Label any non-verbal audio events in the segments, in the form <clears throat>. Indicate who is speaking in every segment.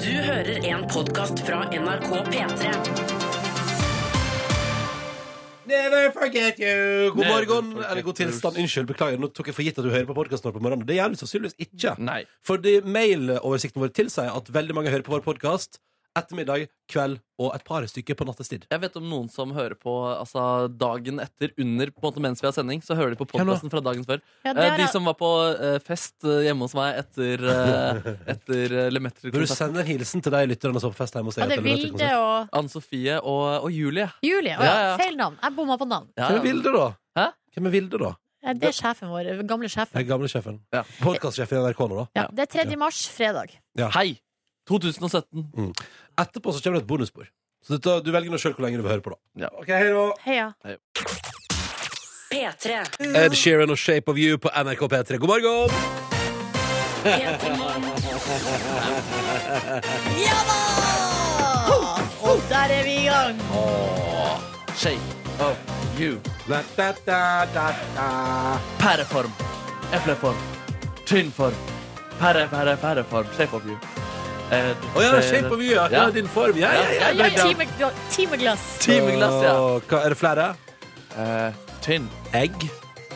Speaker 1: Du hører en podkast fra NRK P3.
Speaker 2: Never forget you! God
Speaker 3: Never
Speaker 2: morgen,
Speaker 3: forget
Speaker 2: eller god
Speaker 3: you.
Speaker 2: tilstand. Unnskyld, beklager. Nå tok jeg for gitt at du hører på podkasten vår på morgenen. Det gjør du sannsynligvis ikke.
Speaker 3: Nei.
Speaker 2: Fordi mailoversikten vår tilsier at veldig mange hører på vår podkast ettermiddag, kveld og et par stykker på nattestid.
Speaker 3: Jeg vet om noen som hører på altså, dagen etter, under, på en måte mens vi har sending. Så hører de på
Speaker 2: Hvem da?
Speaker 3: podkasten fra dagen før.
Speaker 4: Ja, det
Speaker 3: Eh,
Speaker 4: er
Speaker 3: De
Speaker 4: da-
Speaker 3: som var på eh, fest eh, hjemme hos meg etter, eh,
Speaker 2: <laughs>
Speaker 3: etter eh, Lemetter.
Speaker 2: Bør du sende en hilsen til de lytterne som er på fest hjemme hos
Speaker 4: ja,
Speaker 2: deg?
Speaker 4: det er
Speaker 2: etter Løvetur
Speaker 4: Vilde
Speaker 2: konsert?
Speaker 4: og
Speaker 3: Anne Sofie og, og Julie.
Speaker 4: Julie. Å,
Speaker 3: Ja,
Speaker 4: ja,
Speaker 3: ja.
Speaker 4: feil navn. Jeg bomma på navn.
Speaker 3: Ja,
Speaker 2: Hvem er Vilde, da?
Speaker 3: Hæ?
Speaker 2: Hvem er Vilde, da?
Speaker 4: Ja, Det er sjefen vår. den Gamle sjefen.
Speaker 2: Den gamle sjefen.
Speaker 3: Ja.
Speaker 2: Podkastsjefen i NRK nå, da.
Speaker 4: Ja, det er 3. mars, fredag.
Speaker 3: Hei! 2017.
Speaker 2: Etterpå så kommer det et bonusspor. Så dette, du velger nå sjøl hvor lenge du vil høre på, da.
Speaker 3: Ja.
Speaker 2: Ok, hei da.
Speaker 4: Heia.
Speaker 1: P3.
Speaker 2: Ed Sheeran og Shape of You på NRK P3. God morgen!
Speaker 4: Ja da! Og der er vi i gang.
Speaker 3: Shake of you.
Speaker 2: Da, da, da, da, da.
Speaker 3: Pæreform. Epleform. Tynnform. Pære, pære, pæreform. Shape of you. Eh,
Speaker 2: Å ja, shape of you, ja. ja.
Speaker 3: Ja.
Speaker 2: Din form. Ja, ja, ja.
Speaker 3: Ja, ja, ja.
Speaker 4: Timegla- Timeglass.
Speaker 3: Timeglass, ja.
Speaker 2: Og hva, er det flere?
Speaker 3: Eh, tynn.
Speaker 2: Egg.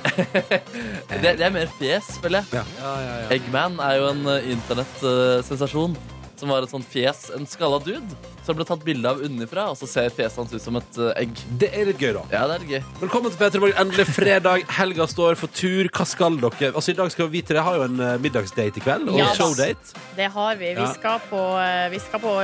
Speaker 2: Eh.
Speaker 3: Det, det er mer fjes, føler jeg.
Speaker 2: Ja. Ja, ja, ja.
Speaker 3: Eggman er jo en eh, internettsensasjon. som var et sånn fjes, en skalla dude, som ble tatt bilde av underfra, og så ser fjeset hans ut som et eh, egg.
Speaker 2: Det er litt gøy, da.
Speaker 3: Ja, det er litt gøy.
Speaker 2: Velkommen til Petter Morgen. Endelig fredag. Helga står for tur. Hva skal dere? Altså, I dag skal vi til Jeg har jo en eh, middagsdate i kveld. Og
Speaker 4: Ja, da.
Speaker 2: showdate.
Speaker 4: Det har vi. Vi
Speaker 2: Ja.
Speaker 4: skal på, eh, vi skal på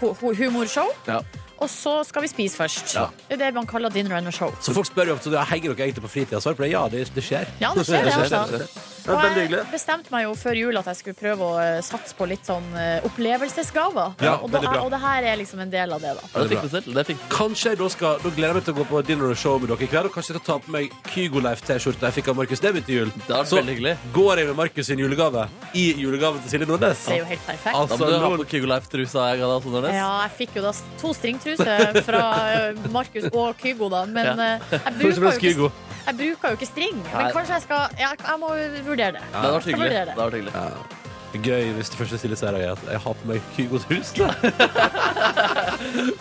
Speaker 4: ko- ho- humorshow.
Speaker 3: Ja.
Speaker 4: Og så skal vi spise først.
Speaker 3: Ja.
Speaker 4: Det er det man kaller dinner and a show.
Speaker 2: Så folk spør jo ofte ja, henger dere egentlig på fritida. Svar på det. Ja, det, det skjer.
Speaker 4: Ja, det skjer, det.
Speaker 3: Det skjer,
Speaker 4: altså.
Speaker 3: det
Speaker 2: <laughs>
Speaker 3: skjer.
Speaker 2: Det er veldig
Speaker 4: Og jeg
Speaker 2: hyggelig.
Speaker 4: bestemte meg jo før jul at jeg skulle prøve å eh, satse på litt sånn eh, opplevelsesgaver.
Speaker 2: Ja,
Speaker 4: og, da,
Speaker 2: veldig bra.
Speaker 4: og det her er liksom en del av det, da.
Speaker 3: Ja, det fikk vi til. Det fikk
Speaker 2: Kanskje jeg da skal Da gleder jeg meg til å gå på dinner og show med dere i kveld. Og kanskje jeg skal ta på meg Kygo-Leif-T-skjorta jeg fikk av Markus Neby til jul.
Speaker 3: Det hadde vært
Speaker 2: Så
Speaker 3: veldig hyggelig.
Speaker 2: går jeg med Markus sin julegave i julegaven til Silje Nordnes.
Speaker 4: Det er jo helt perfekt.
Speaker 3: Da
Speaker 2: Altså,
Speaker 3: må du ha
Speaker 2: noen-
Speaker 3: på Kygo Life-trusa. jeg ga deg, Tone Nes.
Speaker 4: Ja, jeg fikk jo da s- to stringtruser fra eh, Markus og Kygo, da. Men
Speaker 3: Ja.
Speaker 4: eh, jeg,
Speaker 2: Først og
Speaker 4: bruker
Speaker 2: fremst
Speaker 4: jo ikke,
Speaker 2: Kygo.
Speaker 4: jeg bruker jo ikke string.
Speaker 3: Nei.
Speaker 4: Men kanskje jeg skal ja, Jeg må vurdere det.
Speaker 3: Det hadde vært
Speaker 4: Skal
Speaker 3: hyggelig.
Speaker 4: vurdere det.
Speaker 3: Det hadde vært hyggelig.
Speaker 2: Gøy hvis det første stille sier er at jeg har på meg Kygos hus.
Speaker 4: <laughs>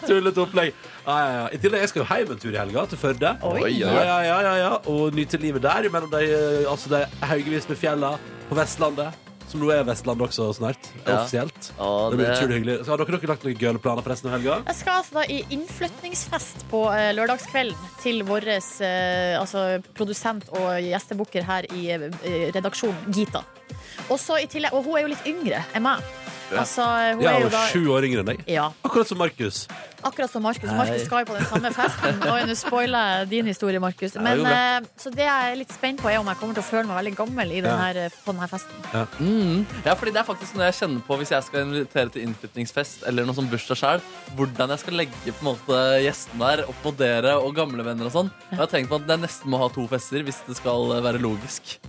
Speaker 2: Tullete opplegg. Ja, ja, ja. I tillegg, jeg skal jo hjem en tur i helga, til Førde.
Speaker 4: Oi.
Speaker 2: Ja, ja, ja, ja, ja. Og nyte livet der mellom de, eh, altså de haugevis med fjella på Vestlandet. Som nå er Vestlandet også snart,
Speaker 3: Ja.
Speaker 2: offisielt.
Speaker 3: Ja,
Speaker 2: det blir
Speaker 3: det-
Speaker 2: utrolig hyggelig. Så har dere, dere lagt noen gøyale planer forresten av helga?
Speaker 4: Jeg skal altså da i innflytningsfest på eh, lørdagskvelden til vår altså, produsent og gjestebooker her i eh, redaksjonen, Gita. Og, så i tillegg, og hun er jo litt yngre enn meg. Altså, hun
Speaker 2: Jeg
Speaker 4: er
Speaker 2: er
Speaker 4: jo
Speaker 2: jo
Speaker 4: da
Speaker 2: sju år yngre enn deg.
Speaker 4: ja,
Speaker 2: Akkurat som Markus.
Speaker 4: akkurat som Markus.
Speaker 3: Nei.
Speaker 4: Markus skal jo på den samme festen. Oi, nå spoiler jeg din historie, Markus.
Speaker 3: det
Speaker 4: Men,
Speaker 3: går bra.
Speaker 4: eh, så det jeg er litt spent på, er om jeg kommer til å føle meg veldig gammel i den
Speaker 2: Ja.
Speaker 4: her, eh, på denne festen.
Speaker 3: Mm. Ja, fordi det er faktisk noe jeg kjenner på hvis jeg skal invitere til innflytningsfest eller noe sånn bursdag selv, hvordan jeg skal legge på en måte gjestene der opp mot dere og gamle venner og sånn. Og jeg har tenkt på at jeg nesten må ha to fester hvis det skal eh, være logisk.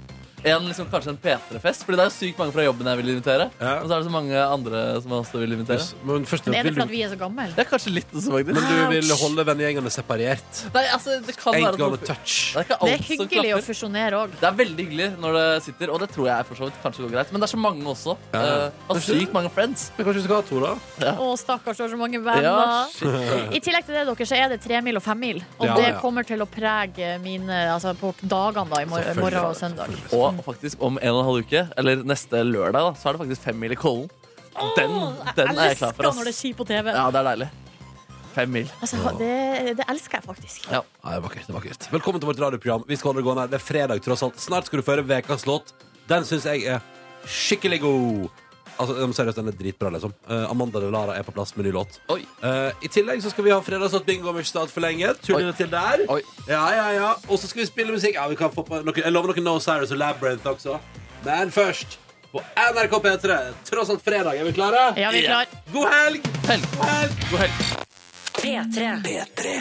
Speaker 3: En, liksom, kanskje en P3-fest, fordi det er jo sykt mange fra jobben jeg vil invitere.
Speaker 2: Ja.
Speaker 3: Og så er det så mange andre som jeg også vil invitere.
Speaker 2: Men først,
Speaker 4: Men er det
Speaker 2: vil du,
Speaker 4: fordi vi er så gamle?
Speaker 3: Det er kanskje litt også, faktisk.
Speaker 2: men du vil holde vennegjengene separert.
Speaker 3: Nei, altså, det kan
Speaker 2: Ain't
Speaker 3: være
Speaker 2: gonna
Speaker 3: noe-
Speaker 2: touch.
Speaker 3: Det er ikke
Speaker 4: Det er
Speaker 3: alt som
Speaker 4: hyggelig å
Speaker 3: klaffer.
Speaker 4: fusjonere òg.
Speaker 3: Det er veldig hyggelig når det sitter, og det tror jeg for så vidt kanskje går greit. Men det er så mange også.
Speaker 2: Ja.
Speaker 3: Eh, og sykt mange friends.
Speaker 2: Men kanskje vi skal ha to, da?
Speaker 4: Å, stakkars, du har så mange venner.
Speaker 3: Ja, shit.
Speaker 4: I tillegg til det dere, så er det tremil og femmil. Og
Speaker 2: Ja,
Speaker 4: det
Speaker 2: ja.
Speaker 4: kommer til å prege mine altså på dagene da, i mor
Speaker 2: Selvfølgelig.
Speaker 4: morgen og søndag.
Speaker 3: Og faktisk om en og en halv uke, eller neste lørdag, da, så er det faktisk fem mil i Kollen. Den, den er jeg klar for.
Speaker 4: elsker når det er
Speaker 3: Ass.
Speaker 4: ski på TV.
Speaker 3: Ja, det er deilig. Fem mil.
Speaker 4: Altså, det, det elsker jeg faktisk.
Speaker 3: Ja.
Speaker 2: Ja, det er vakkert, det er vakkert. Velkommen til vårt radioprogram. Vi skal holde det gående. Det er fredag, tross alt. Snart skal du få høre ukas låt. Den syns jeg er skikkelig god. Altså, jeg må Seriøst, den er dritbra, liksom. Eh, Amanda de Lara er på plass med ny låt.
Speaker 3: Oi.
Speaker 2: Eh, I tillegg så skal vi ha fredagslåt bingo om ikke stadig for lenge. Tuller
Speaker 3: Oi.
Speaker 2: det til der.
Speaker 3: Oi.
Speaker 2: Ja, ja, ja. Og så skal vi spille musikk. Ja, vi kan få på noe, Jeg lover noe No Cyrus og Labyrinth også. Men først, på NRK P3, tross alt fredag. Er vi klare?
Speaker 4: Ja, vi er klar.
Speaker 2: God helg!
Speaker 3: Helg.
Speaker 2: God helg!
Speaker 3: God helg.
Speaker 1: P3.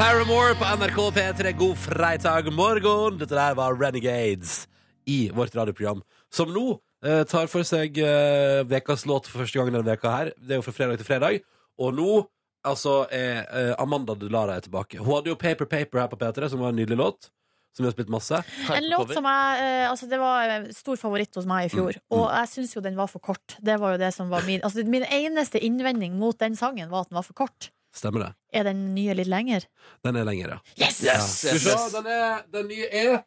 Speaker 2: Paramore på NRK P3, god fredag morgen. Dette der var Renegades i vårt radioprogram, som nå eh, tar for seg eh, vekas låt for første gang denne veka her. Det er jo fra fredag til fredag. Og nå altså, er eh, Amanda Delara er tilbake. Hun hadde jo Paper Paper her på P3, som var en nydelig låt. som vi har spilt masse.
Speaker 4: En låt som jeg, eh, altså det var en stor favoritt hos meg i fjor,
Speaker 2: Mm.
Speaker 4: og jeg syns jo den var for kort. Det var jo det som var min altså Min eneste innvending mot den sangen var at den var for kort.
Speaker 2: Stemmer det?
Speaker 4: Er den nye litt lenger?
Speaker 2: Den er lengre, ja.
Speaker 4: Yes!
Speaker 2: ja.
Speaker 3: Yes,
Speaker 2: Skal vi
Speaker 3: yes,
Speaker 2: se,
Speaker 3: yes.
Speaker 2: den, er, den nye er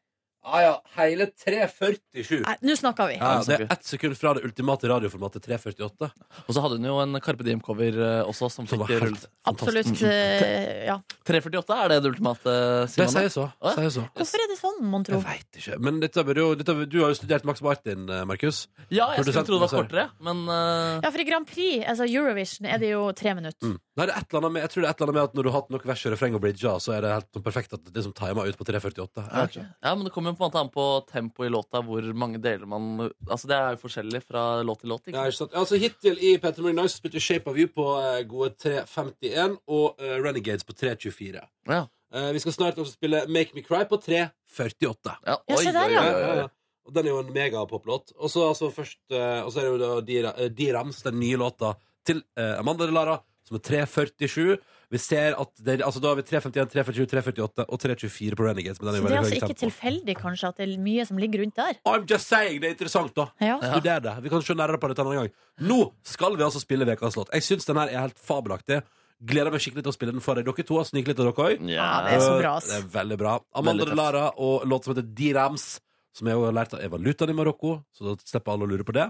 Speaker 2: ah, ja, hele 3.47.
Speaker 4: Nei, Nå snakker vi.
Speaker 2: Ja, det er ett sekund fra det ultimate radioformatet 3.48.
Speaker 3: Og så hadde hun jo en Carpe Diem-cover eh, også, som
Speaker 2: Som var
Speaker 3: fikk Mm,
Speaker 2: helt
Speaker 3: rullet.
Speaker 2: fantastisk. Mm,
Speaker 4: Absolutt. eh, Ja.
Speaker 3: 348 er det eh, det ultimate,
Speaker 2: Det
Speaker 3: Simon?
Speaker 2: sier så.
Speaker 3: Å, ja.
Speaker 2: Sier så.
Speaker 4: Hvorfor er det sånn, mon tro?
Speaker 2: Jeg veit ikke. Men dette bør jo, dette, du har jo studert Max Martin, eh, Markus.
Speaker 3: Ja, jeg skulle
Speaker 2: Produsenten,
Speaker 3: tro det var
Speaker 2: sorry.
Speaker 3: kortere, men eh,
Speaker 4: Ja, for i Grand Prix, altså Eurovision, er det jo tre minutter.
Speaker 3: Mm.
Speaker 2: Nei, det er et eller annet med, jeg tror det er et eller annet med at når du har hatt nok vers og refreng og bridger, så er det helt sånn perfekt at det som timer ut på 3.48. Jeg vet ikke.
Speaker 3: Ja, men Det kommer jo på en måte an på tempoet i låta, hvor mange deler man Altså, Det er jo forskjellig fra låt til låt.
Speaker 2: Ja,
Speaker 3: ikke
Speaker 2: ikke sant?
Speaker 3: sant?
Speaker 2: Altså, hittil i Petter Morgan Nice spilte Shape of You på eh, gode 3.51 og eh, Renegades på 3.24.
Speaker 3: Ja.
Speaker 2: Eh, vi skal snart også spille Make Me Cry på 3.48.
Speaker 3: Ja,
Speaker 4: Ja, se der, ja.
Speaker 2: Ja, ja, ja. Eh, Og Den er jo en megapoplåt. Og så altså, først, eh, og så er det jo da Dira- eh, Dirams, den nye låta til eh, Amanda De Lara, som er 3.47. Vi ser at det, altså, Da har vi 3.51, 3.47, 3.48 og 3.24 på Renegades. Men den er jo
Speaker 4: Så det er
Speaker 2: veldig
Speaker 4: altså
Speaker 2: høy
Speaker 4: ikke
Speaker 2: tempo.
Speaker 4: tilfeldig kanskje at det er mye som ligger rundt der.
Speaker 2: I'm just saying, det er interessant, da.
Speaker 4: Ja.
Speaker 3: Ja.
Speaker 2: Studer det. Vi kan se nærmere på det en annen gang. Nå skal vi altså spille Vekas låt. Jeg syns den her er helt fabelaktig. Gleder meg skikkelig til å spille den for deg. Dere to har sniket litt av dere òg.
Speaker 3: Ja.
Speaker 4: Ja, det er så bra, ass.
Speaker 2: Eh, Det er veldig bra. Amanda De
Speaker 3: Veldig tøft.
Speaker 2: Lara og låt som heter D-Rams, som jeg jo har lært av Eva Lutan i Marokko, så da slipper alle å lure på det.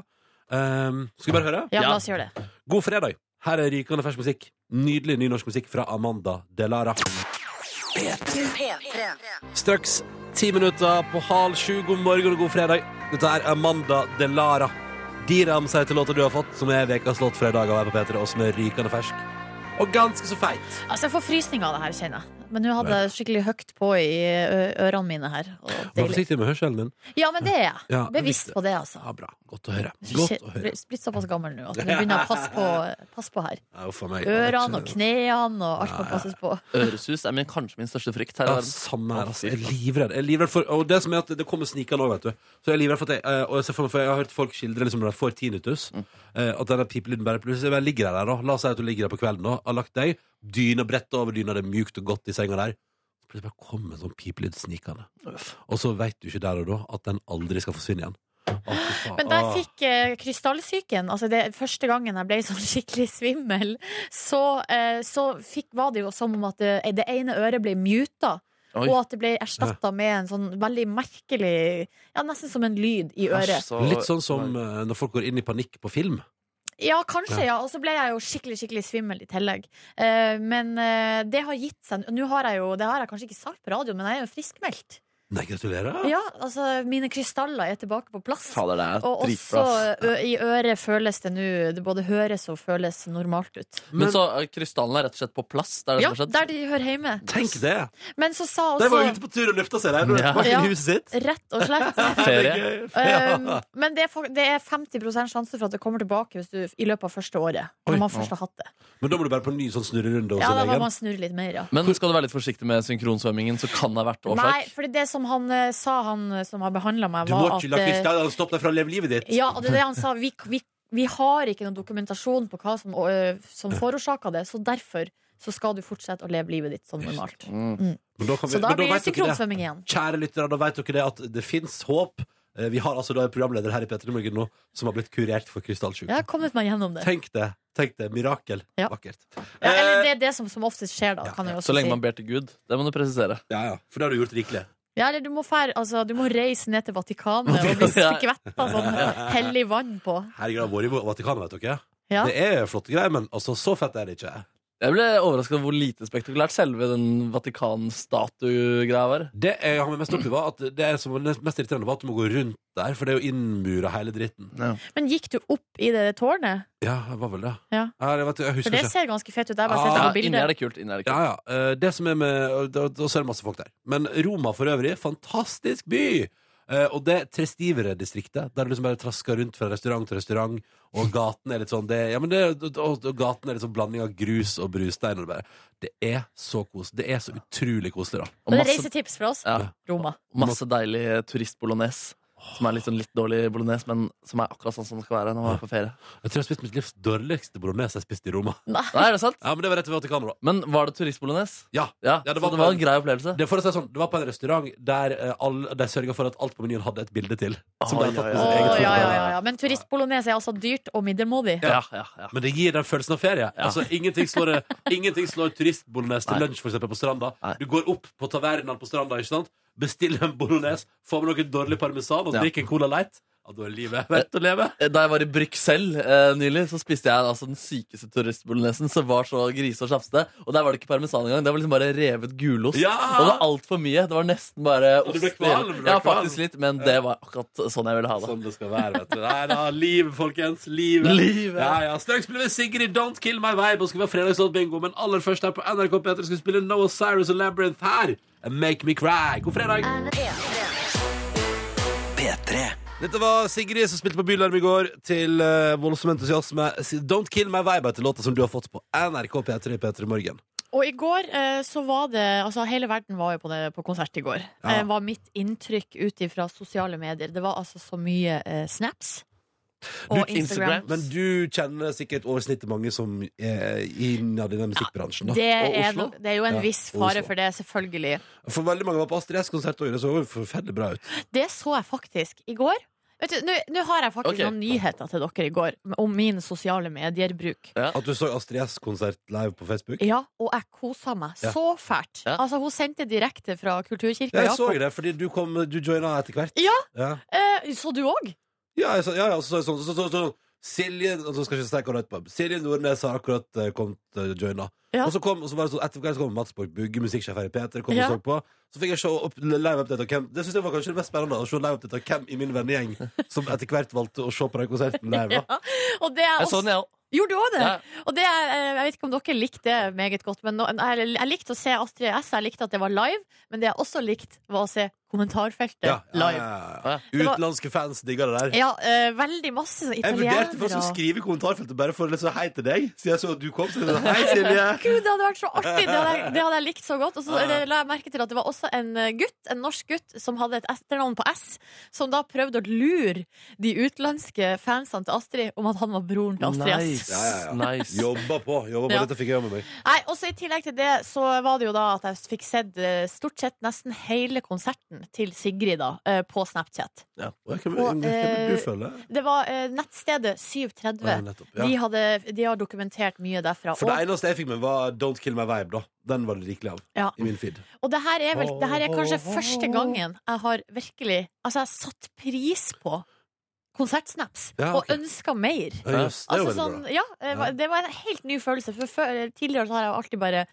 Speaker 2: Ehm, skal vi bare høre?
Speaker 4: Ja,
Speaker 3: Ja.
Speaker 4: la oss gjøre det.
Speaker 2: God fredag. Her er rykende fersk musikk. Nydelig ny norsk musikk fra Amanda De Lara. Straks ti minutter på halv sju. God morgen og god fredag. Dette er Amanda De Lara. Diram sier til låta du har fått, som er ukas låt fra i dag av her på P3, og som er rykende fersk. Og ganske så feit.
Speaker 4: Altså, jeg får frysninger av det her, kjenner jeg. Men nå hadde jeg skikkelig høyt på i ø, ørene mine her. Og
Speaker 2: Vær
Speaker 4: deilig.
Speaker 2: forsiktig med hørselen din.
Speaker 4: Ja, men det er jeg.
Speaker 2: Ja,
Speaker 4: Bevisst på det, altså.
Speaker 2: Ja, bra. Godt å høre.
Speaker 4: Jeg
Speaker 2: Godt å
Speaker 4: er
Speaker 2: høre.
Speaker 4: blitt såpass gammel nå at vi begynner å passe på, passe på her.
Speaker 2: Ja, uff a meg.
Speaker 4: Ørene og knærne og alt må passes på.
Speaker 3: Øresus er min, kanskje min største frykt her i
Speaker 2: Ja,
Speaker 3: verden.
Speaker 2: samme her,
Speaker 3: Å,
Speaker 2: altså.
Speaker 3: fy
Speaker 2: Jeg er
Speaker 3: faen.
Speaker 2: livredd. Jeg er livredd for, og det som er at det kommer snikende òg, vet du. Så jeg er livredd for at jeg, eh, og jeg, ser for meg, for jeg har hørt folk skildre liksom, når de får tinnitus,
Speaker 3: Mm.
Speaker 2: eh, at denne pipelyden bare plutselig bare ligger der. da. La oss si at du ligger der på kvelden og har lagt deg, dyna brettet over dyna, det er mjukt og godt i senga der. Plutselig bare kommer en sånn pipelyd snikende. Og så veit du ikke der og da at den aldri skal forsvinne igjen. Å, fy faen.
Speaker 4: Men da jeg
Speaker 2: Åh.
Speaker 4: fikk eh, krystallsyken, altså det første gangen jeg ble sånn <laughs> skikkelig svimmel, så, eh, så fikk, var det jo som om at det, det ene øret ble muta.
Speaker 3: Oi.
Speaker 4: Og at det ble erstatta med en sånn veldig merkelig Ja, nesten som en lyd i øret.
Speaker 3: Så-
Speaker 2: Litt sånn som eh, når folk går inn i panikk på film.
Speaker 4: Ja, kanskje, ja. Og så ble jeg jo skikkelig skikkelig svimmel i tillegg. Eh, men eh, det har gitt seg. Nå har jeg jo, Det har jeg kanskje ikke sagt på radio, men jeg er jo friskmeldt.
Speaker 2: Nei, gratulerer.
Speaker 4: Ja, altså, mine krystaller er tilbake på
Speaker 2: eh,
Speaker 4: plass.
Speaker 3: Fader, det er
Speaker 4: Og også
Speaker 3: dritbra. ass.
Speaker 4: ø, i øret føles det nå Det både høres og føles normalt ut.
Speaker 3: Men så eh, krystallene er rett og slett på plass? Det er det
Speaker 4: Ja,
Speaker 3: som har skjedd?
Speaker 4: der de hører hjemme.
Speaker 2: Tenk det!
Speaker 4: Men så sa
Speaker 2: De var
Speaker 4: også
Speaker 2: ute på tur og lufta seg der.
Speaker 3: <laughs> Ja.
Speaker 2: Bak <laughs> i
Speaker 4: Ja.
Speaker 2: huset sitt.
Speaker 4: Rett og slett.
Speaker 3: <laughs> Ferie.
Speaker 4: Um, men det er, fak- det er 50 sjanse for at det kommer tilbake hvis du, i løpet av første året.
Speaker 2: Oi.
Speaker 4: Når man først har hatt det.
Speaker 2: Men da må du bare på en ny sånn snurrerunde.
Speaker 4: Ja,
Speaker 2: Ja,
Speaker 4: Da må man snurre litt mer, ja.
Speaker 3: Men skal du være litt forsiktig med synkronsvømmingen, så kan det ha vært
Speaker 4: Nei,
Speaker 3: årsak.
Speaker 4: for det som han eh, sa, han eh, som har behandla meg,
Speaker 2: Du må
Speaker 4: var
Speaker 2: ikke la
Speaker 4: at eh,
Speaker 2: krystallene stoppe deg fra å leve livet ditt.
Speaker 4: Ja, og det er det han sa. Vi, vi, vi har ikke noen dokumentasjon på hva som, ø, som forårsaka det, så derfor så skal du fortsette å leve livet ditt som normalt.
Speaker 2: Men da kan vi-
Speaker 4: Så da
Speaker 2: men
Speaker 4: blir det
Speaker 2: vet dere det.
Speaker 4: synkronsvømming igjen.
Speaker 2: Kjære lyttere, da vet dere det at det fins håp. Eh, Vi har altså da en programleder her i Petter Morgen nå som har blitt kurert for krystallsjuke.
Speaker 4: Jeg har kommet meg gjennom det.
Speaker 2: Tenk det. Tenk det. Mirakel.
Speaker 4: Ja.
Speaker 2: Vakkert. Eh,
Speaker 4: Ja, eller det er det som, som oftest skjer, da. Kan jeg også
Speaker 3: Så lenge man
Speaker 4: si.
Speaker 3: ber til Gud. Det må du presisere.
Speaker 2: Ja, ja. For det har du gjort rikelig.
Speaker 4: ja, eller du må, fær, altså, du må reise ned til
Speaker 2: <laughs>
Speaker 4: Vatikanet og bli
Speaker 3: Ja.
Speaker 4: skvetta sånn hellig vann på.
Speaker 2: Herregud, jeg har vært i Vatikanet, vet dere.
Speaker 4: Ja.
Speaker 2: Det er flotte greier, men altså, så fett er det ikke.
Speaker 3: Jeg ble overraska over hvor lite spektakulært selve den Vatikan-statue-greia var.
Speaker 2: Det jeg har meg mest opp i, var at det som var mest irriterende, var at du må gå rundt der, for det er jo innmura hele dritten.
Speaker 4: Men gikk du opp i det tårnet?
Speaker 2: Ja, det var vel det.
Speaker 4: Ja.
Speaker 2: jeg, vet, jeg husker
Speaker 4: For det
Speaker 2: ikke.
Speaker 4: ser ganske fett ut. Jeg har bare
Speaker 2: Ah.
Speaker 4: sett det
Speaker 3: Ja,
Speaker 4: på
Speaker 3: inni er
Speaker 4: bildet.
Speaker 3: det kult. Inni er det kult.
Speaker 2: Ja, ja. Eh, Det som er med og da- da- Så er det masse folk der. Men Roma for øvrig, fantastisk by! Eh, Og det Trestivere-distriktet, der du liksom bare trasker rundt fra restaurant til restaurant, og gaten er litt sånn det, ja, men det, og, og gaten er litt sånn blanding av grus og brustein. Og det, bare, det er så kos, Det er så utrolig koselig, da.
Speaker 4: Og det er
Speaker 3: masse,
Speaker 4: reisetips fra oss.
Speaker 3: ja,
Speaker 4: Roma.
Speaker 3: masse deilig turistbolognese. Som er litt, sånn litt dårlig bolognese, men som er akkurat sånn som det skal være når man er på ferie.
Speaker 2: Jeg tror jeg har spist mitt livs dårligste bolognese jeg spiste i Roma.
Speaker 3: Nei, er det sant?
Speaker 2: Ja, men det var rett ved Vatikanet, da.
Speaker 3: Men var det turistbolognese?
Speaker 2: Ja.
Speaker 3: Ja,
Speaker 2: Ja, det
Speaker 3: det
Speaker 2: var
Speaker 3: så det var
Speaker 2: på-
Speaker 3: en grei opplevelse.
Speaker 2: Det, for å si det sånn, det var på en restaurant der eh, alle- de sørga for at alt på menyen hadde et bilde til. Som de
Speaker 3: Oi,
Speaker 2: hadde tatt
Speaker 3: oi,
Speaker 2: med
Speaker 3: oi.
Speaker 2: sitt eget
Speaker 4: Å,
Speaker 2: foto.
Speaker 4: ja, ja, ja, ja. Men turistbolognese er altså dyrt og middelmådig.
Speaker 3: Ja, ja, ja.
Speaker 2: Men det gir den følelsen av ferie. Altså, ingenting slår,
Speaker 3: <laughs>
Speaker 2: ingenting slår turistbolognese til
Speaker 3: Nei.
Speaker 2: lunsj for eksempel, på stranda.
Speaker 3: Nei.
Speaker 2: Du går opp på tavernaen på stranda, ikke sant? bestiller en bolognese, får med noe dårlig parmesan og
Speaker 3: Ja.
Speaker 2: drikker en Cola Light. Ja, da er livet
Speaker 3: <laughs>
Speaker 2: verdt å leve.
Speaker 3: Eh, Da jeg var i Bruxelles eh, nylig, så spiste jeg altså, den sykeste turistbolognesen som var så grise og sjafsete. Og der var det ikke parmesan engang. Det var liksom bare revet gulost.
Speaker 2: Ja!
Speaker 3: Og det var altfor mye. Det var nesten bare
Speaker 2: Og du ble
Speaker 3: ost i hele-
Speaker 2: kvalm, du ble
Speaker 3: Ja,
Speaker 2: kvalm.
Speaker 3: faktisk litt, men det var akkurat sånn jeg ville ha det.
Speaker 2: Sånn det skal være, vet du. Nei da, liv, folkens. Liv.
Speaker 3: Livet.
Speaker 2: Ja, ja. Straks spiller vi Sigrid Don't Kill My Vibe og skal vi ha fredagslåtbingo. Men aller først her på NRK P3 skal vi spille Noah Cyrus og Labyrinth her. Make Me Cry. God fredag. Dette var Sigrid som spilte på Bylarm i går til eh, voldsom entusiasme. Don't Kill My Vibe heter låta som du har fått på NRK P3 P3 Morgen.
Speaker 4: Og i går eh, så var det Altså, hele verden var jo på, det, på konsert i går.
Speaker 2: Ja.
Speaker 4: Det var mitt inntrykk ut ifra sosiale medier. Det var altså så mye eh, snaps og
Speaker 2: Du-
Speaker 4: Instagram.
Speaker 2: Men du kjenner sikkert oversnittet mange som eh, er innad i den musikkbransjen. Da.
Speaker 4: Det
Speaker 3: Og
Speaker 4: er,
Speaker 3: Oslo?
Speaker 4: no- det er jo en
Speaker 2: Ja,
Speaker 4: viss
Speaker 2: og
Speaker 4: fare
Speaker 2: Oslo.
Speaker 4: for det, selvfølgelig.
Speaker 2: For veldig mange var på Astrid S-konsert òg. Det så jo forferdelig bra ut.
Speaker 4: Det så jeg faktisk i går. Vet du, Nå nå har jeg faktisk
Speaker 3: Ok.
Speaker 4: noen nyheter til dere i går om min sosiale medierbruk.
Speaker 2: At du så Astrid S-konsert live på Facebook.
Speaker 4: Ja, og jeg kosa meg
Speaker 2: Ja.
Speaker 4: så fælt.
Speaker 3: Ja.
Speaker 4: Altså, hun sendte direkte fra Kulturkirka.
Speaker 2: Ja, jeg så
Speaker 4: Jakob.
Speaker 2: det, fordi du, kom, du joina etter hvert.
Speaker 4: Ja.
Speaker 2: ja.
Speaker 4: Eh, så du òg?
Speaker 2: Ja, jeg, sa- ja, ja, så, så, så, så, så, så, Silje altså, skal jeg ikke si hva det heter på. Silje Nordnes har akkurat eh, kommet uh, joina.
Speaker 4: Ja.
Speaker 2: Og så kom, og så var det så, etter hvert så kom Mats Borg Bugge, musikksjef her i P3, kom
Speaker 4: Ja.
Speaker 2: og så på. Så fikk jeg se opp, live update av hvem Det synes jeg var kanskje det mest spennende, å se live update av hvem i min vennegjeng som etter hvert valgte å se på den konserten live.
Speaker 4: <laughs>
Speaker 2: da.
Speaker 4: Og det jeg
Speaker 3: Jeg så
Speaker 4: også
Speaker 3: den, jeg òg.
Speaker 4: Gjorde du òg det?
Speaker 3: Ja.
Speaker 4: Og det, er- eh, jeg vet ikke om dere likte det meget godt, men nå- jeg, jeg likte å se Astrid S. Jeg likte at det var live, men det jeg også likte, var å se kommentarfeltet
Speaker 2: Ja, ja,
Speaker 4: live.
Speaker 2: ja, ja.
Speaker 4: Det var-
Speaker 2: Utenlandske fans digger det der.
Speaker 4: Ja, eh, veldig masse sånn
Speaker 2: Jeg
Speaker 4: italienere.
Speaker 2: vurderte faktisk å skrive i kommentarfeltet bare for å liksom hei til deg, siden jeg så at du kom. Så jeg sa, hei, Silje!
Speaker 4: <laughs> Gud, det hadde vært så artig! Det hadde, jeg- det hadde jeg likt så godt. Og så eh, la jeg merke til at det var også en eh, gutt, en norsk gutt, som hadde et etternavn på S, som da prøvde å lure de utenlandske fansene til Astrid om at han var broren til Astrid S.
Speaker 3: Nice.
Speaker 2: Ja, ja, ja.
Speaker 3: nice.
Speaker 2: Jobba på. jobba på,
Speaker 4: Ja.
Speaker 2: Dette fikk jeg med meg.
Speaker 4: Nei, også I tillegg til det så var det jo da at jeg fikk sett eh, stort sett nesten hele konserten til Sigrid da, eh, på Snapchat.
Speaker 2: Ja. Hva vil
Speaker 4: Og,
Speaker 2: du
Speaker 4: eh,
Speaker 2: føle?
Speaker 4: Det var eh, nettstedet 730.
Speaker 2: Ja, nettopp, ja.
Speaker 4: de, hadde, de har dokumentert mye derfra.
Speaker 2: For det
Speaker 4: Og,
Speaker 2: eneste jeg fikk med, var Don't Kill My Vibe. da Den var det rikelig av
Speaker 4: ja.
Speaker 2: i min feed.
Speaker 4: og det her er vel Det her er kanskje første gangen jeg har virkelig Altså, jeg har satt pris på konsertsnaps
Speaker 2: Ja, ok.
Speaker 4: og ønska mer.
Speaker 2: Ja, jøss, det er jo
Speaker 4: Altså
Speaker 2: veldig
Speaker 4: sånn,
Speaker 2: bra.
Speaker 4: ja, eh,
Speaker 2: Ja.
Speaker 4: det var en helt ny følelse. For før, tidligere så har jeg alltid bare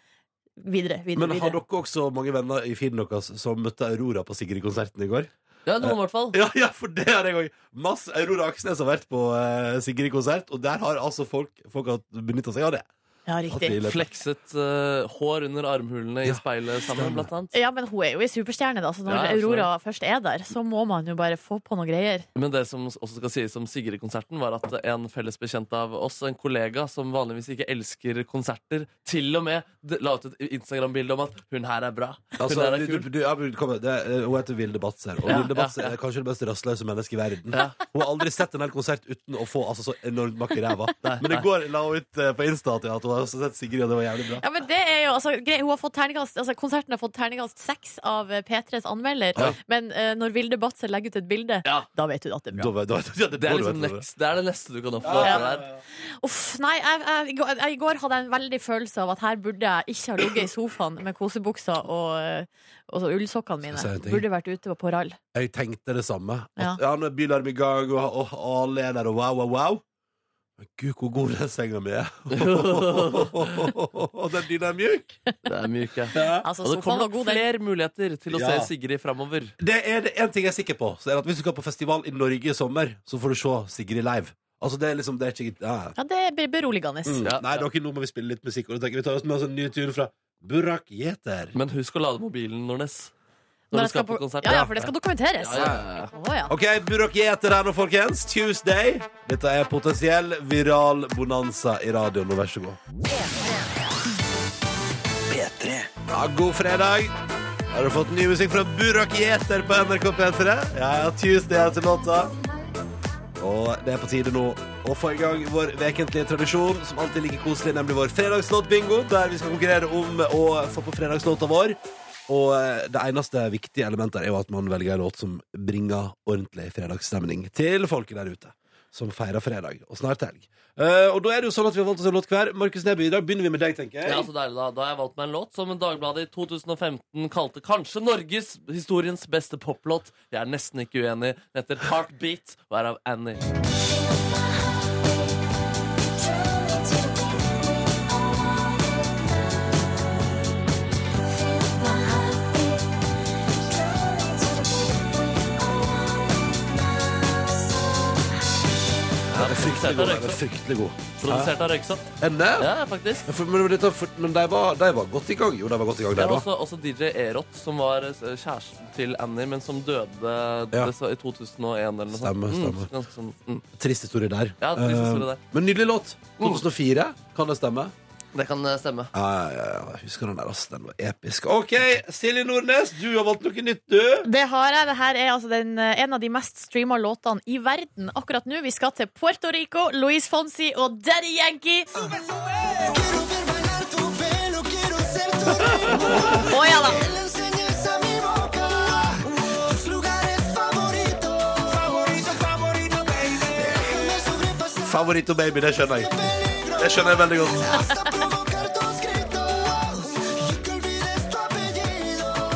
Speaker 4: Videre, videre,
Speaker 2: Men har
Speaker 4: videre.
Speaker 2: dere også mange venner i feeden deres som møtte Aurora på Sigrid-konserten i går?
Speaker 3: Ja, noen i hvert fall.
Speaker 2: Ja, ja, for det har jeg òg! Masse Aurora Aksnes har vært på eh, Sigrid-konsert, og der har altså folk, folk har benytta seg av det.
Speaker 4: Ja,
Speaker 2: At
Speaker 4: riktig.
Speaker 2: de løper.
Speaker 3: Flekset eh, hår under armhulene
Speaker 2: Ja,
Speaker 3: i speilet sammen, blant annet.
Speaker 4: Ja, men hun er jo i superstjerne, da, så når
Speaker 3: Ja, ja,
Speaker 4: Aurora først er der, så må man jo bare få på noen greier.
Speaker 3: Men det som også skal sies om Sigrid-konserten, var at en felles bekjent av oss, en kollega som vanligvis ikke elsker konserter, til og med d- la ut et Instagram-bilde om at 'hun her er bra'. Hun
Speaker 2: Altså,
Speaker 3: her er
Speaker 2: du,
Speaker 3: kul.
Speaker 2: du, du, ja, men kom, igjen, det, er- hun heter Vilde Batzer, og
Speaker 3: Ja,
Speaker 2: Vilde Batzer
Speaker 3: ja, ja.
Speaker 2: er kanskje det mest rastløse mennesket i verden.
Speaker 3: Ja.
Speaker 2: Hun har aldri sett en hel konsert uten å få altså, så enormt makk i ræva.
Speaker 3: Nei,
Speaker 2: Men i
Speaker 3: nei.
Speaker 2: går la hun ut eh, på Insta at hun har også sett Sigrid, og det var jævlig bra.
Speaker 4: Ja, men det er jo, altså, grei- hun har fått terningkast, altså Konserten har fått terningkast seks av eh, P3s anmelder,
Speaker 2: Ja.
Speaker 4: men eh, når Vilde Batzer legger ut et bilde,
Speaker 3: Ja.
Speaker 4: da vet du at det er bra.
Speaker 2: Da vet- da vet- ja,
Speaker 3: Det
Speaker 2: da
Speaker 3: er,
Speaker 2: vet
Speaker 3: liksom
Speaker 2: du det.
Speaker 3: next, det er det neste du kan oppnå.
Speaker 2: Ja,
Speaker 3: etter
Speaker 2: ja,
Speaker 3: det her.
Speaker 4: Uff, nei, jeg, jeg, i går- jeg, I går hadde jeg en veldig følelse av at her burde jeg ikke ha ligget i sofaen med kosebuksa og, eh, og så
Speaker 2: Skal
Speaker 4: ullsokkene
Speaker 2: jeg si
Speaker 4: mine.
Speaker 2: en ting?
Speaker 4: Burde vært ute på rall.
Speaker 2: Jeg tenkte det samme.
Speaker 4: Ja.
Speaker 2: At, ja, nå er Bylarm i gang, og, og alle er der, og wow, wow, wow. Men gud, hvor god den senga mi er. <laughs> Og den dyna er mjuk.
Speaker 3: Det er
Speaker 4: <laughs>
Speaker 3: mjuk, ja.
Speaker 4: Altså,
Speaker 3: Og det
Speaker 4: sofaen
Speaker 3: kommer
Speaker 4: var
Speaker 3: nok
Speaker 4: god, den.
Speaker 3: flere muligheter til å
Speaker 2: Ja.
Speaker 3: se Sigrid framover.
Speaker 2: Det er det én ting jeg er sikker på. Så er det at Hvis du skal på festival i Norge i sommer, så får du se Sigrid live. Altså, det er liksom, det er ikke ja.
Speaker 4: Ja, det er beroligende.
Speaker 2: Mm.
Speaker 3: Ja,
Speaker 2: Nei,
Speaker 3: ja.
Speaker 2: dere, nå må vi spille litt musikk. Og da tenker jeg vi tar oss med oss en ny tune fra Burak Yeter.
Speaker 3: Men husk å lade mobilen, Nordnes.
Speaker 4: Når
Speaker 3: Når
Speaker 4: jeg
Speaker 3: du skal på konsert.
Speaker 4: Ja, ja, for det skal dokumenteres.
Speaker 3: Ja, ja, ja.
Speaker 4: Å, ja.
Speaker 2: OK, Burak Yeter her nå, folkens. Tuesday. Dette er potensiell viral bonanza i radioen nå. Vær så god. Ja, god fredag. Har du fått ny musikk fra Burak Yeter på NRK P3? Ja, ja, Tuesday er til låta. Og det er på tide nå å få i gang vår vekentlige tradisjon, som alltid er like koselig, nemlig vår fredagslåtbingo, der vi skal konkurrere om å få på fredagslåta vår. Og eh, det eneste viktige elementet er jo at man velger en låt som bringer ordentlig fredagsstemning til folket der ute, som feirer fredag, og snart helg. Eh, og da er det jo sånn at vi har valgt oss en låt hver. Markus Neby, i dag begynner vi med deg, tenker jeg.
Speaker 3: Ja, så deilig Da Da har jeg valgt meg en låt som Dagbladet i 2015 kalte kanskje Norges historiens beste poplåt. Jeg er nesten ikke uenig. Den heter Heartbeat og er av Annie.
Speaker 2: Den er fryktelig god. Den er
Speaker 3: Produsert
Speaker 2: fryktelig god.
Speaker 3: av Røyksopp.
Speaker 2: Er den det?
Speaker 3: Ja, faktisk.
Speaker 2: For, men dette- for, men de, var, de var godt i gang. Jo, de var godt i gang,
Speaker 3: Det
Speaker 2: de,
Speaker 3: var
Speaker 2: da.
Speaker 3: også, også DJ Erot, som var eh, kjæresten til Annie, men som døde
Speaker 2: Ja.
Speaker 3: det sa- i 2001 eller noe sånt.
Speaker 2: Stemmer, stemmer.
Speaker 3: Mm, ganske sånn, mm.
Speaker 2: Trist historie der.
Speaker 3: Ja, trist historie
Speaker 2: Eh,
Speaker 3: der.
Speaker 2: Men nydelig låt. 2004, kan det stemme?
Speaker 3: Det kan eh, stemme.
Speaker 2: Ja, ja, ja, jeg husker den der, ass. Den var episk. OK, Silje Nordnes, du har valgt noe nytt, du.
Speaker 4: Det har jeg. Det her er altså den, en av de mest streama låtene i verden akkurat nå. Vi skal til Puerto Rico, Luis Fonsi og Daddy Yankee.
Speaker 5: Quiero ver bailar tu pelo, quiero ser tu rey.
Speaker 4: Å ja da.
Speaker 5: Que le enseñes a mi boca tus lugares favoritos. Favorito, favorito, baby. Déjame sobrepasar
Speaker 2: Favoritt og baby, det skjønner jeg.
Speaker 5: peligro
Speaker 2: Det skjønner jeg veldig godt.
Speaker 5: hasta provocar tus gritos y que olvides tu apellido.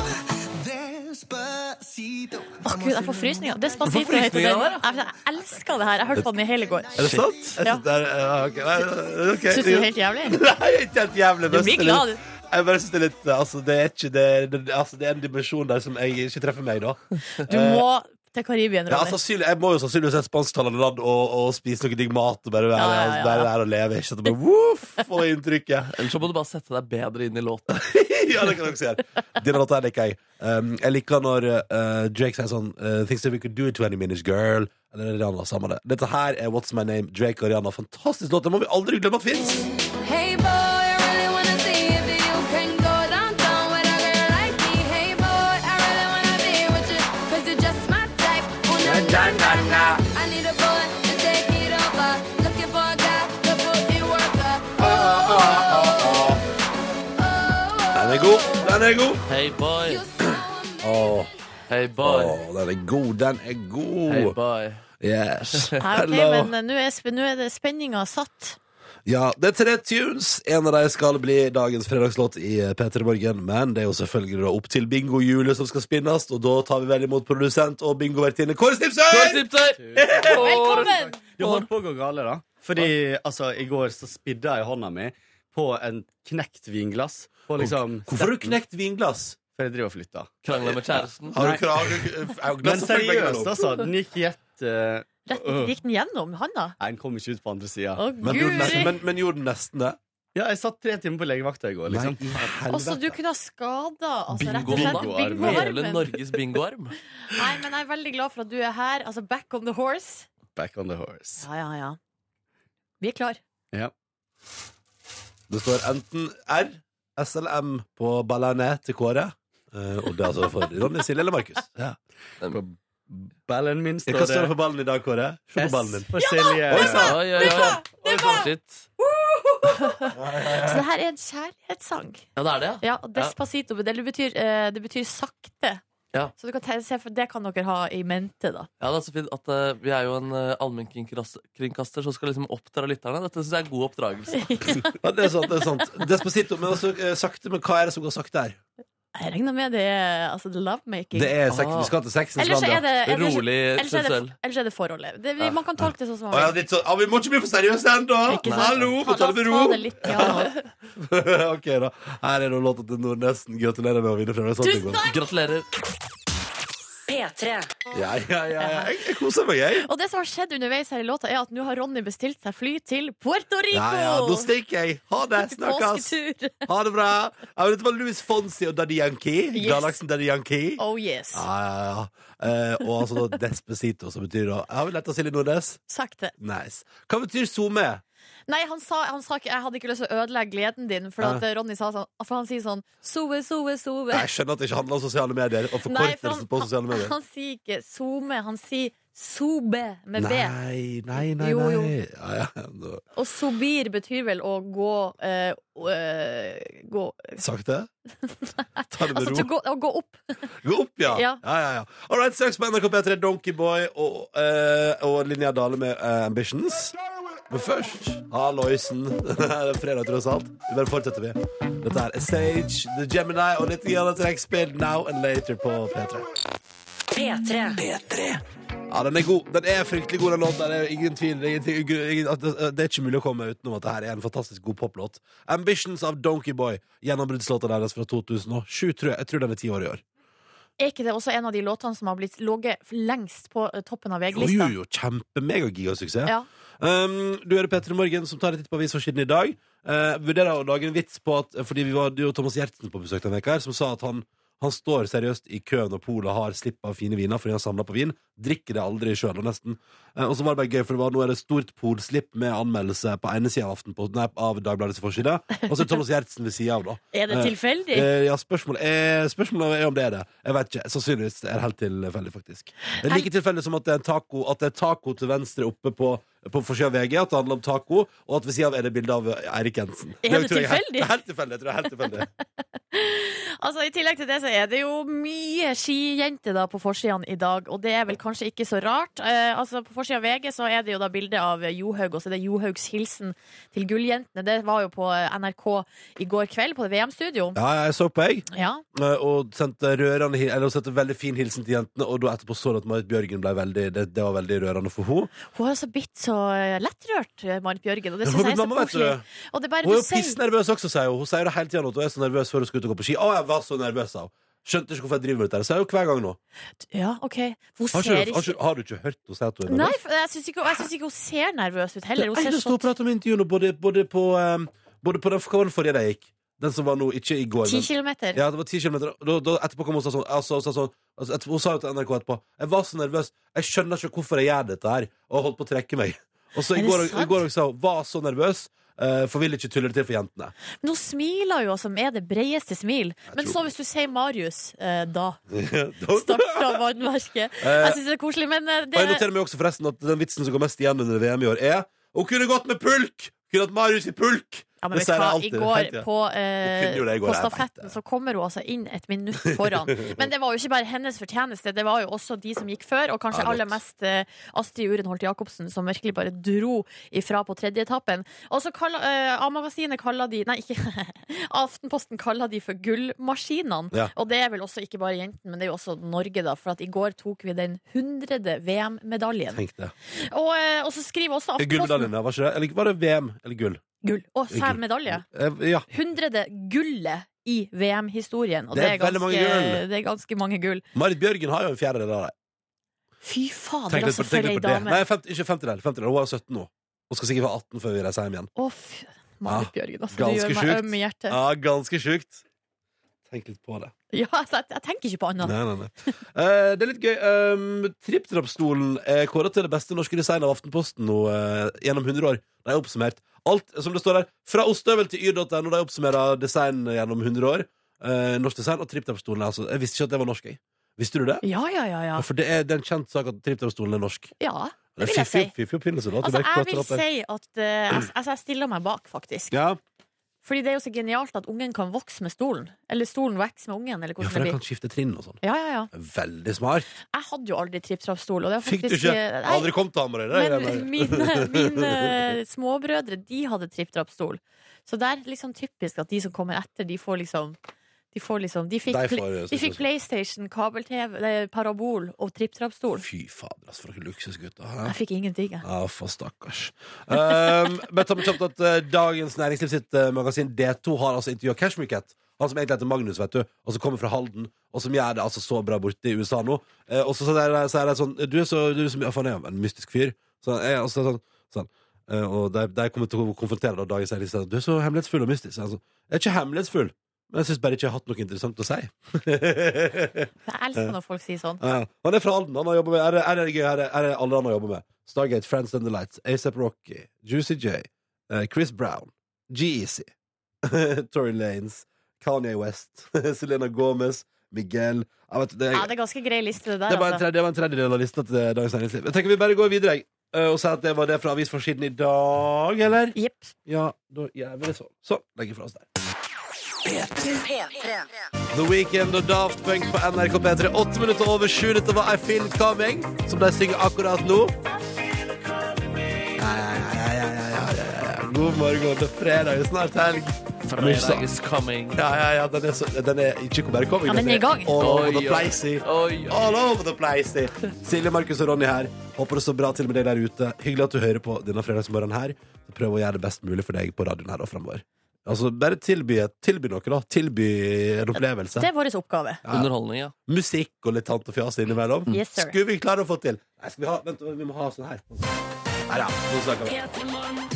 Speaker 5: Despacito.
Speaker 4: Å Gud, jeg får frysninger.
Speaker 3: Du
Speaker 4: Despacito
Speaker 3: får
Speaker 4: heter
Speaker 3: frysninger
Speaker 4: den. Jeg, jeg elsker det her. Jeg hørte på den i hele går.
Speaker 2: Er det sant? Jeg synes
Speaker 4: Ja.
Speaker 2: det er- ja, ok. Nei, ok.
Speaker 4: Syns du det er
Speaker 2: eh,
Speaker 4: helt jævlig?
Speaker 2: <laughs> Nei, ikke helt jævlig.
Speaker 4: Du
Speaker 2: men
Speaker 4: blir
Speaker 2: det er
Speaker 4: glad,
Speaker 2: litt-
Speaker 4: du.
Speaker 2: Jeg bare synes det er litt Altså, det er ikke det, det, altså, det er en dimensjon der som jeg ikke treffer meg, da.
Speaker 4: Du må til Karibien,
Speaker 2: Ja, altså,
Speaker 4: Ronny.
Speaker 2: sannsynlig, jeg må jo sannsynligvis et spansktalende land og, og spise noe digg mat og bare være,
Speaker 4: Ja, ja, ja, ja.
Speaker 2: være der og leve. Ikke sant? Og Bare, woof, få inntrykket. <laughs>
Speaker 3: Eller så må du bare sette deg bedre inn i låten.
Speaker 2: ja, det kan dere si her. Denne låta her liker jeg. Um, jeg liker når uh, Drake sier sånn uh, Things that we could do in 20 minutes, girl. Eller Rihanna, samme det. Dette her er What's My Name, Drake og Rihanna. Fantastisk låt. Det må vi aldri glemme at fins.
Speaker 6: Hey boy, I really wanna see if you can go downtown with a girl like me. Hey boy, I really wanna be with you, cause you're just my type. Oh, Ooh, na, na, na, na. I need a boy to take it over. Looking for a guy to put me worker. Oh, oh, oh, oh.
Speaker 2: Den er god. Den er god.
Speaker 3: Hey boy,
Speaker 6: You so
Speaker 2: Åh,
Speaker 3: hey boy,
Speaker 2: åh, den er god. Den er
Speaker 3: hey
Speaker 2: god.
Speaker 3: boy.
Speaker 4: <laughs>
Speaker 2: Yes.
Speaker 4: Nei, ok,
Speaker 2: Hello.
Speaker 4: men eh, nå er, sp- nå er det spenninga satt.
Speaker 2: Ja, det er tre tunes. En av dem skal bli dagens fredagslåt i P3 Morgen. Men det er jo selvfølgelig da opp til bingohjulet som skal spinnes, og da tar vi vel imot produsent og bingovertinne Kåre
Speaker 3: Kåre
Speaker 2: Snipsøy!
Speaker 3: Snipser!
Speaker 4: Velkommen!
Speaker 7: Det holdt på å gå gale, da. Fordi altså, i går så spidda jeg hånda mi på en knekt vinglass. På liksom
Speaker 2: Hvorfor har du knekt vinglass?
Speaker 7: For jeg driver og flytter.
Speaker 3: Krangler med kjæresten.
Speaker 2: Har
Speaker 7: Nei.
Speaker 2: du krav?
Speaker 7: Men seriøst, altså. Den gikk i ett eh,
Speaker 4: Rett gikk den gjennom handa?
Speaker 7: Nei, den kom ikke ut på andre sida.
Speaker 4: Å,
Speaker 2: Men gjorde den nesten,
Speaker 4: guri!
Speaker 2: men, men gjorde den nesten det?
Speaker 7: Ja, jeg satt tre timer på legevakta i går, liksom.
Speaker 2: Nei, i
Speaker 4: Også
Speaker 2: helvete.
Speaker 4: du kunne ha skada altså, rett og slett
Speaker 3: Bingoarmen.
Speaker 7: Bingoarmen.
Speaker 3: Hele
Speaker 4: bingoarmen.
Speaker 3: Norges bingoarm.
Speaker 4: Nei, men jeg er veldig glad for at du er her. Altså, back on the horse.
Speaker 7: Back on the horse.
Speaker 4: Ja, ja, ja. Vi er klar.
Speaker 7: Ja.
Speaker 2: Det står enten R, S eller M på ballene til Kåre. Eh, og det er altså for Ronny, Silje eller Markus. Ja.
Speaker 7: Ballen min
Speaker 2: Hva
Speaker 7: står
Speaker 2: står det for ballen i dag, Kåre? Se på ballen din.
Speaker 7: S for Silje.
Speaker 3: Oi sann! Oi, oi, oi. Oi, sann, shit.
Speaker 4: Så det her er en kjærlighetssang.
Speaker 3: Ja, det er det, ja.
Speaker 4: Ja, og Despacito det betyr, eh, det betyr sakte.
Speaker 3: Ja.
Speaker 4: Så du kan te- se for det kan dere ha i mente, da.
Speaker 3: Ja, det er så fint at eh, Vi er jo en uh, allmennkringkaster som skal liksom oppdra lytterne. Dette syns jeg er god oppdragelse.
Speaker 2: Ja, det er sant. det er sant Despacito, men også eh, sakte. Men hva er det som går sakte her?
Speaker 4: Jeg regner med det er altså, the lovemaking.
Speaker 2: Det er sex,
Speaker 3: Ah.
Speaker 2: Vi skal til sexens
Speaker 4: Ellers
Speaker 2: land,
Speaker 4: er
Speaker 2: ja.
Speaker 4: det ellers-
Speaker 3: Rolig
Speaker 4: ellers er det-
Speaker 3: sensuell.
Speaker 4: Ellers er det forholdet. Det, vi,
Speaker 3: Ja.
Speaker 4: man kan tolke det sånn som
Speaker 2: Å, ja,
Speaker 4: man vil.
Speaker 2: det er så, ja, vi må ikke bli for seriøse ennå!
Speaker 4: Ikke sant?
Speaker 2: Hallo,
Speaker 4: Ta-
Speaker 2: må ta det med
Speaker 4: La oss ta
Speaker 2: ro!
Speaker 4: det
Speaker 2: <laughs>
Speaker 4: litt piano.
Speaker 2: ok, da. Her er nå låta til Nordnesen. Gratulerer med å vinne
Speaker 4: Tusen
Speaker 2: fredagsånden.
Speaker 4: takk!
Speaker 3: Gratulerer.
Speaker 1: P3.
Speaker 2: Ja, ja, ja, ja. Jeg, jeg koser meg, jeg.
Speaker 4: Og det som har skjedd underveis her i låta, er at nå har Ronny bestilt seg fly til Puerto Rico!
Speaker 2: Ja, ja, nå stikker jeg. Ha det. Snakkes.
Speaker 4: Påsketur. <laughs>
Speaker 2: Ha det bra. Ja, men dette var Louis Fonsi og Daddy Yankee.
Speaker 4: Yes.
Speaker 2: Galaksen Daddy Yankee.
Speaker 4: Oh yes.
Speaker 2: Ja, ja, ja. Eh, og altså da Despacito, som betyr da Har vi lett av Silje Nordnes?
Speaker 4: Sakte.
Speaker 2: Nice. Hva betyr SoMe?
Speaker 4: Nei, han sa, han sa ikke Jeg hadde ikke lyst til å ødelegge gleden din, for at eh, Ronny sa sånn For han sier sånn Sove, sove, sove.
Speaker 2: Jeg skjønner at det ikke handler om sosiale medier og
Speaker 4: Nei, for
Speaker 2: forkortelsen
Speaker 4: han,
Speaker 2: på sosiale
Speaker 4: han,
Speaker 2: medier.
Speaker 4: han sier ikke SoMe, han sier Sobe med B.
Speaker 2: Nei, nei, nei.
Speaker 4: Jo, jo.
Speaker 2: nei. Ja, ja. da-
Speaker 4: Og sobir betyr vel å gå eh, å, eh, Gå <laughs>
Speaker 2: Sakte? Ta det med
Speaker 4: Altså
Speaker 2: ro.
Speaker 4: til å gå, å gå opp.
Speaker 2: Gå opp, ja! ja.
Speaker 4: Ja.
Speaker 2: ja, ja, All right, straks på NRK P3, Donkeyboy og, eh, og Linnea Dale med eh, Ambitions. Men først Aloysen. <laughs> Det er fredag, tross alt. Vi bare fortsetter, vi. Dette er Stage, The Gemini og litt grann trekk spilt Now and Later på P3.
Speaker 1: P3.
Speaker 2: Ja, den er god. Den er fryktelig god, den låten. Det er ingen tvil. Det er, ingenting- ingen, at det- det er ikke mulig å komme utenom at det her er en fantastisk god poplåt. 'Ambitions of Donkey Boy', gjennombruddslåta deres fra 2007, tror jeg. Jeg tror den er ti år i år.
Speaker 4: Er ikke det også en av de låtene som har blitt ligget lengst på eh, toppen av
Speaker 2: Jo, jo,
Speaker 4: VG-lista?
Speaker 2: jo. Kjempe-megagigasuksess.
Speaker 4: Ja.
Speaker 2: Um, du hører Petter i Morgen som tar en titt på avisforsiden i dag. Uh, vurderer å lage en vits på at Fordi vi var jo Thomas Gjertsen på besøk denne veka her, som sa at han, han står seriøst i kø når Polet har slipp av fine viner fordi han samla på vin. Drikker det aldri sjøl, og nesten. Uh, og så var det bare gøy, for det var, nå er det stort polslipp med anmeldelse på ene sida av, Aftenposten- nei, av Dagbladets forside, og så er Thomas Gjertsen ved sida av, da.
Speaker 4: <laughs> Er det
Speaker 2: Eh,
Speaker 4: tilfeldig?
Speaker 2: Eh, ja, spørsmålet er, spørsmålet er om det er det. Jeg vet ikke. Sannsynligvis er det helt tilfeldig, faktisk. Det er like tilfeldig som at det er, en taco, at det er taco til venstre oppe på, på forsida av VG, at det handler om taco, og at ved sida av er det bilde av Eirik Jensen.
Speaker 4: Er det
Speaker 2: tror jeg <laughs>
Speaker 4: tilfeldig?
Speaker 2: Helt, helt tilfeldig. Jeg tror det er helt tilfeldig.
Speaker 4: Altså, I tillegg til det så er det jo mye skijenter da på forsidene i dag, og det er vel kanskje ikke så rart. Eh, altså På forsida av VG så er det jo da bilde av Johaug, og så er det Johaugs hilsen til gulljentene. Det var jo på eh, NRK i går kveld, på VM-studio.
Speaker 2: Ja, jeg så på, jeg.
Speaker 4: Ja.
Speaker 2: eh, Og sendte rørende hi- Eller hun sendte veldig fin hilsen til jentene, og da etterpå så du at Marit Bjørgen ble veldig Det, det var veldig rørende for henne.
Speaker 4: Hun har jo så blitt så eh, lettrørt, eh, Marit Bjørgen, og det
Speaker 2: Hun
Speaker 4: syns
Speaker 2: er
Speaker 4: jeg er
Speaker 2: blitt
Speaker 4: så
Speaker 2: mamma, vet du.
Speaker 4: koselig. Og det er bare
Speaker 2: Hun er
Speaker 4: du
Speaker 2: jo
Speaker 4: sier
Speaker 2: pissnervøs også, sier hun. Hun sier det hele tida nå. at Hun er så nervøs før hun skal ut og gå på ski. Å, jeg var så nervøs, sa hun. Skjønte ikke hvorfor jeg driver med dette. her. Sier hun hver gang nå.
Speaker 4: Ja, OK. Hun
Speaker 2: Har,
Speaker 4: ser
Speaker 2: ikke, har,
Speaker 4: ikke
Speaker 2: ikke, har du ikke hørt henne si at hun er
Speaker 4: Nei,
Speaker 2: nervøs?
Speaker 4: for jeg syns ikke, jeg synes ikke hun ser nervøs ut heller. Hun
Speaker 2: Det
Speaker 4: ser
Speaker 2: eneste hun
Speaker 4: sånn
Speaker 2: prater om i intervjuene, både, både på, um, både på den, hva var den forrige jeg gikk? Den som var nå, ikke i går.
Speaker 4: ti
Speaker 2: Men,
Speaker 4: kilometer.
Speaker 2: ja, det var 10 kilometer. Da, da, etterpå kom hun og sa sånn, altså, hun sa sånn altså, etterpå, Hun sa jo til NRK etterpå Jeg var så nervøs. Jeg skjønner ikke hvorfor jeg gjør dette her. Og holdt på å trekke meg. Og så
Speaker 4: Er
Speaker 2: i
Speaker 4: det
Speaker 2: går, i
Speaker 4: sant?
Speaker 2: går sa hun var så nervøs. eh, for vil ikke tulle det til for jentene. <laughs>
Speaker 4: Men hun smiler jo, som er det bredeste smil. Men
Speaker 2: tror
Speaker 4: så hvis du sier Marius, eh, da
Speaker 2: Da-
Speaker 4: starta vannverket. Jeg syns det er koselig, men eh,
Speaker 2: Og
Speaker 4: det
Speaker 2: jeg noterer meg også forresten at den vitsen som går mest igjen under VM i år, er Hun kunne gått med pulk! Kunne hatt Marius i pulk!
Speaker 4: ja, men
Speaker 2: Det
Speaker 4: vet
Speaker 2: sier
Speaker 4: du
Speaker 2: jeg
Speaker 4: hva, i
Speaker 2: alltid,
Speaker 4: går
Speaker 2: hele tiden.
Speaker 4: på, eh,
Speaker 2: Hun kunne jo det i går,
Speaker 4: på
Speaker 2: jeg vet det.
Speaker 4: stafetten så kommer hun altså inn et minutt
Speaker 2: <laughs>
Speaker 4: foran. Men det var jo ikke bare hennes fortjeneste, det var jo også de som gikk før, og kanskje
Speaker 2: Ja, godt.
Speaker 4: aller mest eh, Astrid Urenholt Jacobsen, som virkelig bare dro ifra på tredje etappen. Og så kaller eh, A-magasinet kaller de Nei, ikke <laughs> Aftenposten kaller de for gullmaskinene.
Speaker 2: Ja.
Speaker 4: Og det er vel også ikke bare jentene, men det er jo også Norge, da, for at i går tok vi den hundrede VM-medaljen.
Speaker 2: Tenk det.
Speaker 4: Og, eh, og så skriver også Aftenposten
Speaker 2: Gullmedaljen, ja, var sånn. ikke det? Eller var det VM? Eller gull?
Speaker 4: Gull. Og
Speaker 2: Gull.
Speaker 4: sær medalje.
Speaker 2: Eh, ja.
Speaker 4: hundrede gullet i VM-historien. Og
Speaker 2: Det
Speaker 4: det
Speaker 2: er
Speaker 4: er,
Speaker 2: veldig
Speaker 4: ganske,
Speaker 2: mange gull.
Speaker 4: det er ganske mange gull.
Speaker 2: Marit Bjørgen har jo en fjerdedel av det.
Speaker 4: Fy fader,
Speaker 2: Tenk litt
Speaker 4: altså,
Speaker 2: på,
Speaker 4: for
Speaker 2: tenk
Speaker 4: ei
Speaker 2: litt på det.
Speaker 4: dame.
Speaker 2: Nei, fem, ikke femtedel. femtedel. Hun er 17 nå. Hun skal sikkert være 18 før vi reiser hjem igjen.
Speaker 4: Å, fy Marit Bjørgen, altså. Du
Speaker 2: Ah, ganske
Speaker 4: gjør meg
Speaker 2: sjukt. Ah.
Speaker 4: øm i hjertet.
Speaker 2: Ja, ganske sjukt. Tenk litt på det.
Speaker 4: Ja, altså, jeg, jeg tenker ikke på annet.
Speaker 2: Nei, nei, nei. Eh, det er litt gøy. Um, Tripp-trapp-stolen er kåra til det beste norske designet av Aftenposten nå eh, gjennom 100 år. De er oppsummert. Alt som det står der. Fra ostehøvel til yr.no. De oppsummerer design gjennom 100 år. Eh, norsk design og Tripp-trapp-stolen. er Altså. Jeg visste ikke at det var norsk. Jeg. Visste du det?
Speaker 4: Ja, ja, ja. ja.
Speaker 2: Ja, For det er, det er en kjent sak at Tripp-trapp-stolen er norsk.
Speaker 4: ja
Speaker 2: Det er
Speaker 4: det vil jeg si.
Speaker 2: fiffig- Fiffig oppfinnelse. da, at
Speaker 4: Altså,
Speaker 2: det ble
Speaker 4: jeg
Speaker 2: klatret
Speaker 4: vil
Speaker 2: opp der.
Speaker 4: si at eh, jeg, altså, jeg stiller meg bak, faktisk.
Speaker 2: ja.
Speaker 4: Fordi det er jo så genialt at ungen kan vokse med stolen. Eller stolen vokser med ungen,
Speaker 2: ja,
Speaker 4: eller hvordan
Speaker 2: for
Speaker 4: det
Speaker 2: den
Speaker 4: blir.
Speaker 2: kan skifte trinn og sånn.
Speaker 4: Ja, ja, ja.
Speaker 2: Veldig smart.
Speaker 4: Jeg hadde jo aldri tripp-trapp-stol, og det var
Speaker 2: Fikk du
Speaker 4: faktisk
Speaker 2: ikke?
Speaker 4: eh, nei.
Speaker 2: Aldri kommet til Hamarøy. det er
Speaker 4: Men
Speaker 2: greia.
Speaker 4: mine,
Speaker 2: <laughs>
Speaker 4: mine småbrødre De hadde tripp-trapp-stol Så det er liksom typisk at de som kommer etter De får liksom De, får liksom, de, fikk,
Speaker 2: De får,
Speaker 4: pla-
Speaker 2: eh,
Speaker 4: de fikk
Speaker 2: sitte-
Speaker 4: Playstation, kabel-tv, nei, parabol Og tripp-trapp-stol
Speaker 2: Fy fader, altså, for noen luksusgutter. hæ?
Speaker 4: Jeg fikk ingenting jeg.
Speaker 2: Ja, for stakkars. Um, men ta med kjapt at eh, Dagens Næringsliv sitt eh, magasin D2 har altså intervjua Cashmere Cat. Han som egentlig heter Magnus, vet du, og som kommer fra Halden, og som gjør det altså så bra borte i USA nå. Eh, og så sier de- sier de sånn Du er så, du er så ja, faen, jeg er en mystisk fyr. Så jeg, og så er det sånn, sånn. Eh, og de, de kommer til å konfrontere da Dagens Næringsliv. sånn, Du er så hemmelighetsfull og mystisk. Så jeg er sånn, jeg er ikke hemmelighetsfull, men jeg syns bare ikke jeg har hatt noe interessant å si. <laughs>
Speaker 4: Jeg elsker når folk sier sånn
Speaker 2: Ja, ja. han er fra Halden. Han har jobbet med Her er, her er det gøy, her er, her er alle han har jobbet med. Stargate, Friends and the Lights, ASAP Rocky, Juicy J, eh, Chris Brown, G-Eazy, <laughs> Tory Lanes, Kanye West, <laughs> Selena Gomez, Miguel ja, vet, du, det,
Speaker 4: Ja, det er ganske grei liste, det der.
Speaker 2: det, var en
Speaker 4: altså.
Speaker 2: tredje, det var en tredjedel av lista til Dagens Næringsliv. Jeg tenker vi bare går videre jeg, eh, og sier at det var det fra avisforsiden i dag, eller?
Speaker 4: Jepp.
Speaker 2: Ja, da gjør vi det sånn. Sånn. Legger fra oss der. The Weekend og Daft Punk på NRK P3. Åtte minutter over sju. Dette var I Feel It Coming, som de synger akkurat nå. Ja, ja, ja, ja, ja, ja, ja, ja. God morgen. Det er fredag. Det er snart helg.
Speaker 3: Fredag is coming.
Speaker 2: Ja, ja, ja. Den er, så, den er ikke bare coming.
Speaker 4: Ja, den er i gang.
Speaker 2: All over
Speaker 3: Oi,
Speaker 2: the
Speaker 3: oi.
Speaker 2: placey.
Speaker 3: Oi, oi.
Speaker 2: All over the place eh. Silje, Markus og Ronny her Håper det står bra til med deg der ute Hyggelig at du hører på denne fredagsmorgen her Prøv å gjøre det best mulig for deg på radioen her og fremover Altså, bare tilby, tilby noe da Tilby en opplevelse
Speaker 4: Det er vår oppgave.
Speaker 3: Underholdning, ja.
Speaker 2: Musikk og litt tant og fjas innimellom
Speaker 4: Yes, sir.
Speaker 2: Skulle vi klare å få til? Nei, skal vi ha, vent, vi må ha sånn her Her ja, nå snakker vi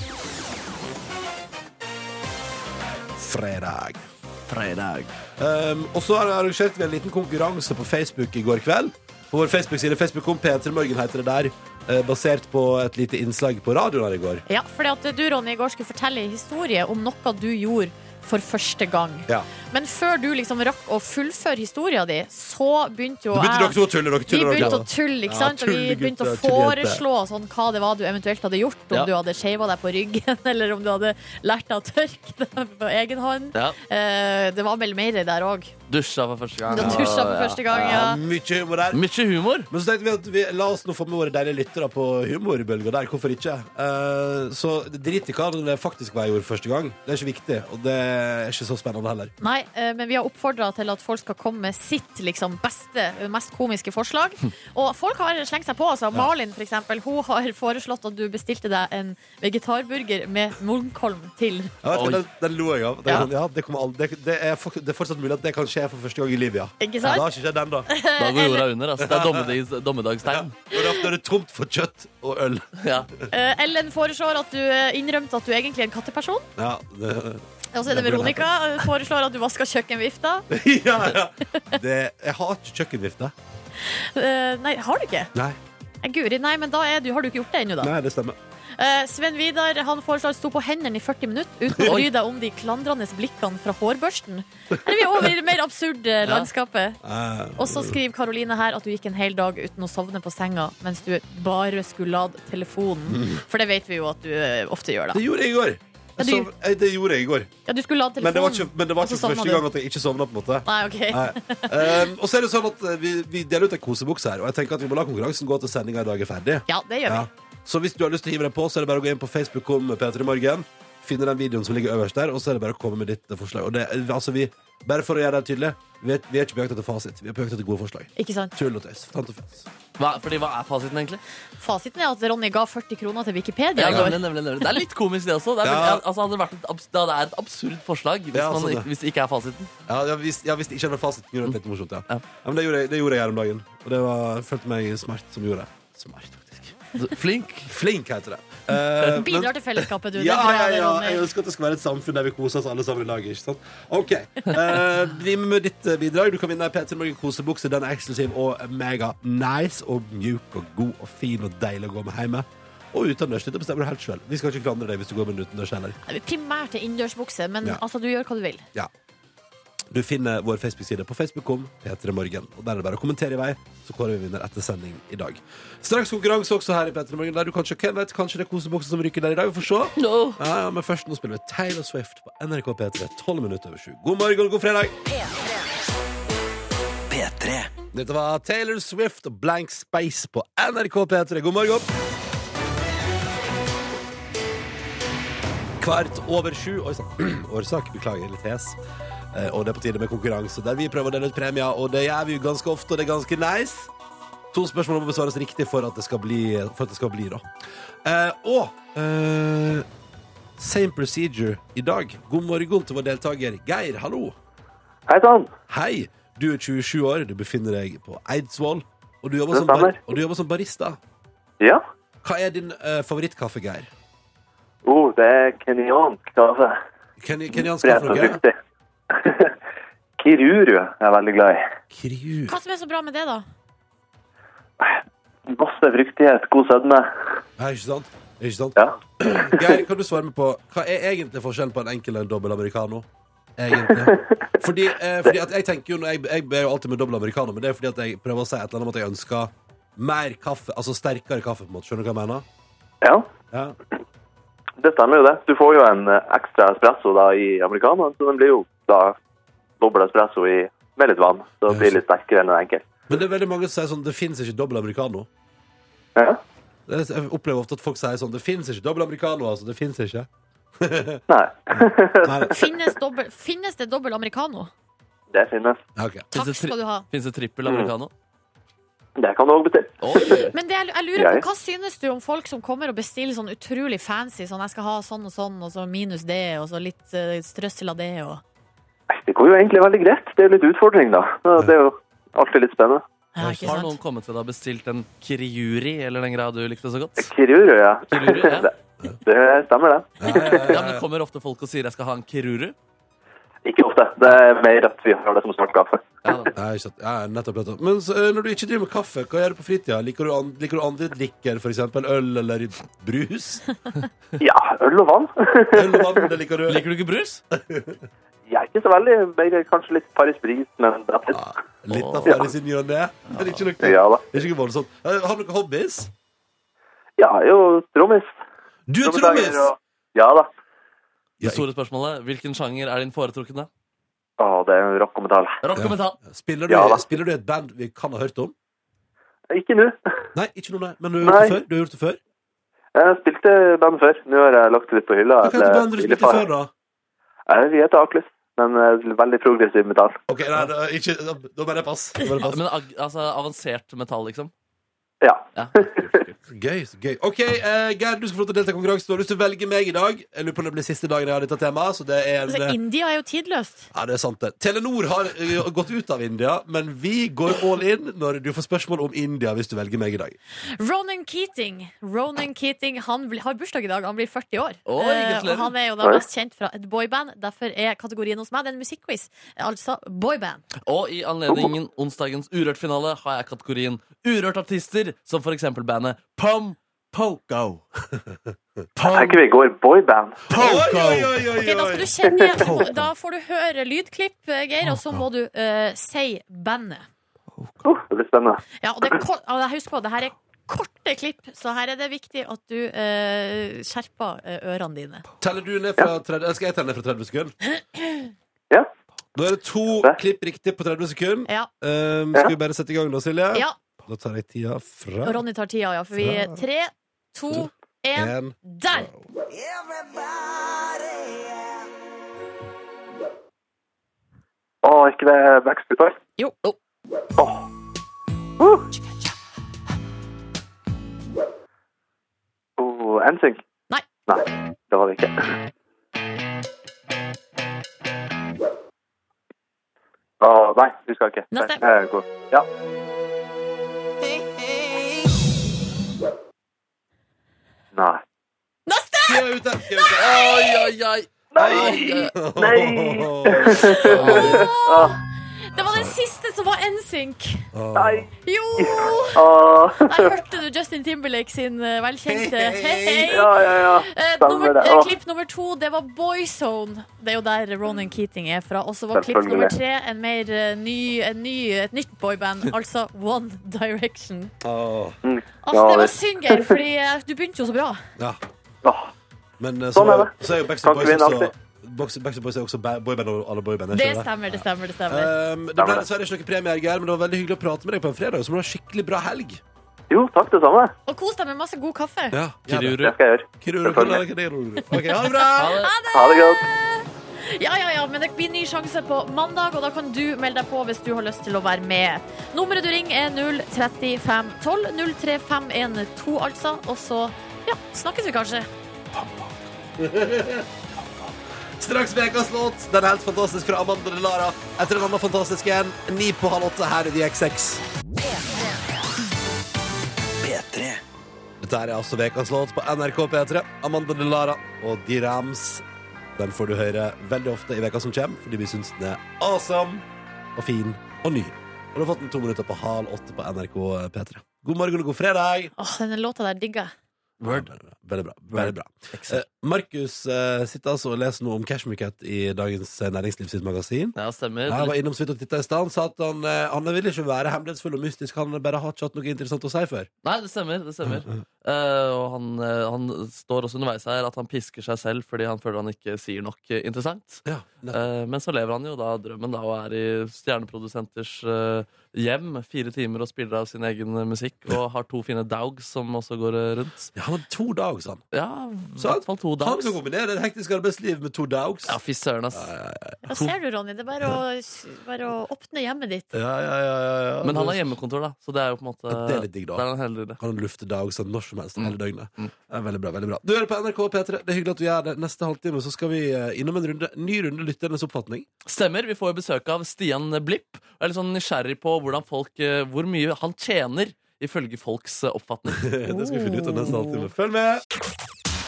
Speaker 2: Fredag
Speaker 3: Fredag.
Speaker 2: Um, og så arrangerte vi en liten konkurranse på Facebook i går kveld. På vår Facebook-side Facebook.com P3 Morgen heter det der. eh, Basert på et lite innslag på radioen her i går.
Speaker 4: Ja, fordi at du, Ronny, i går skulle fortelle en historie om noe du gjorde for første gang.
Speaker 2: Ja.
Speaker 4: Men før du liksom rakk å fullføre historien din, så begynte jo
Speaker 2: Da begynte dere to å tulle. Dere
Speaker 4: Vi
Speaker 2: tuller
Speaker 4: begynte
Speaker 2: dere.
Speaker 4: å tulle, ikke
Speaker 2: Ja,
Speaker 4: sant? og vi
Speaker 2: tullegutter,
Speaker 4: begynte å
Speaker 2: tulljenter.
Speaker 4: foreslå sånn, hva det var du eventuelt hadde gjort. Om
Speaker 3: Ja.
Speaker 4: du hadde skeiva deg på ryggen, <laughs> eller om du hadde lært deg å tørke deg på egen hånd.
Speaker 3: Ja.
Speaker 4: Eh, det var vel mer der òg.
Speaker 3: Dusja for første gang.
Speaker 4: Du har dusja for første gang, ja.
Speaker 2: Ja, mye humor der.
Speaker 3: Mye humor.
Speaker 2: Men så tenkte vi at vi, la oss nå få med våre deilige lyttere på humorbølga der. Hvorfor ikke? Eh, så drit i hva det faktisk var jeg gjorde første gang. Det er ikke viktig, og det er ikke så spennende heller.
Speaker 4: Nei, eh, men vi har oppfordra til at folk skal komme med sitt liksom, beste, mest komiske forslag. Og folk har slengt seg på. Altså. Malin for eksempel, hun har foreslått at du bestilte deg en vegetarburger med Munkholm til.
Speaker 2: Ja, vet du,
Speaker 3: Oi.
Speaker 2: den, den lo jeg av. Det,
Speaker 4: Ja.
Speaker 2: ja. Ja, det, kommer aldri, det, det, er, fort- det er fortsatt mulig at det kan skje for første gang i livet, ja.
Speaker 4: Ikke
Speaker 2: Ja,
Speaker 4: sant?
Speaker 2: det har ikke skjedd ennå.
Speaker 3: Da går jorda under. Altså. Det er dommedags, dommedagstegn.
Speaker 2: Og da er det tomt for kjøtt og øl.
Speaker 3: Ja.
Speaker 4: Eh, Ellen foreslår at du eh, innrømte at du egentlig er en katteperson.
Speaker 2: Ja, det, <laughs>
Speaker 4: Og så er det
Speaker 2: Det burde
Speaker 4: Veronica eh, foreslår at du vasker
Speaker 2: <laughs>
Speaker 4: kjøkkenvifta.
Speaker 2: ja, ja. Det, jeg har ikke kjøkkenvifte.
Speaker 4: Eh, nei, har du ikke?
Speaker 2: Nei.
Speaker 4: Eh, Guri, nei, men da er du, har du ikke gjort det ennå, da.
Speaker 2: Nei, det stemmer.
Speaker 4: Eh, Sven Vidar han foreslår å stå på hendene i 40 minutter uten å bry deg om de klandrende blikkene fra hårbørsten. Eller vi er over i det mer absurde
Speaker 3: Ja.
Speaker 4: landskapet.
Speaker 2: Eh,
Speaker 4: Og så skriver Karoline her at du gikk en hel dag uten å sovne på senga mens du bare skulle lade
Speaker 2: Mm.
Speaker 4: telefonen. For det vet vi jo at du eh, ofte gjør,
Speaker 2: det
Speaker 4: da.
Speaker 2: gjorde jeg i går.
Speaker 4: Ja,
Speaker 2: Jeg
Speaker 4: du-
Speaker 2: sov, eh, det gjorde jeg i går.
Speaker 4: Ja, du skulle lade telefonen.
Speaker 2: Men det var ikke, men det var
Speaker 4: og så
Speaker 2: ikke første
Speaker 4: sovna du.
Speaker 2: gang at jeg ikke sovna. på en måte
Speaker 4: Nei, ok.
Speaker 2: Nei. Um, og så er det sånn at eh, vi, vi deler ut en kosebukse her, og jeg tenker at vi må la konkurransen gå til sendinga i dag er ferdig.
Speaker 4: Ja, det gjør vi.
Speaker 2: Ja. Så hvis du har lyst til å hive deg på, så er det bare å gå inn på Facebook om P3 Morgen. Finne den videoen som ligger øverst der, og så er det bare å komme med ditt eh, forslag. Og det, altså vi, bare for å gjøre det tydelig, vi er, vi er ikke på jakt etter fasit. Vi er på jakt etter gode forslag.
Speaker 4: Ikke sant?
Speaker 2: Tull og tøys. Tant og fjas.
Speaker 3: Hva, fordi, hva er fasiten, egentlig?
Speaker 4: Fasiten er at Ronny ga 40 kroner til Wikipedia
Speaker 3: Ja,
Speaker 4: i går.
Speaker 3: nemlig, nemlig, nemlig. Det er litt komisk, det også. Det er,
Speaker 2: Ja.
Speaker 3: veldig- altså, hadde det vært et, abs- det hadde- er et absurd forslag hvis,
Speaker 2: Ja, sånn
Speaker 3: man,
Speaker 2: det.
Speaker 3: hvis altså det ikke er fasiten.
Speaker 2: Ja, ja, hvis, ja, hvis det ikke hadde vært fasit, kunne det vært litt morsomt. Ja.
Speaker 3: Ja.
Speaker 2: Ja, men det gjorde, jeg, det gjorde jeg her om dagen, og det var, jeg følte meg smart som gjorde det. Smart, faktisk.
Speaker 3: Flink.
Speaker 2: Flink heter det. Eh, men-
Speaker 4: Bidrar til fellesskapet, du. Det er
Speaker 2: Ja,
Speaker 4: bra,
Speaker 2: ja,
Speaker 4: det,
Speaker 2: ja.
Speaker 4: Ronny.
Speaker 2: Jeg ønsker at det skal være et samfunn der vi koser oss alle sammen i lag. Ikke sant? Ok, eh, Bli med med ditt eh, bidrag. Du kan vinne ei P3 Morgen kosebukse. Den er eksklusiv og mega nice og mjuk og god og fin og deilig å gå med hjemme. Og utendørs. Dette bestemmer du helt sjøl. Vi skal ikke klandre deg hvis du går med den utendørs heller.
Speaker 4: Primært til innendørsbukse, men
Speaker 2: Ja.
Speaker 4: altså, du gjør hva du vil.
Speaker 2: Ja. Du finner vår Facebook-side på facebook.com P3 Morgen. Og der er det bare å kommentere i vei, så kårer vi vinner etter sending i dag. Straks konkurranse også her i P3 Morgen, der du kanskje hvem vet, kanskje det er koseboksen som ryker der i dag. Vi får se. Ja, ja, men først nå spiller vi Taylor Swift på NRK P3 12 minutter over 7. God morgen, god fredag! Dette var Taylor Swift og Blank Space på NRK P3. God morgen! Kvart over sju. Oi sann. <clears throat> Årsak. Beklager, litt hes. Eh, Og det er på tide med konkurranse, der vi prøver å dele ut premier. Og det gjør vi jo ganske ofte, og det er ganske nice. To spørsmål må besvares riktig for at det skal bli, for at det skal bli da. Eh, og eh, same procedure i dag. God morgen til vår deltaker Geir. Hallo.
Speaker 8: Hei sann!
Speaker 2: Hei, du er 27 år, du befinner deg på Eidsvoll, og du jobber,
Speaker 8: Det
Speaker 2: som, bar
Speaker 8: stemmer.
Speaker 2: og du jobber som barista.
Speaker 8: Ja?
Speaker 2: Hva er din eh, favorittkaffe, Geir?
Speaker 8: Oh, det er kenyansk kaffe.
Speaker 2: Ken, kenyansk
Speaker 8: Bredt
Speaker 2: kaffe,
Speaker 8: og
Speaker 2: Geir?
Speaker 8: fruktig. Kiruru er jeg veldig glad i.
Speaker 2: Kriu.
Speaker 4: Hva som er så bra med det, da?
Speaker 8: Masse fruktighet, god sødme.
Speaker 2: Ja, ikke sant? Ikke sant?
Speaker 8: Ja.
Speaker 2: Geir, kan du svare meg på hva er egentlig forskjellen på en enkel og en dobbel americano? Egentlig. Fordi, eh, fordi at jeg tenker jo når jeg, jeg ber jo alltid med dobbel americano, men det er fordi at jeg prøver å si et eller annet om at jeg ønsker mer kaffe, altså sterkere kaffe, på en måte. Skjønner du hva jeg mener?
Speaker 7: Ja,
Speaker 2: Ja.
Speaker 7: det stemmer jo det. Du får jo en eh, ekstra espresso da i americanoen, så den blir jo da dobbel espresso i, med litt vann. Så det blir litt sterkere enn en enkel.
Speaker 2: Men det er veldig mange som sier sånn Det fins ikke dobbel americano.
Speaker 7: Ja.
Speaker 2: Det- Jeg opplever ofte at folk sier sånn Det fins ikke dobbel americano, altså. Det fins ikke.
Speaker 7: Nei, <laughs>
Speaker 2: Nei.
Speaker 3: Altså-
Speaker 4: Finnes, dobbel, finnes det dobbel americano?
Speaker 7: det finnes.
Speaker 2: Ja, ok.
Speaker 4: Takk
Speaker 3: det tri-
Speaker 4: skal du ha.
Speaker 3: Fins det trippel americano?
Speaker 7: Det kan du òg bestille.
Speaker 3: Oi.
Speaker 4: Men det, jeg jeg lurer
Speaker 7: Jeg-
Speaker 4: på, hva synes du om folk som kommer og bestiller sånn utrolig fancy sånn jeg skal ha sånn og sånn, og så minus det, og så litt eh, strøssel av det, og
Speaker 7: Nei, Det går jo egentlig veldig greit. Det er jo litt utfordring, da. Så Det er jo alltid litt spennende.
Speaker 4: ja, ikke
Speaker 3: Har noen
Speaker 4: sant?
Speaker 3: kommet til deg og bestilt en Kiriuri eller den greia du likte så godt?
Speaker 7: Kiruru, ja.
Speaker 3: Kiruru, ja.
Speaker 7: <laughs> Det, det stemmer, det.
Speaker 2: Ja, ja, ja,
Speaker 3: Ja,
Speaker 2: ja,
Speaker 3: men
Speaker 2: ja.
Speaker 3: Kommer ofte folk og sier 'jeg skal ha en Kiruru'?
Speaker 7: Ikke ofte. Det er mer at vi har det som snart kaffe.
Speaker 3: Ja, da.
Speaker 2: Nei, ikke sant. Ja, nettopp, nettopp. Men så, eh, når du ikke driver med kaffe, hva gjør du på fritida? Liker du, an liker du andre drikker, for eksempel øl eller brus?
Speaker 7: Ja, øl og vann. <laughs>
Speaker 2: Øl og vann, det liker du.
Speaker 3: Liker du ikke brus?
Speaker 7: Jeg er ikke så veldig. Bare kanskje litt Paris Bris, men det er
Speaker 2: Ja, Ah, litt av Farris i ny og ne. Det er ikke noe, det
Speaker 7: ja da.
Speaker 2: er ikke noe voldsomt. Eh, Har du noen hobbies?
Speaker 7: Ja, jeg er jo trommis.
Speaker 2: Du er
Speaker 7: Trommeslager
Speaker 2: trommis!
Speaker 7: og- Ja da.
Speaker 2: Ja,
Speaker 3: Det store spørsmålet hvilken sjanger er din foretrukne?
Speaker 7: Å, det er rock og metall.
Speaker 3: Rock og metal.
Speaker 2: Spiller
Speaker 7: Ja
Speaker 2: du,
Speaker 7: da.
Speaker 2: spiller du i et band vi kan ha hørt om?
Speaker 7: Ikke nå.
Speaker 2: Nei, ikke noe, nei. Men du har gjort det
Speaker 7: Nei.
Speaker 2: før? Du har gjort det før?
Speaker 7: Jeg spilte band før. Nå har jeg lagt det litt på hylla.
Speaker 2: Hva heter bandet du spilte i før, da?
Speaker 7: Jeg vet heter Aklus, men eh, veldig progressiv metall.
Speaker 2: Ok, nei, da- ikke, da da bare pass. Da bare pass.
Speaker 3: Men ag- altså, avansert metall, liksom?
Speaker 7: Ja.
Speaker 3: Ja. kult, kult.
Speaker 2: Gøy, så gøy. Ok, eh, Geir, du skal få lov til å delta i konkurransen. Du har lyst til å velge meg i dag. Jeg lurer på om det blir siste dagen jeg har dette temaet. Så det er en,
Speaker 4: Altså,
Speaker 2: eh,
Speaker 4: India er jo tidløst.
Speaker 2: Ja, det er sant det. Telenor har ø, gått ut av India, men vi går all in når du får spørsmål om India hvis du velger meg i dag.
Speaker 4: Ronan Keating, Ronan Keating han blir, har bursdag i dag, han blir 40 år.
Speaker 3: Oi,
Speaker 4: Eh,
Speaker 3: gratulerer.
Speaker 4: og han er jo da
Speaker 7: Oi.
Speaker 4: mest kjent fra et boyband. Derfor er kategorien hos meg det er en musikkquiz. Altså boyband.
Speaker 3: Og i anledningen onsdagens Urørt-finale har jeg kategorien Urørt artister, som for eksempel bandet Pom Pogo. Pom
Speaker 7: Tenker vi går boyband.
Speaker 3: Pogo.
Speaker 2: oi,
Speaker 4: Ok, da skal du kjenne igjen. du må- Da får du høre lydklipp, eh, Geir, og så må du eh, si bandet.
Speaker 7: Uh, det blir spennende.
Speaker 4: Ja, og det er kort, og husk på, det her er korte klipp, så her er det viktig at du eh, skjerper eh, ørene dine.
Speaker 2: Teller du ned fra 30, skal jeg telle ned fra 30 sekunder?
Speaker 7: Ja.
Speaker 2: Da er det to klipp riktig på 30 sekunder.
Speaker 4: Ja,
Speaker 2: Um, skal vi bare sette i gang da, Silje?
Speaker 4: ja.
Speaker 2: Da tar jeg tida fra
Speaker 4: og Ronny tar tida, ja, for vi Tre, to, én,
Speaker 2: en
Speaker 4: der!
Speaker 7: Å, er ikke det Backstreet Boys?
Speaker 4: Jo. Oh.
Speaker 7: Oh, NSYNC?
Speaker 4: Nei.
Speaker 7: Nei, det var det ikke. Å, nei, du skal ikke.
Speaker 4: Neste.
Speaker 7: Nei, jeg går. Ja. Nei.
Speaker 4: Neste!
Speaker 2: Tida er ute! Tida er
Speaker 3: Oi, oi, oi. Nei!
Speaker 2: ute.
Speaker 7: Nei!
Speaker 4: Det var den siste som var NSYNC.
Speaker 2: Åh.
Speaker 7: Nei!
Speaker 4: Jo!
Speaker 7: Åh.
Speaker 4: Der hørte du Justin Timberlake sin eh, velkjente hei, hei.
Speaker 7: Ja, ja, ja.
Speaker 4: Eh,
Speaker 7: Stemmer
Speaker 4: nummer,
Speaker 7: det.
Speaker 4: eh,
Speaker 7: Åh.
Speaker 4: klipp nummer to, det var Boyzone. Det er jo der Ronan Keating er fra. Og så var klipp
Speaker 7: Selvfølgelig.
Speaker 4: nummer tre en mer eh, ny, en ny, et nytt
Speaker 7: <laughs>
Speaker 4: boyband, altså One Direction.
Speaker 2: Åh.
Speaker 4: Altså,
Speaker 7: Ja,
Speaker 4: det var
Speaker 7: det-
Speaker 4: synd, Geir, fordi eh, du begynte jo så bra.
Speaker 2: Ja.
Speaker 7: Åh.
Speaker 2: Men eh, så,
Speaker 7: Sånn er det.
Speaker 2: så er jo Backstreet
Speaker 7: Kan ikke
Speaker 2: Boys
Speaker 7: vinne
Speaker 2: også Box- Backstreet Boys er også ba- boyband og alle boyband. er ikke
Speaker 4: Det stemmer, det stemmer. det stemmer
Speaker 2: Um, det ble dessverre ikke noen premie, her, Geir, men det var veldig hyggelig å prate med deg på en fredag. Så må du ha skikkelig bra helg.
Speaker 7: Jo, takk det samme.
Speaker 4: Og kos deg med masse god kaffe.
Speaker 2: Ja,
Speaker 3: Kiruru.
Speaker 7: Det skal jeg gjøre.
Speaker 2: Ok, ha det bra!
Speaker 3: Ha det.
Speaker 7: Ha det godt.
Speaker 4: Ja, ja, ja, men det blir ny sjanse på mandag, og da kan du melde deg på hvis du har lyst til å være med. Nummeret du ringer er 03512. 03512, altså. Og så ja, snakkes vi kanskje.
Speaker 2: Straks ukas låt. Den er helt fantastisk fra Amanda Delara. Etter en annen fantastisk en. Ni på halv åtte her i DX6. Dette her er altså ukas låt på NRK P3. Amanda Delara og De Rams. Den får du høre veldig ofte i veka som kommer, fordi vi syns den er awesome og fin og ny. Og du har fått den to minutter på halv åtte på NRK P3. God morgen og god fredag.
Speaker 4: Åh, denne låta der digger jeg.
Speaker 3: Word.
Speaker 2: Ja, Veldig bra. Veldig bra. Eh, Markus eh, sitter altså og leser noe om Cashmere Cat i dagens eh, Næringsliv sitt magasin.
Speaker 3: Ja, stemmer.
Speaker 2: Ja, Han var innom så vidt og titta i stad. Han sa at han, eh, han ville ikke være hemmelighetsfull og mystisk, han bare har ikke hatt noe interessant å si før.
Speaker 3: Nei, det stemmer. det stemmer Eh, Og han, eh, han står også underveis her at han pisker seg selv fordi han føler han ikke sier nok eh, interessant.
Speaker 2: Ja, nettopp.
Speaker 3: Eh, Men så lever han jo da drømmen da og er i stjerneprodusenters eh, hjem fire timer og spiller av sin egen musikk og har to fine daugs som også går eh, rundt.
Speaker 2: Ja, han har to dager, sa han.
Speaker 3: Ja, i
Speaker 2: Sant?
Speaker 3: hvert fall to
Speaker 2: Han
Speaker 3: daugs.
Speaker 2: skal kombinere et hektisk arbeidsliv med to dags.
Speaker 3: Ja, fy søren, ass.
Speaker 4: Hva ser du, Ronny? Det er bare å, bare å åpne hjemmet ditt.
Speaker 7: Ja, ja, ja, ja, ja.
Speaker 3: Men han har hjemmekontor, da, så det er jo på en måte
Speaker 2: Det er litt digg, da.
Speaker 3: det er han heldigere.
Speaker 2: Kan han lufte dagsene når som helst hele døgnet.
Speaker 3: Mm.
Speaker 2: Ja, veldig bra. veldig bra Du hører på NRK P3. Det er hyggelig at du gjør det. Neste halvtime så skal vi eh, innom en runde, ny runde lytternes oppfatning. <laughs>
Speaker 3: Stemmer. Vi får jo besøk av Stian Blipp. Jeg er litt sånn nysgjerrig på hvordan folk, eh, hvor mye han tjener, ifølge folks eh, oppfatning.
Speaker 2: det skal vi finne ut av neste halvtime. Følg med!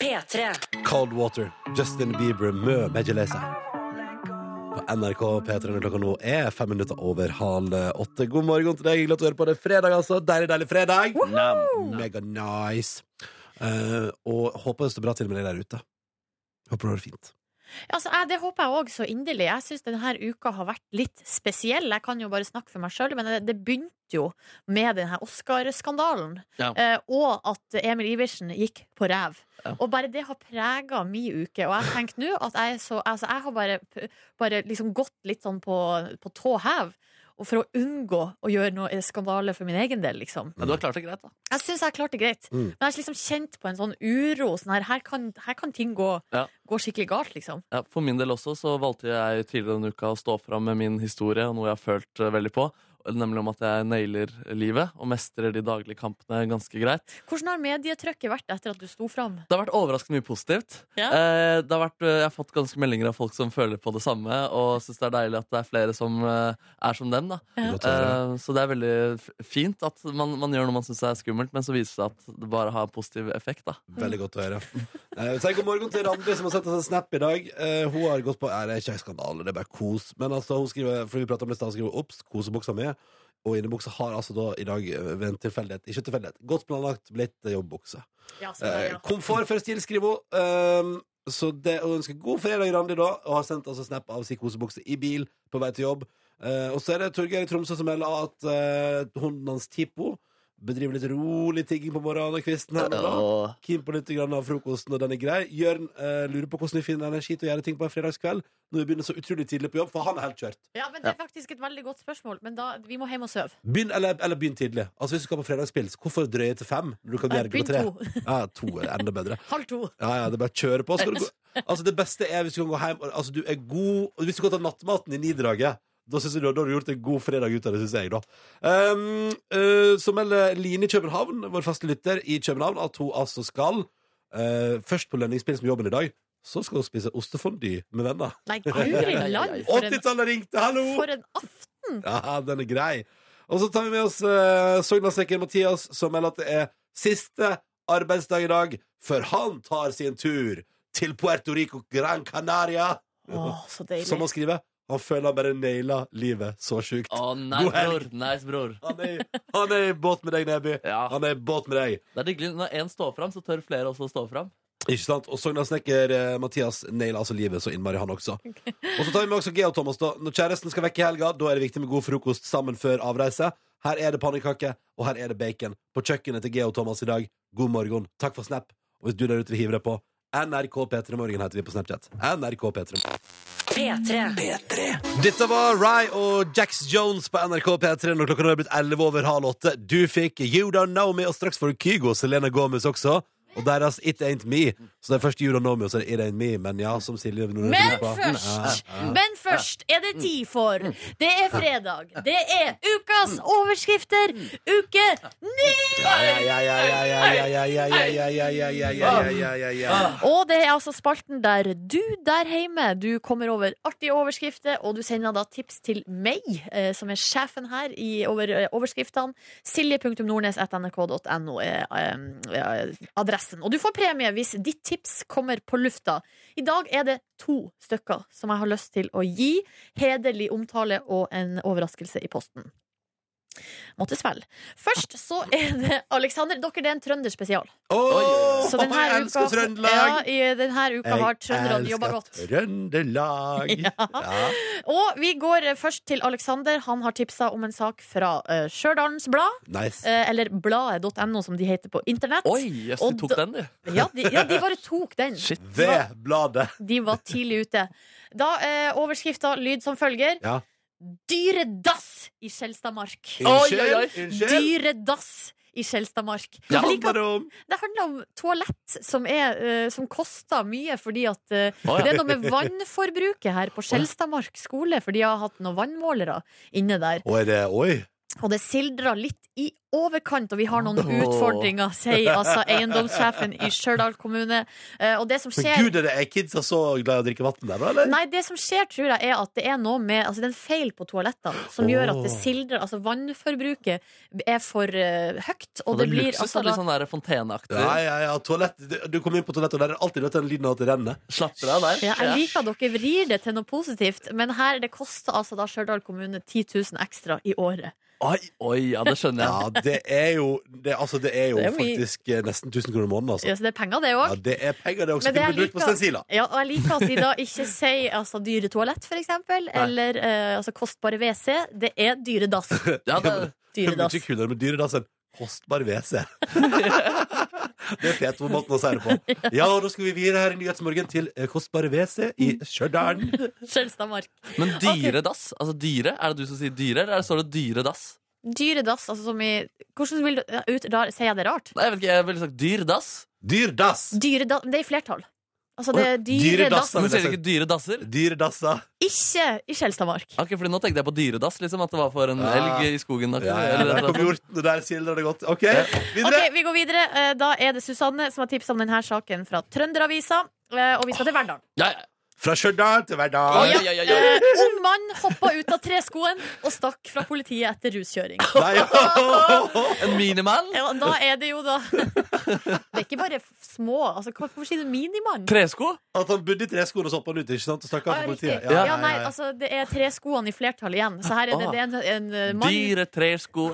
Speaker 1: P3.
Speaker 2: Cold Water, Justin Bieber, Mø Megelesa. På NRK P3 når klokka nå er fem minutter over halv åtte. God morgen til deg. Hyggelig at du hører på. Det er fredag, altså. Deilig, deilig fredag. Mega nice. Eh, og håper det står bra til med deg der ute. Håper du har det fint.
Speaker 4: Altså, jeg, det håper jeg òg så inderlig. Jeg syns denne uka har vært litt spesiell. Jeg kan jo bare snakke for meg sjøl, men det, det begynte jo med denne Oscar-skandalen.
Speaker 3: Ja.
Speaker 4: Eh, og at Emil Iversen gikk på ræv. Og bare det har prega mi uke. Og jeg tenker nå at jeg er så Altså, jeg har bare, bare liksom gått litt sånn på, på tå hev. Og for å unngå å gjøre noe skandale for min egen del, liksom.
Speaker 3: Ja, du har klart det greit, da.
Speaker 4: Jeg syns jeg klarte det greit,
Speaker 2: Mm.
Speaker 4: men jeg har liksom kjent på en sånn uro. Sånn her, her, kan, her kan ting gå,
Speaker 3: Ja.
Speaker 4: gå skikkelig galt, liksom.
Speaker 3: Ja, for min del også så valgte jeg tidligere denne uka å stå fram med min historie og noe jeg har følt eh, veldig på. Nemlig om at jeg nailer livet og mestrer de daglige kampene ganske greit.
Speaker 4: Hvordan har medietrykket vært etter at du sto fram?
Speaker 3: Det har vært overraskende mye positivt.
Speaker 4: Ja.
Speaker 3: Eh, det har vært, eh, jeg har fått ganske meldinger av folk som føler på det samme, og syns det er deilig at det er flere som eh, er som dem. da
Speaker 2: Godt å høre.
Speaker 3: Eh, Så det er veldig f- fint at man, man gjør noe man syns er skummelt, men så viser det seg at det bare har positiv effekt. da
Speaker 2: Veldig godt å høre. Eh, Si god morgen til Randi, som har sendt oss en snap i dag. Eh, hun har gått på Nei, det er ikke en skandale, det er bare kos. Men altså, hun skriver Fordi vi pratet om det i stad, hun skriver obs, kosebuksa mi. Og innebuksa har altså da i dag, eh, ved en tilfeldighet, ikke tilfeldighet, godt planlagt blitt eh, jobbbukse.
Speaker 4: Ja, så da,
Speaker 2: Eh,
Speaker 4: ja.
Speaker 2: komfort før stil, skriver hun. Um, så det og ønsker god fredag, Randi, da. Og har sendt altså snap av sin kosebukse i bil på vei til jobb. Eh, og så er det Torgeir i Tromsø som melder at eh, hunden hans Tipo bedriver litt rolig tigging på morgenen og kvisten her. og da.
Speaker 3: Og-
Speaker 2: Keen på litt grann av frokosten, og den er grei. Jørn eh, lurer på hvordan vi finner energi til å gjøre ting på en fredagskveld når vi begynner så utrolig tidlig på jobb, for han er helt kjørt.
Speaker 4: ja, men Det er faktisk et veldig godt spørsmål, men da, vi må hjem og sove.
Speaker 2: Begynn, eller, eller begynn tidlig. Altså Hvis du skal på fredagspils, hvorfor drøye til fem? når Du kan gjøre det på
Speaker 4: Begynn
Speaker 2: tre.
Speaker 4: to.
Speaker 2: Ja, to er enda bedre.
Speaker 4: <laughs> Halv to.
Speaker 2: Ja, ja, det er bare å kjøre på. Skal du gå,
Speaker 4: <laughs>
Speaker 2: altså Det beste er hvis du kan gå hjem og- Altså du er god og Hvis du kan ta nattmaten i nidraget. Da, synes jeg, du- da har du gjort en god fredag ut av det, syns jeg. da um, eh, Så melder Line i København, vår faste lytter i København, at hun altså skal eh, først på lønningspils med jobben i dag. Så skal hun spise ostefondue med venner.
Speaker 4: Nei, guri land, for en,
Speaker 2: 80-tallet ringte, hallo!
Speaker 4: for en aften!
Speaker 2: <laughs> Ja, den er grei. Og så tar vi med oss uh, Sognasekken Mathias, som melder at det er siste arbeidsdag i dag før han tar sin tur til Puerto Rico Gran Canaria.
Speaker 4: Å, så deilig.
Speaker 2: Som han skriver, han føler han bare naila livet så sjukt.
Speaker 3: Å, nei,
Speaker 2: God helg.
Speaker 3: bror. Nice, bror.
Speaker 2: Han er, han er i båt med deg, Neby.
Speaker 3: <laughs> Ja.
Speaker 2: Han er i båt med deg.
Speaker 3: Det er hyggelig. Når én står fram, så tør flere også å stå fram.
Speaker 2: Ikke sant? Og Sogna-snekker eh, Mathias nailer altså livet så innmari, han også. Og så tar vi med også Geo Thomas, da. Når kjæresten skal vekke i helga, da er det viktig med god frokost sammen før avreise. Her er det pannekake, og her er det bacon. På kjøkkenet til Geo Thomas i dag, god morgen. Takk for snap. Og hvis du der ute vil hive deg på, NRK P3 Morgen heter vi på Snapchat. NRK P3
Speaker 1: P3.
Speaker 2: dette var Rye og Jax Jones på NRK P3 når klokka nå er blitt 11 over halv åtte. Du fikk You Don't Know Me, og straks får du Kygo og Selena Gomez også. Og deres It Ain't Me. Så det er først You Don't Know Me, og så er det It Ain't Me. Men ja, som Silje Nordnes
Speaker 4: Men
Speaker 2: lurer på.
Speaker 4: først, men først er det tid for Det er fredag. Det er ukas overskrifter. Uke ni!
Speaker 2: Ja, ja, ja, ja, ja, ja, ja, ja, ja, ja, ja, ja, ja, ja, ja, ja, ja.
Speaker 4: Og det er altså spalten der du der hjemme Du kommer over artige overskrifter, og du sender da tips til meg, eh, som er sjefen her i over, eh, overskriftene. Silje.nordnes.nrk.no er eh, eh, adressen. Og du får premie hvis ditt tips kommer på lufta. I dag er det to stykker som jeg har lyst til å gi hederlig omtale og en overraskelse i posten. Måtte svelge. Først så er det Alexander, dere det er en trønderspesial.
Speaker 2: Åh,
Speaker 4: Så
Speaker 2: pappa, <laughs> jeg elsker
Speaker 4: ja,
Speaker 2: Trøndelag!
Speaker 4: i denne uka har trønderne jobba godt.
Speaker 2: Trøndelag. Ja.
Speaker 4: Og vi går eh, først til Alexander. Han har tipsa om en sak fra uh, Stjørdalens Blad,
Speaker 2: Nice.
Speaker 4: eh, eller bladet.no, som de heter på internett.
Speaker 3: Oi, yes,
Speaker 4: Og
Speaker 3: de tok
Speaker 4: da-
Speaker 3: den, de.
Speaker 4: Ja, de, ja, de bare tok
Speaker 2: <laughs>
Speaker 4: den.
Speaker 3: Shit.
Speaker 2: Ved bladet.
Speaker 4: De var tidlig ute. Da uh, Overskrifta lyd som følger.
Speaker 2: Ja.
Speaker 4: Dyredass i Skjelstadmark.
Speaker 3: Oi, oi, oi.
Speaker 2: Unnskyld.
Speaker 4: Dyredass i Skjelstadmark.
Speaker 3: Ja.
Speaker 4: Jeg
Speaker 2: Handler
Speaker 4: liker at
Speaker 2: det om
Speaker 4: Det handler om toalett som, er, eh, som koster mye fordi at eh,
Speaker 3: Å, ja.
Speaker 4: Det er noe med vannforbruket her på Skjelstadmark skole, for de har hatt noen vannmålere inne der.
Speaker 2: Oi, det Oi.
Speaker 4: Og det sildrer litt i overkant, og vi har noen utfordringer, sier
Speaker 3: <laughs>
Speaker 4: altså eiendomssjefen i Stjørdal kommune. Eh, Og det som
Speaker 2: Men
Speaker 4: skjer
Speaker 2: gud, er det er kidsa så glad i å drikke vann der, da? eller?
Speaker 4: Nei, det som skjer, tror jeg, er at det er noe med Altså, det er en feil på toalettene som gjør at det
Speaker 2: Åh.
Speaker 4: sildrer Altså, vannforbruket er for eh, høyt, og
Speaker 3: det
Speaker 4: det blir
Speaker 3: luksus,
Speaker 4: altså
Speaker 3: da,
Speaker 4: da
Speaker 3: litt sånn der fonteneaktig.
Speaker 2: Ja, ja, ja. Toalett. du- Du kommer inn på toalettet, og der er alltid vet, du, den lyden av at det renner.
Speaker 3: Slapper av der.
Speaker 4: Ja, jeg liker at dere vrir det til noe positivt, men her det koster altså da Stjørdal kommune 10 000 ekstra i året.
Speaker 3: Oi, oi, ja, det skjønner jeg.
Speaker 2: Ja, det er jo, det, altså, det er jo
Speaker 4: Det er mye.
Speaker 2: faktisk eh, nesten 1000 kroner i måneden, altså.
Speaker 4: Ja, så det er penger, det
Speaker 2: Ja,
Speaker 4: òg.
Speaker 2: det er penger, det også.
Speaker 4: Men det
Speaker 2: Kunne blitt
Speaker 4: jeg
Speaker 2: brukt på
Speaker 4: liker-
Speaker 2: Stensila.
Speaker 4: Ja, og jeg liker at de da ikke sier altså, dyre toalett, for eksempel, eller eh, altså, kostbare WC. Det er dyre dass.
Speaker 3: Ja, det,
Speaker 4: Dyre dass.
Speaker 2: Mye kulere med dyredass enn kostbar
Speaker 3: <laughs>
Speaker 2: WC. det er fet måten å si det
Speaker 3: <laughs>
Speaker 2: på. Ja, og da skal vi videre her i Nyhetsmorgen til eh, kostbare WC i Stjørdal.
Speaker 4: Skjelstadmark.
Speaker 3: men dyre dass? Altså dyre? Er det du som sier dyre, eller er det- står det dyre dass?
Speaker 4: Dyre dass, altså som i Hvordan vil du ja, ut, rar, Sier jeg det rart?
Speaker 3: Nei, jeg vet ikke, jeg ville sagt dyr dass.
Speaker 2: Dyrdass!
Speaker 4: Dyre dass Det er i flertall. Altså, det er dyre
Speaker 2: Dyre dass,
Speaker 4: dass.
Speaker 2: da.
Speaker 3: Men sier de ikke dyre dasser?
Speaker 2: Dyredassa.
Speaker 4: Ikke i Skjelstadmark.
Speaker 3: Ok, fordi Nå tenkte jeg på dyredass, liksom, at det var for en
Speaker 2: Ja.
Speaker 3: elg i skogen. aktig,
Speaker 2: Ja, ja,
Speaker 3: eller
Speaker 2: der
Speaker 3: et eller
Speaker 2: kom
Speaker 3: annet.
Speaker 2: hjorten, og der sildrer det godt. OK, videre.
Speaker 4: Ok, Vi går videre. Eh, Da er det Susanne som har tipsa om denne saken fra Trønderavisa. Eh, Og vi skal til Verdal.
Speaker 3: Ja, ja.
Speaker 2: Fra Stjørdal til Verdal.
Speaker 3: Oi, oi, oi, oi.
Speaker 4: Eh, Ung mann hoppa ut av treskoen og stakk fra politiet etter ruskjøring.
Speaker 2: Nei,
Speaker 3: En minimann?
Speaker 4: Ja, da er det jo da <laughs> Det er ikke bare f- små. Altså, hva- hvorfor sier du minimann?
Speaker 3: Tresko?
Speaker 2: At han bodde i treskoene og så hoppa han ut, ikke sant? Og stakk
Speaker 4: Ah,
Speaker 2: av for
Speaker 4: riktig.
Speaker 2: politiet.
Speaker 4: Ja, nei, altså, det er treskoene i flertall igjen. Så her er
Speaker 2: Ah.
Speaker 4: det, det er en, en, eh, mann,
Speaker 3: Dyre tresko.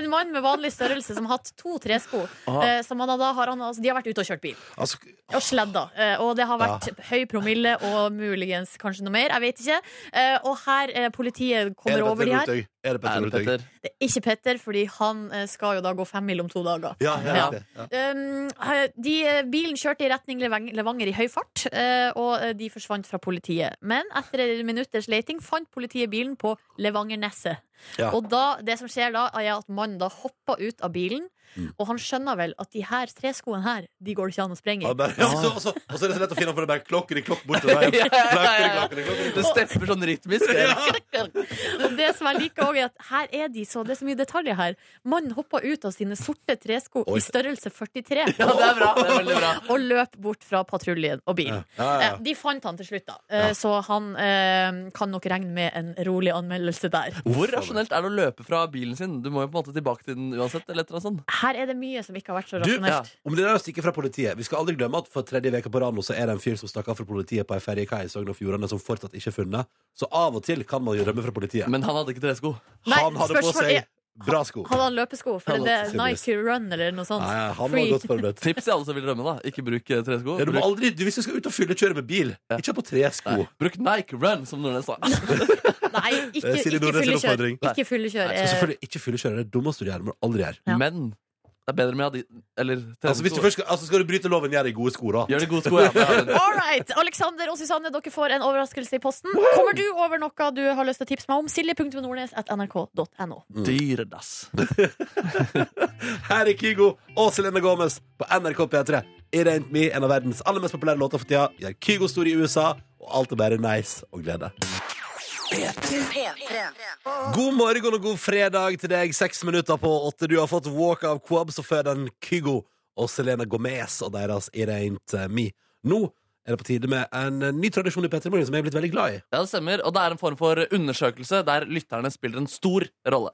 Speaker 4: en mann med vanlig størrelse som har hatt to tresko.
Speaker 3: Ah.
Speaker 4: eh, Som han, har da har han, altså, de har vært ute og kjørt bil.
Speaker 2: Altså,
Speaker 4: Og sledda. Eh, Og det har
Speaker 2: Ah.
Speaker 4: vært høy promille og muligens kanskje noe mer. Jeg vet ikke. Eh, Og her eh, politiet
Speaker 2: er
Speaker 4: kommer
Speaker 2: det
Speaker 4: over
Speaker 2: Petter
Speaker 4: de her.
Speaker 2: Northug? Er det Petter Northug?
Speaker 3: Petter.
Speaker 4: Det er ikke Petter, fordi han eh, skal jo da gå femmil om to dager.
Speaker 2: Ja, ja,
Speaker 4: Ja.
Speaker 2: riktig. ja.
Speaker 4: Um, eh, de, eh, bilen kjørte i retning Levang- Levanger i høy fart, eh, og eh, de forsvant fra politiet. Men etter en minutters leting fant politiet bilen på Levangerneset.
Speaker 2: Ja.
Speaker 4: Og da, det som skjer da, er at mannen da hopper ut av bilen,
Speaker 3: Mm.
Speaker 4: og han skjønner vel at de her treskoene her, de går det ikke an å sprenge
Speaker 2: Og
Speaker 4: i.
Speaker 2: bare- og så- og så og så er det så lett å finne for det er bare klokker i klokk bortover veien.
Speaker 3: <laughs> Ja, ja,
Speaker 2: Klokker i
Speaker 3: ja.
Speaker 2: klokker i klokker i
Speaker 3: Det stepper sånn rytmisk.
Speaker 4: <laughs> Og det som jeg liker også er at her er de så, det er så mye detaljer her. Mannen hoppa ut av sine sorte tresko
Speaker 2: Oi.
Speaker 4: i størrelse 43.
Speaker 3: Ja, det er bra. <laughs> det er veldig bra
Speaker 4: Og løp bort fra patruljen og bilen.
Speaker 2: Ja, ja, ja.
Speaker 4: Eh, De fant han til slutt, da. Eh, Så han eh, kan nok regne med en rolig anmeldelse der.
Speaker 3: Hvor rasjonelt er det å løper fra bilen sin? Du må jo på en måte tilbake til den uansett. Eller et eller annet sånt.
Speaker 4: Her er det mye som ikke har vært så
Speaker 2: Du,
Speaker 4: rasjonelt.
Speaker 2: Om det der å stikke fra politiet Vi skal aldri glemme at for tredje veka på rad nå Så er det en fyr som stakk av fra politiet på en ferjekai i Sogn og Fjordane som fortsatt ikke er funnet. Så av og til kan man jo rømme fra politiet.
Speaker 3: Men han hadde ikke tresko.
Speaker 4: Nei,
Speaker 2: han hadde på
Speaker 4: spørsmål
Speaker 2: seg
Speaker 4: er-
Speaker 2: bra sko.
Speaker 4: Hadde han løpesko? For
Speaker 2: Han
Speaker 4: det
Speaker 2: hadde
Speaker 4: er Nike Run eller noe sånt.
Speaker 2: Nei, han var
Speaker 4: Free.
Speaker 2: godt
Speaker 4: <laughs>
Speaker 2: forberedt.
Speaker 3: Tips til alle som vil rømme. da Ikke bruk eh, tresko.
Speaker 2: Ja, du må
Speaker 3: Bruk,
Speaker 2: aldri, du, hvis du skal ut og fyllekjøre med bil, ikke ha på tresko.
Speaker 3: nei, bruk Nike Run, som Nordnes sa.
Speaker 4: Nei, ikke,
Speaker 2: Eh, Silje Nordnes sin
Speaker 4: ikke fyllekjør.
Speaker 2: oppfordring.
Speaker 4: Ikke fyllekjør.
Speaker 2: Nei, så
Speaker 4: eh,
Speaker 2: selvfølgelig ikke fyllekjøre. Det er det dummeste du gjør. Det må du aldri gjøre.
Speaker 4: Ja.
Speaker 3: <laughs> Men det er bedre med adi eller tresko.
Speaker 2: Altså, hvis du først skal, altså, skal du bryte loven, gjør det i gode sko, da.
Speaker 3: Gjør det gode sko. Ja, men-
Speaker 2: <laughs>
Speaker 4: All right, Alexander og Susanne, dere får en overraskelse i posten. Kommer du over noe du har lyst til å tipse meg om? Silje.nordnes.nrk.no.
Speaker 3: Dyre dass.
Speaker 2: Her er Kygo og Selena Gomez på NRK P3. It Ain't Me, en av verdens aller mest populære låter for tida. Gjør Kygo stor i USA, og alt er bare nice og glede. God morgen og god fredag til deg. Seks minutter på åtte. Du har fått Walk of Quabs og før den Kygo og Selena Gomez og deres It Ain't Me. Nå er det på tide med en ny tradisjon i P3 Morgen som jeg er blitt veldig glad i.
Speaker 3: Ja, det stemmer. Og det er en form for undersøkelse der lytterne spiller en stor rolle.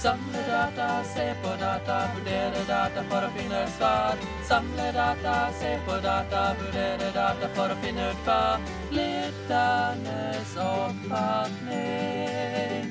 Speaker 3: Samle data, se på data, vurdere data for å finne ut svar. Samle data, se på data, vurdere data for å finne ut hva lytternes oppfatning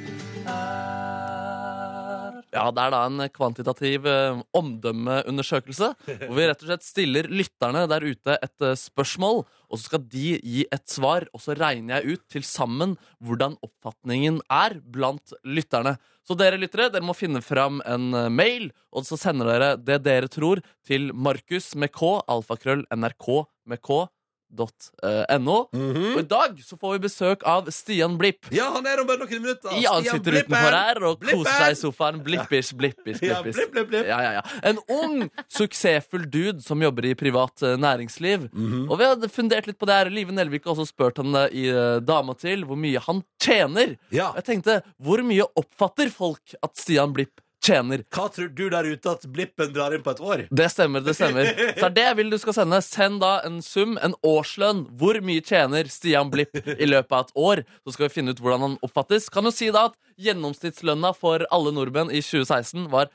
Speaker 3: Ja, Det er da en kvantitativ eh, omdømmeundersøkelse. Hvor vi rett og slett stiller lytterne der ute et eh, spørsmål, og så skal de gi et svar. Og så regner jeg ut til sammen hvordan oppfatningen er blant lytterne. Så dere lyttere, dere må finne fram en eh, mail, og så sender dere det dere tror, til Markus med K, alfakrøll, nrk med K. Dot, eh, .no.
Speaker 2: Mhm.
Speaker 3: Og i dag så får vi besøk av Stian Blipp.
Speaker 2: Ja, han er om bare noen minutter.
Speaker 3: Ja, han
Speaker 2: Stian
Speaker 3: sitter
Speaker 2: Blippen.
Speaker 3: utenfor her og koser
Speaker 2: Blippen.
Speaker 3: seg i sofaen. Blippers, blippers,
Speaker 2: Ja,
Speaker 3: blippers.
Speaker 2: blipp, blipp, blipp.
Speaker 3: Ja, ja, ja. En ung, suksessfull dude som jobber i privat eh, næringsliv. Og vi hadde fundert litt på det her. Live Nelvik har også spurt han eh, i eh, Dama til hvor mye han tjener.
Speaker 2: Ja.
Speaker 3: Og Jeg tenkte, hvor mye oppfatter folk at Stian Blipp tjener?
Speaker 2: Hva tror du der ute at Blippen drar inn på et år?
Speaker 3: Det stemmer, det stemmer. Så er det jeg vil du skal sende. Send da en sum, en årslønn. Hvor mye tjener Stian Blipp i løpet av et år? Så skal vi finne ut hvordan han oppfattes. Kan jo si da at gjennomsnittslønna for alle nordmenn i 2016 var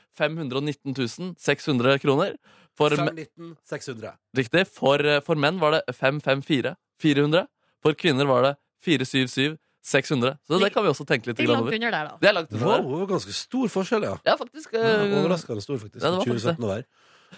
Speaker 3: 519 600 kroner. For, me-
Speaker 2: 519 600.
Speaker 3: riktig. For, eh, for menn var det 554 400. For kvinner var det 477 600. Så det kan vi også tenke litt
Speaker 4: Det er
Speaker 3: grann
Speaker 4: langt
Speaker 3: over.
Speaker 4: under der, da.
Speaker 3: Det er langt
Speaker 2: Wow,
Speaker 3: under.
Speaker 2: det var ganske stor forskjell, ja.
Speaker 3: Ja, faktisk.
Speaker 2: ja
Speaker 3: eh,
Speaker 2: overraskende stor, faktisk.
Speaker 3: Ja, det var faktisk
Speaker 2: 2017 å være.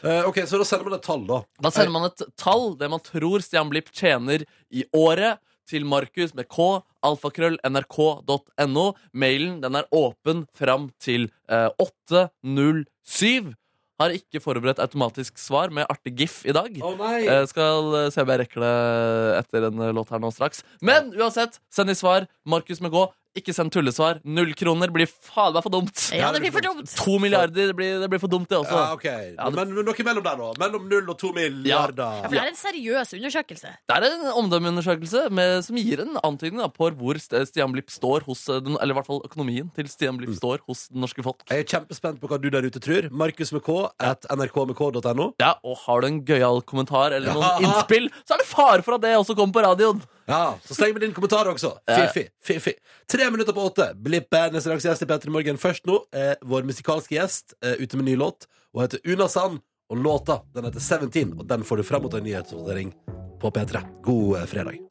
Speaker 2: Eh, ok, Så da sender man et tall, da.
Speaker 3: Da sender man et tall, det man tror Stian Blipp tjener i året, til Markus med k, alfakrøll, nrk.no. Mailen den er åpen fram til eh, 807. Har ikke forberedt automatisk svar med artig gif i dag.
Speaker 2: Å nei!
Speaker 3: Eh, skal eh, se om jeg rekker det etter en eh, låt her nå straks. Men uansett, send i svar. Markus med k. Ikke send tullesvar. Null kroner blir faen meg for dumt.
Speaker 4: Ja, det blir for dumt.
Speaker 3: To milliarder, det blir, det blir for dumt, det også.
Speaker 2: Altså, ja, ok.
Speaker 3: Ja, det-
Speaker 2: Men noe mellom der, da. Mellom null og to
Speaker 4: Ja,
Speaker 2: milliarder.
Speaker 4: for det er en seriøs undersøkelse.
Speaker 3: Det er en omdømmeundersøkelse med, som gir en antydning da, på hvor St- Stian Blipp står hos eh, den, Eller i hvert fall økonomien til Stian
Speaker 2: Mm.
Speaker 3: Blipp står hos det norske folk.
Speaker 2: Jeg er kjempespent på hva du der ute tror. Markus med K at nrkmk.no.
Speaker 3: Ja, Og har du en gøyal kommentar eller noen
Speaker 2: Ja.
Speaker 3: innspill, så er det fare for at det også kommer på radioen.
Speaker 2: Ja, så sleng med din kommentar også.
Speaker 3: Ja.
Speaker 2: Fiffi, fiffi. Tre minutter på åtte. Blipp er neste dags gjest i Petter i Morgen. Først nå, eh, vår musikalske gjest eh, ute med ny låt. Og heter Una Sand. Og låta den heter 17, og den får du frem mot en nyhetsvotering på P3. God eh, fredag.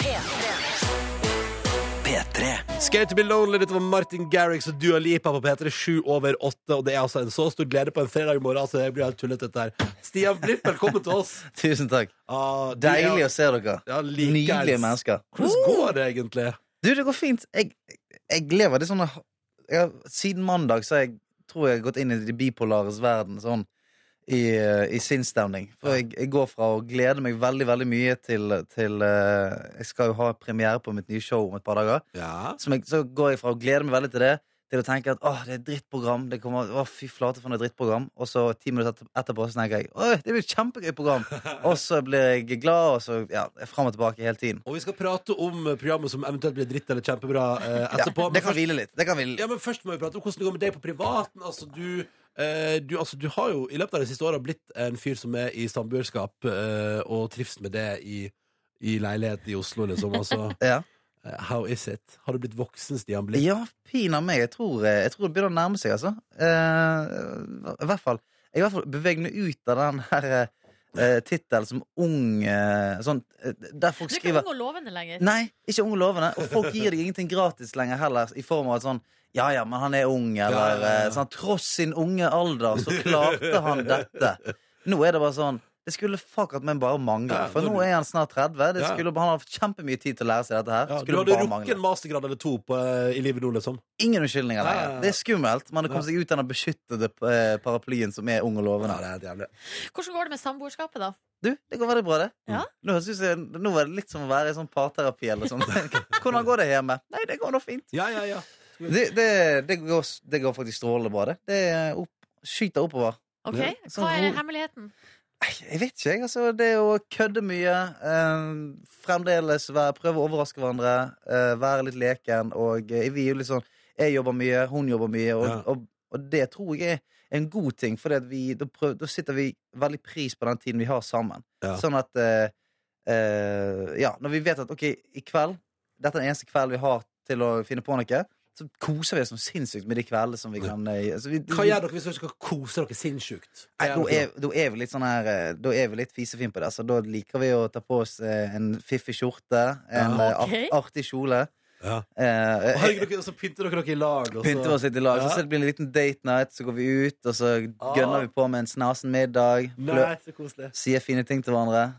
Speaker 2: Skate to be lonely, dette var Martin Garrix og Dua Lipa på P3 7 over 8. Og det er altså en så stor glede på en fredag morgen, altså det blir helt tullete dette her. Stian Blipp, velkommen til oss.
Speaker 9: Tusen takk.
Speaker 2: Ah, du er-
Speaker 9: Deilig å se dere.
Speaker 2: ja, likeens.
Speaker 9: Nydelige mennesker.
Speaker 2: Hvordan går det egentlig?
Speaker 9: Du, det går fint. Jeg, jeg lever det sånn jeg, har- Siden mandag så har jeg tror jeg har gått inn i de bipolares verden sånn i, i sinnsstemning. For jeg, jeg går fra å glede meg veldig, veldig mye til, til eh, Jeg skal jo ha premiere på mitt nye show om et par dager.
Speaker 2: Ja.
Speaker 9: Som jeg, så går jeg fra å glede meg veldig til det, til å tenke at åh, det er et drittprogram. Det kommer, åh, fy flate for noe drittprogram. Og så ti minutter etter- etterpå så tenker jeg åh, det blir et
Speaker 2: <laughs>
Speaker 9: kjempegøy program. Og så blir jeg glad, og så ja, fram og tilbake hele tiden.
Speaker 2: Og vi skal prate om eh, programmet som eventuelt blir dritt eller kjempebra eh,
Speaker 9: Ja,
Speaker 2: etterpå. men,
Speaker 9: det kan
Speaker 2: først,
Speaker 9: hvile litt. Det kan hvile litt.
Speaker 2: ja, men først må vi prate om hvordan det går med deg på privaten. Altså, du, eh, du, altså, du har jo i løpet av de siste åra blitt en fyr som er i samboerskap eh, og trives med det i, i leilighet i Oslo, liksom. Altså,
Speaker 9: <laughs> Ja.
Speaker 2: eh, how is it? Har du blitt voksen, Stian Blipp?
Speaker 9: Ja, pina meg. Jeg tror, eh, jeg tror det begynner å nærme seg, altså. Eh, I hvert fall Jeg i hvert fall beveger meg ut av den her eh, tittelen som ung eh, sånn, eh, Der folk
Speaker 4: Du er ikke
Speaker 9: skriver
Speaker 4: ung og lovende lenger.
Speaker 9: Nei, ikke ung og lovende. Og folk gir deg ingenting gratis lenger heller, i form av at sånn Ja ja, men han er ung, eller
Speaker 2: ja, ja.
Speaker 9: eh, sånn, Tross sin unge alder, så klarte han dette. Nå er det bare sånn Det skulle fuck at meg bare mangle.
Speaker 2: Ja,
Speaker 9: For
Speaker 2: nå-
Speaker 9: nå er han snart 30. Det
Speaker 2: Ja.
Speaker 9: skulle, han har hatt kjempemye tid til å lære seg dette her.
Speaker 2: Ja, du
Speaker 9: Skulle
Speaker 2: hadde
Speaker 9: bare
Speaker 2: rukket
Speaker 9: mangle.
Speaker 2: en mastergrad eller to på, eh, i livet nå, liksom.
Speaker 9: Ingen unnskyldninger
Speaker 2: Nei, nei,
Speaker 9: lenger.
Speaker 2: nei.
Speaker 9: Det er skummelt. Man har kommet seg ut av den beskyttede eh, paraplyen som er ung og
Speaker 2: Ja,
Speaker 9: lovende.
Speaker 2: det er helt jævlig.
Speaker 4: Hvordan går det med samboerskapet, da?
Speaker 9: Du, det går veldig bra, det.
Speaker 4: Ja.
Speaker 9: Nå, høres det ut som- nå var det litt som å være i sånn parterapi eller sånn. <laughs> Hvordan går det hjemme? Nei, det går nå fint.
Speaker 2: Ja, ja, ja.
Speaker 9: Det, det, det, går, det går faktisk strålende bra, det. Det er opp, skyter oppover.
Speaker 4: Ok,
Speaker 2: Ja.
Speaker 4: Hva er hemmeligheten?
Speaker 9: Nei, Jeg vet ikke, jeg. Altså, det er å kødde mye. Eh, fremdeles være, prøve å overraske hverandre. Eh, være litt leken. Og eh, vi er jo litt sånn Jeg jobber mye, hun jobber mye, og,
Speaker 2: Ja.
Speaker 9: og, og det tror jeg er en god ting. For da, prøv- da sitter vi veldig pris på den tiden vi har sammen.
Speaker 2: Ja.
Speaker 9: Sånn at eh, eh, Ja, når vi vet at OK, i kveld Dette er den eneste kvelden vi har til å finne på noe. Så koser vi oss som sinnssykt med de kveldene som vi kan eh, altså, vi,
Speaker 2: Hva gjør dere hvis dere skal kose dere sinnssykt? Hva
Speaker 9: Nei,
Speaker 2: gjør
Speaker 9: da
Speaker 2: dere
Speaker 9: er, da er vi litt sånn her eh, Da er vi litt fisefin på det. Altså, Så da liker vi å ta på oss eh, en fiffig skjorte, en
Speaker 2: Ja.
Speaker 9: eh,
Speaker 4: Ok.
Speaker 9: art, artig kjole.
Speaker 2: da? Ja.
Speaker 9: Eh,
Speaker 2: Og herregud, dere- så pynter dere dere i lag. Og så.
Speaker 9: Pynter oss litt i lag.
Speaker 2: Ja.
Speaker 9: Så det blir en liten date night, så går vi ut, og så
Speaker 2: Ah.
Speaker 9: gønner vi på med en snasen middag.
Speaker 2: Nei,
Speaker 9: Flø-
Speaker 2: så koselig.
Speaker 9: Sier fine ting til <laughs> hverandre.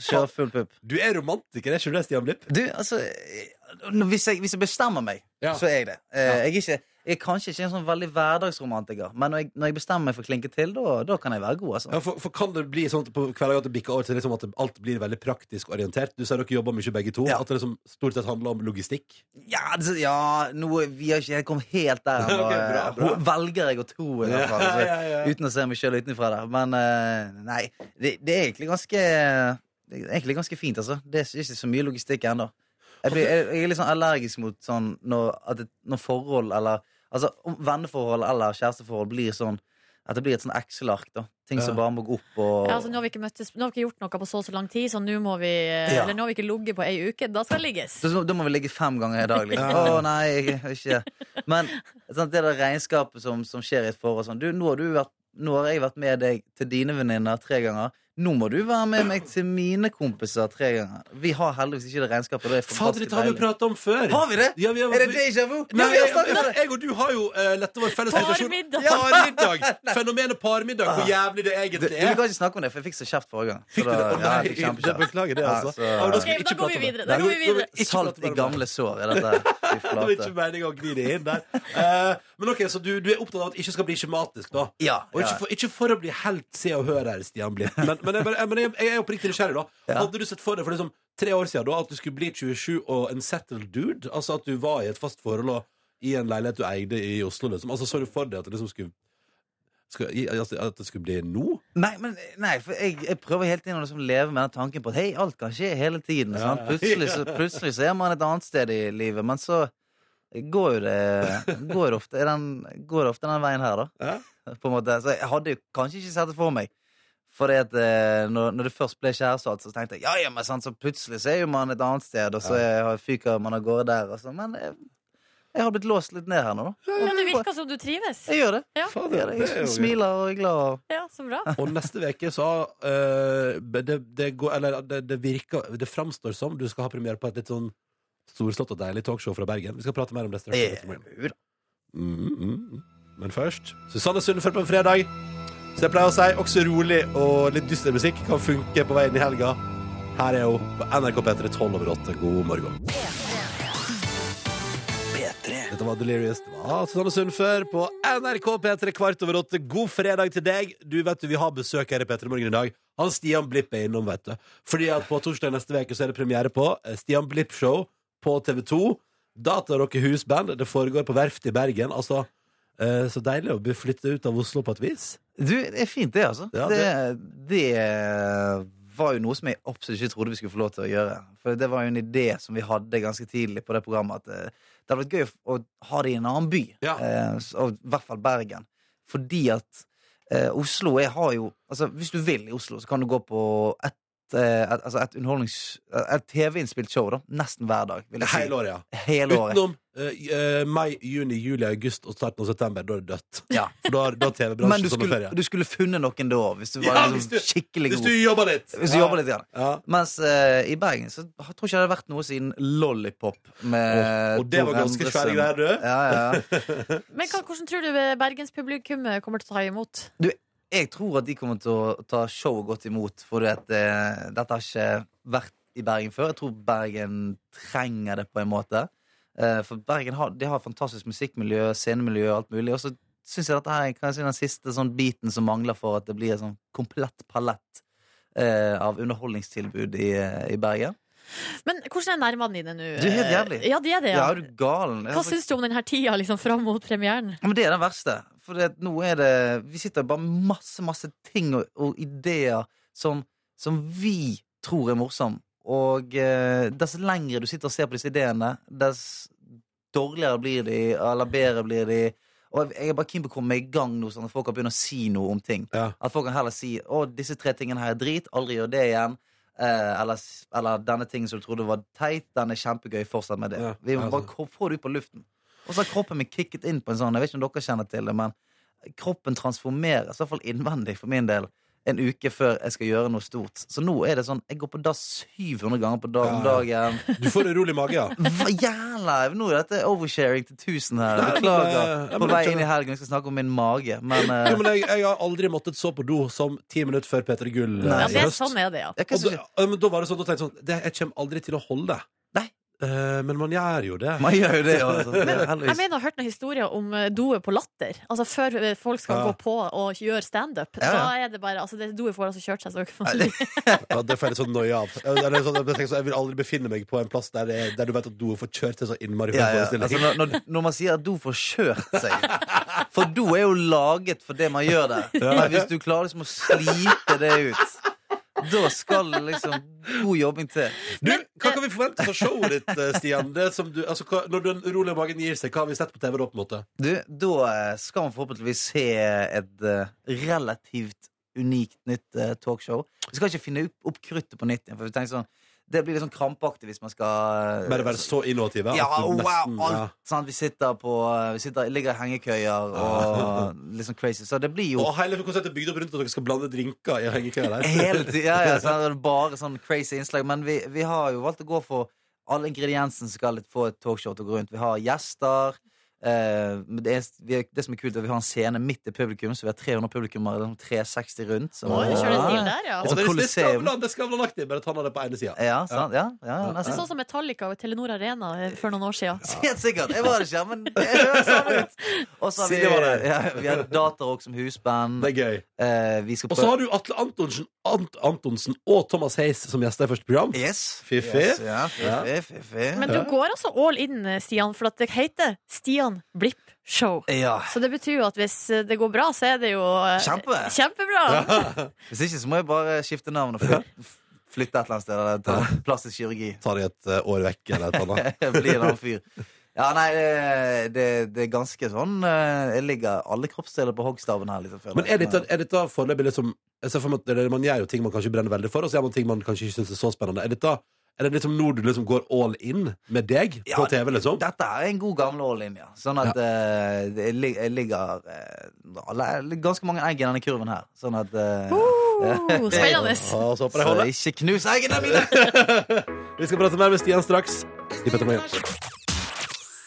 Speaker 9: Kjører full pupp.
Speaker 2: Du er romantiker, er ikke du det, Stian Blipp?
Speaker 9: Du, altså eh, når- hvis jeg, hvis jeg bestemmer meg,
Speaker 2: Ja.
Speaker 9: så er jeg det. Eh, Jeg, er ikke, jeg er kanskje ikke en sånn veldig hverdagsromantiker, men når jeg, når jeg bestemmer meg for å klinke til, da, da kan jeg være god, altså.
Speaker 2: Ja, for, for kan det bli sånn at på hverdagen at det bikker over til liksom at alt blir veldig praktisk orientert? Du sier dere jobber mye begge to.
Speaker 9: Ja.
Speaker 2: At det liksom stort sett handler om logistikk.
Speaker 9: Ja, altså, ja nå, vi har ikke jeg kom helt
Speaker 2: <laughs>
Speaker 9: der ennå.
Speaker 2: Ok, bra, bra.
Speaker 9: Ho- <laughs> Velger jeg å tro, i hvert fall.
Speaker 2: Ja, ja, ja.
Speaker 9: altså, Uten å se meg sjøl utenfra der. Men eh, nei, det, det er egentlig ganske Det er egentlig ganske fint, altså. Det er ikke så mye logistikk ennå. Jeg, blir- jeg, jeg er litt sånn allergisk mot sånn når, at det, når forhold eller Altså om venneforhold eller kjæresteforhold blir sånn At det blir et sånn Excel-ark, da. Ting som
Speaker 2: Ja.
Speaker 9: bare må gå opp og
Speaker 4: Ja, altså, nå, har vi ikke møttes, nå har vi ikke gjort noe på så og så lang tid, så nå, må vi, eh,
Speaker 9: Ja.
Speaker 4: eller, nå har vi ikke ligget på ei uke. Da skal det ligges.
Speaker 9: Så- så- Da må vi ligge fem ganger i dag.
Speaker 2: <laughs>
Speaker 9: Liksom. Å nei, jeg, jeg- ikke Men sant, det der regnskapet som, som skjer i et forhold sånn, du, nå, har du vært, nå har jeg vært med deg til dine venninner tre ganger. Nå må du være med meg til mine kompiser tre ganger. Vi har heldigvis ikke det regnskapet. Det er
Speaker 2: Fader,
Speaker 9: fantastisk
Speaker 2: dette har vi
Speaker 9: deilig.
Speaker 2: prata om før!
Speaker 9: Har vi det?
Speaker 2: Ja, vi har,
Speaker 9: Er det déjà vu?
Speaker 2: Nei,
Speaker 9: ja, vi har
Speaker 2: jeg,
Speaker 9: snakket om det!
Speaker 2: jeg og du har jo uh, letta vår felles
Speaker 4: Parmiddag.
Speaker 9: <laughs>
Speaker 2: Parmiddag! Fenomenet parmiddag, hvor jævlig det
Speaker 9: Du,
Speaker 2: egentlig
Speaker 9: vi
Speaker 2: er.
Speaker 9: kan ikke snakke om Ah. det, for jeg fikk så kjeft forrige gang. Så
Speaker 2: Fikk du det? Å,
Speaker 9: da- ja, jeg
Speaker 2: nei,
Speaker 9: fikk kjempekjeft.
Speaker 2: det beklager det, altså.
Speaker 9: Ja,
Speaker 2: Å, da
Speaker 9: så-
Speaker 2: skal vi
Speaker 4: Ok,
Speaker 2: ikke
Speaker 4: da går
Speaker 2: prate
Speaker 4: vi
Speaker 2: om det.
Speaker 4: videre. Da
Speaker 2: Nei,
Speaker 4: går vi
Speaker 2: nå vil
Speaker 4: videre.
Speaker 2: vi ikke
Speaker 9: Salt
Speaker 2: prate
Speaker 9: i
Speaker 2: mer om det.
Speaker 9: gamle sår er dette.
Speaker 2: <laughs>
Speaker 9: Fy
Speaker 2: Det var ikke
Speaker 9: flate.
Speaker 2: meningen å gni det inn der. Eh, men ok, Så du, du er opptatt av at det ikke skal bli skjematisk, da?
Speaker 9: Ja,
Speaker 2: Og ikke
Speaker 9: ja.
Speaker 2: for, ikke for å bli helt Se og Hør her, Stian Blipp. Men, men, jeg, bare, men jeg, jeg er oppriktig nysgjerrig, da. Hadde du sett for deg for liksom, tre år siden da, at du skulle bli 27 og en settled dude? Altså at du var i et fast forhold og i en leilighet du eide i Oslo? Liksom. Altså Så du for deg at det liksom skulle, skulle i- altså, At det skulle bli nå?
Speaker 9: Nei, men, nei for jeg, jeg prøver hele tiden å liksom leve med den tanken på at hei, alt kan skje hele tiden. sant? Plutselig, <laughs> så, plutselig så er man et annet sted i livet, men så går jo det går ofte, er den, går ofte den veien her, da. På en måte. Så jeg hadde jo kanskje ikke sett det for meg. Fordi at eh, når, når det først ble kjæreste, og alt, så tenkte jeg ja, ja, men sant, så plutselig så er jo man et annet sted, og så er, fyker man av gårde der. Og så. Men jeg, jeg har blitt låst litt ned her nå, da.
Speaker 4: Ja, det virker som du trives.
Speaker 9: Jeg gjør det.
Speaker 4: Ja.
Speaker 9: Jeg, gjør det. jeg smiler og er glad. og-
Speaker 4: Ja, så bra.
Speaker 2: Og neste veke så eh, det, det, går, eller, det, det virker Det framstår som du skal ha premiere på et litt sånn storslått og deilig talkshow fra Bergen. Vi skal prate mer om det straks.
Speaker 9: Eh, jo da.
Speaker 2: Mm, mm, mm. Men først Susanne Sundfør på en fredag. Så jeg pleier å si også rolig og litt dyster musikk kan funke på veien i helga. Her er hun på NRK P3 12 over 8. God morgen. Dette var Delirious. Det var Susanne Sundfør på NRK P3 kvart over åtte. God fredag til deg. Du vet du, Vi har besøk her i P3 Morgen i dag. Han Stian Blipp er innom, vet du. Fordi at på torsdag neste uke så er det premiere på eh, Stian Blipp-show på TV2. Datarocke husband. Det foregår på Verftet i Bergen. Altså, eh, så deilig å bli flytte ut av Oslo på et vis.
Speaker 9: Du, det er fint det, altså.
Speaker 2: Ja,
Speaker 9: det... Det, var jo noe som jeg absolutt ikke trodde vi skulle få lov til å gjøre. For det var jo en idé som vi hadde ganske tidlig på det programmet, at eh, det hadde vært gøy å å ha det i en annen by.
Speaker 2: Ja.
Speaker 9: Eh, s- og I hvert fall Bergen. Fordi at eh, Oslo jeg har jo Altså, hvis du vil i Oslo, så kan du gå på et, eh, et, altså et underholdnings... Et TV-innspilt show, da. Nesten hver dag, vil jeg si.
Speaker 2: Hele året, ja.
Speaker 9: Hele året.
Speaker 2: Utenom eh, eh, mai, juni, juli, august og starten av september. Da er det dødt.
Speaker 9: Ja.
Speaker 2: <laughs> For da har, da har
Speaker 9: Men
Speaker 2: TV-bransjen
Speaker 9: du skulle,
Speaker 2: sommerferie.
Speaker 9: du skulle funnet noen da, hvis du var
Speaker 2: Ja, hvis
Speaker 9: liksom,
Speaker 2: du-
Speaker 9: skikkelig
Speaker 2: Hvis
Speaker 9: god.
Speaker 2: du jobber litt.
Speaker 9: Hvis du jobber litt. Grann.
Speaker 2: Ja.
Speaker 9: Mens eh, i Bergen så tror jeg ikke det hadde vært noe siden Lollipop. Med
Speaker 2: Og det var
Speaker 9: Tor
Speaker 2: ganske
Speaker 9: Endresen.
Speaker 2: svære greier, du.
Speaker 9: Ja, ja, ja.
Speaker 4: Men hva, hvordan tror du eh, bergenspublikummet kommer til å ta imot?
Speaker 9: Jeg tror at de kommer til å ta showet godt imot, for du vet, eh, dette har ikke vært i Bergen før. Jeg tror Bergen trenger det på en måte. Eh, for Bergen har, de har fantastisk musikkmiljø, scenemiljø og alt mulig. Og så syns jeg dette her er kanskje den siste sånn biten som mangler for at det blir en sånn komplett palett eh, av underholdningstilbud i, eh, i Bergen.
Speaker 4: Men hvordan er nervene dine nå?
Speaker 9: Du er helt jævlig.
Speaker 4: Ja, de er det,
Speaker 9: Ja,
Speaker 4: ja.
Speaker 9: er du galen?
Speaker 4: Hva syns du om denne tida liksom, fram mot premieren?
Speaker 9: Ja, Men det er den verste. For det, at nå er det Vi sitter bare med masse, masse ting og, og ideer som, som vi tror er morsomme. Og eh, dess lengre du sitter og ser på disse ideene, dess dårligere blir de, eller bedre blir de. Og jeg er bare keen på å komme meg i gang nå, sånn at folk kan begynne å si noe om ting.
Speaker 2: Ja.
Speaker 9: At folk kan heller si 'Å, disse tre tingene her er drit. Aldri gjør det igjen.' Eh, eller, s- eller 'Denne tingen som du trodde var teit, den er kjempegøy. Fortsett med det.'
Speaker 2: Ja,
Speaker 9: Vi må
Speaker 2: altså.
Speaker 9: bare ko- få det ut på luften. Og så har kroppen min kicket inn på en sånn Jeg vet ikke om dere kjenner til det, men kroppen transformeres, i hvert fall innvendig for min del, en uke før jeg skal gjøre noe stort. Så nå er det sånn Jeg går på dass 700 ganger på dag
Speaker 2: Ja,
Speaker 9: om dagen.
Speaker 2: Du får urolig mage, ja.
Speaker 9: Hva jævla Nå er dette oversharing til 1000 her.
Speaker 2: Nei, men,
Speaker 9: Beklager.
Speaker 2: eh, ja, men
Speaker 9: På
Speaker 2: det
Speaker 9: vei
Speaker 2: skjønner
Speaker 9: inn i helgen vi skal snakke om min mage, men eh,
Speaker 2: Jo, men jeg, jeg har aldri måttet så på do som ti minutter før Peter Gull. eh,
Speaker 9: Nei.
Speaker 4: Ja,
Speaker 2: i
Speaker 4: det er
Speaker 2: høst.
Speaker 4: sånn er det, ja.
Speaker 9: jeg, kan
Speaker 2: Og da,
Speaker 9: ikke-
Speaker 2: ja, men da var det sånn, da tenkte jeg sånn det, Jeg kommer aldri til å holde det.
Speaker 9: Nei.
Speaker 2: Eh, men man gjør jo det.
Speaker 9: Man gjør jo det. Og sånn.
Speaker 2: <laughs>
Speaker 9: det er
Speaker 4: Jeg
Speaker 9: heldigvis.
Speaker 4: mener jeg har hørt noen historier om eh, doet på latter. Altså Før eh, folk skal
Speaker 2: Ja.
Speaker 4: gå på og gjøre standup.
Speaker 9: Ja, ja.
Speaker 4: Da er det bare altså, det Doet får altså kjørt seg. Så
Speaker 9: Nei,
Speaker 2: Ja, det får jeg litt sånn nøye av. Eller sånn, jeg, tenker sånn, jeg vil aldri befinne meg på en plass der, det er- der du vet at do får kjørt til så innmari for
Speaker 9: Ja, ja.
Speaker 2: forestilling.
Speaker 9: Altså, når, når, når man sier at do får kjørt seg For do er jo laget for det man gjør der. Men hvis du klarer liksom å slite det ut, da skal det liksom god jobbing til.
Speaker 2: Du, hva kan vi forvente fra showet ditt, eh, Stian? Det som du, altså, hva, når den urolige magen gir seg, hva har vi sett på TV da, på en måte?
Speaker 9: Du, da eh, skal man forhåpentligvis se et eh, relativt unikt nytt eh, talkshow. Vi skal ikke finne opp, opp kruttet på nytt igjen, for vi tenker sånn det blir litt sånn krampaktig hvis man skal eh,
Speaker 2: Bare være så innovative. at
Speaker 9: Ja,
Speaker 2: du
Speaker 9: wow,
Speaker 2: nesten-
Speaker 9: alt
Speaker 2: ja.
Speaker 9: sant? Vi sitter på eh, Vi sitter, ligger i hengekøyer
Speaker 2: <laughs>
Speaker 9: og litt sånn crazy. Så det blir jo
Speaker 2: Og hele konseptet er bygd opp rundt at dere skal blande drinker i hengekøya der.
Speaker 9: Hele tiden, <laughs> ja, ja, så er det bare sånn crazy innslag Men vi, vi har jo valgt å gå for Alle ingrediensene som skal få et talkshow til å gå rundt Vi har gjester eh, men det, er, vi, det som er kult er at vi har en scene midt i publikum Så vi har 300 publikummer liksom 360 rundt som-
Speaker 4: Oi, kjører den stilen der, ja.
Speaker 9: Det
Speaker 2: Og
Speaker 9: er
Speaker 2: Altså, det
Speaker 9: som
Speaker 2: er litt
Speaker 9: Colosseum.
Speaker 2: skavlan, det er skavlanaktig, bare at han har det på ene sida.
Speaker 9: Ja, sant, ja, ja,
Speaker 2: Ja.
Speaker 4: Det er
Speaker 9: nesten
Speaker 4: sånn som Metallica og Telenor Arena eh, for noen år siden.
Speaker 9: Helt sikkert, jeg var det ikke, men det høres sånn ut
Speaker 4: <laughs>
Speaker 9: Og så har vi,
Speaker 2: Silje var der.
Speaker 9: ja, vi har Datarock som husband
Speaker 2: Det er gøy.
Speaker 9: eh, Vi skal
Speaker 2: Og så har du Atle Antonsen, Ant Antonsen og Thomas Hayes som gjester i første program.
Speaker 9: Yes
Speaker 2: Fifi.
Speaker 9: yes, ja, Fifi, fifi
Speaker 4: Men du går altså all in, eh, Stian, for at det heter Stian Blipp Show.
Speaker 9: Ja,
Speaker 4: Så det betyr jo at hvis eh, det går bra, så er det jo eh,
Speaker 9: Kjempe.
Speaker 4: kjempebra!
Speaker 9: Hvis ikke så må jeg bare skifte navn og flytte, flytte et eller annet sted. Eller ta plastisk kirurgi. <laughs>
Speaker 2: Tar jeg et eh, år vekk eller et annet.
Speaker 9: Bli en annen fyr. Ja, nei, det, det, det er ganske sånn eh, Jeg ligger alle kroppsdeler på hoggstaven her. Liksom, føler
Speaker 2: Men
Speaker 9: jeg.
Speaker 2: er sånn- dette, er dette foreløpig liksom jeg ser for meg at det- Man gjør jo ting man kanskje brenner veldig for, og så gjør man ting man kanskje ikke syns er så spennende. Er, dette, er det liksom nå du liksom går all in med deg
Speaker 9: Ja,
Speaker 2: på TV, liksom?
Speaker 9: Dette er en god gamle all-linje. Sånn at eh, det- jeg, lig- jeg ligger eh, alle, ganske mange egg i denne kurven her. Sånn at eh,
Speaker 4: Uh, spennende.
Speaker 2: Ja, så håper jeg
Speaker 9: Så
Speaker 2: holder.
Speaker 9: ikke knus eggene mine!
Speaker 2: <laughs> Vi skal prate mer med Stian straks. I Petter Morgen.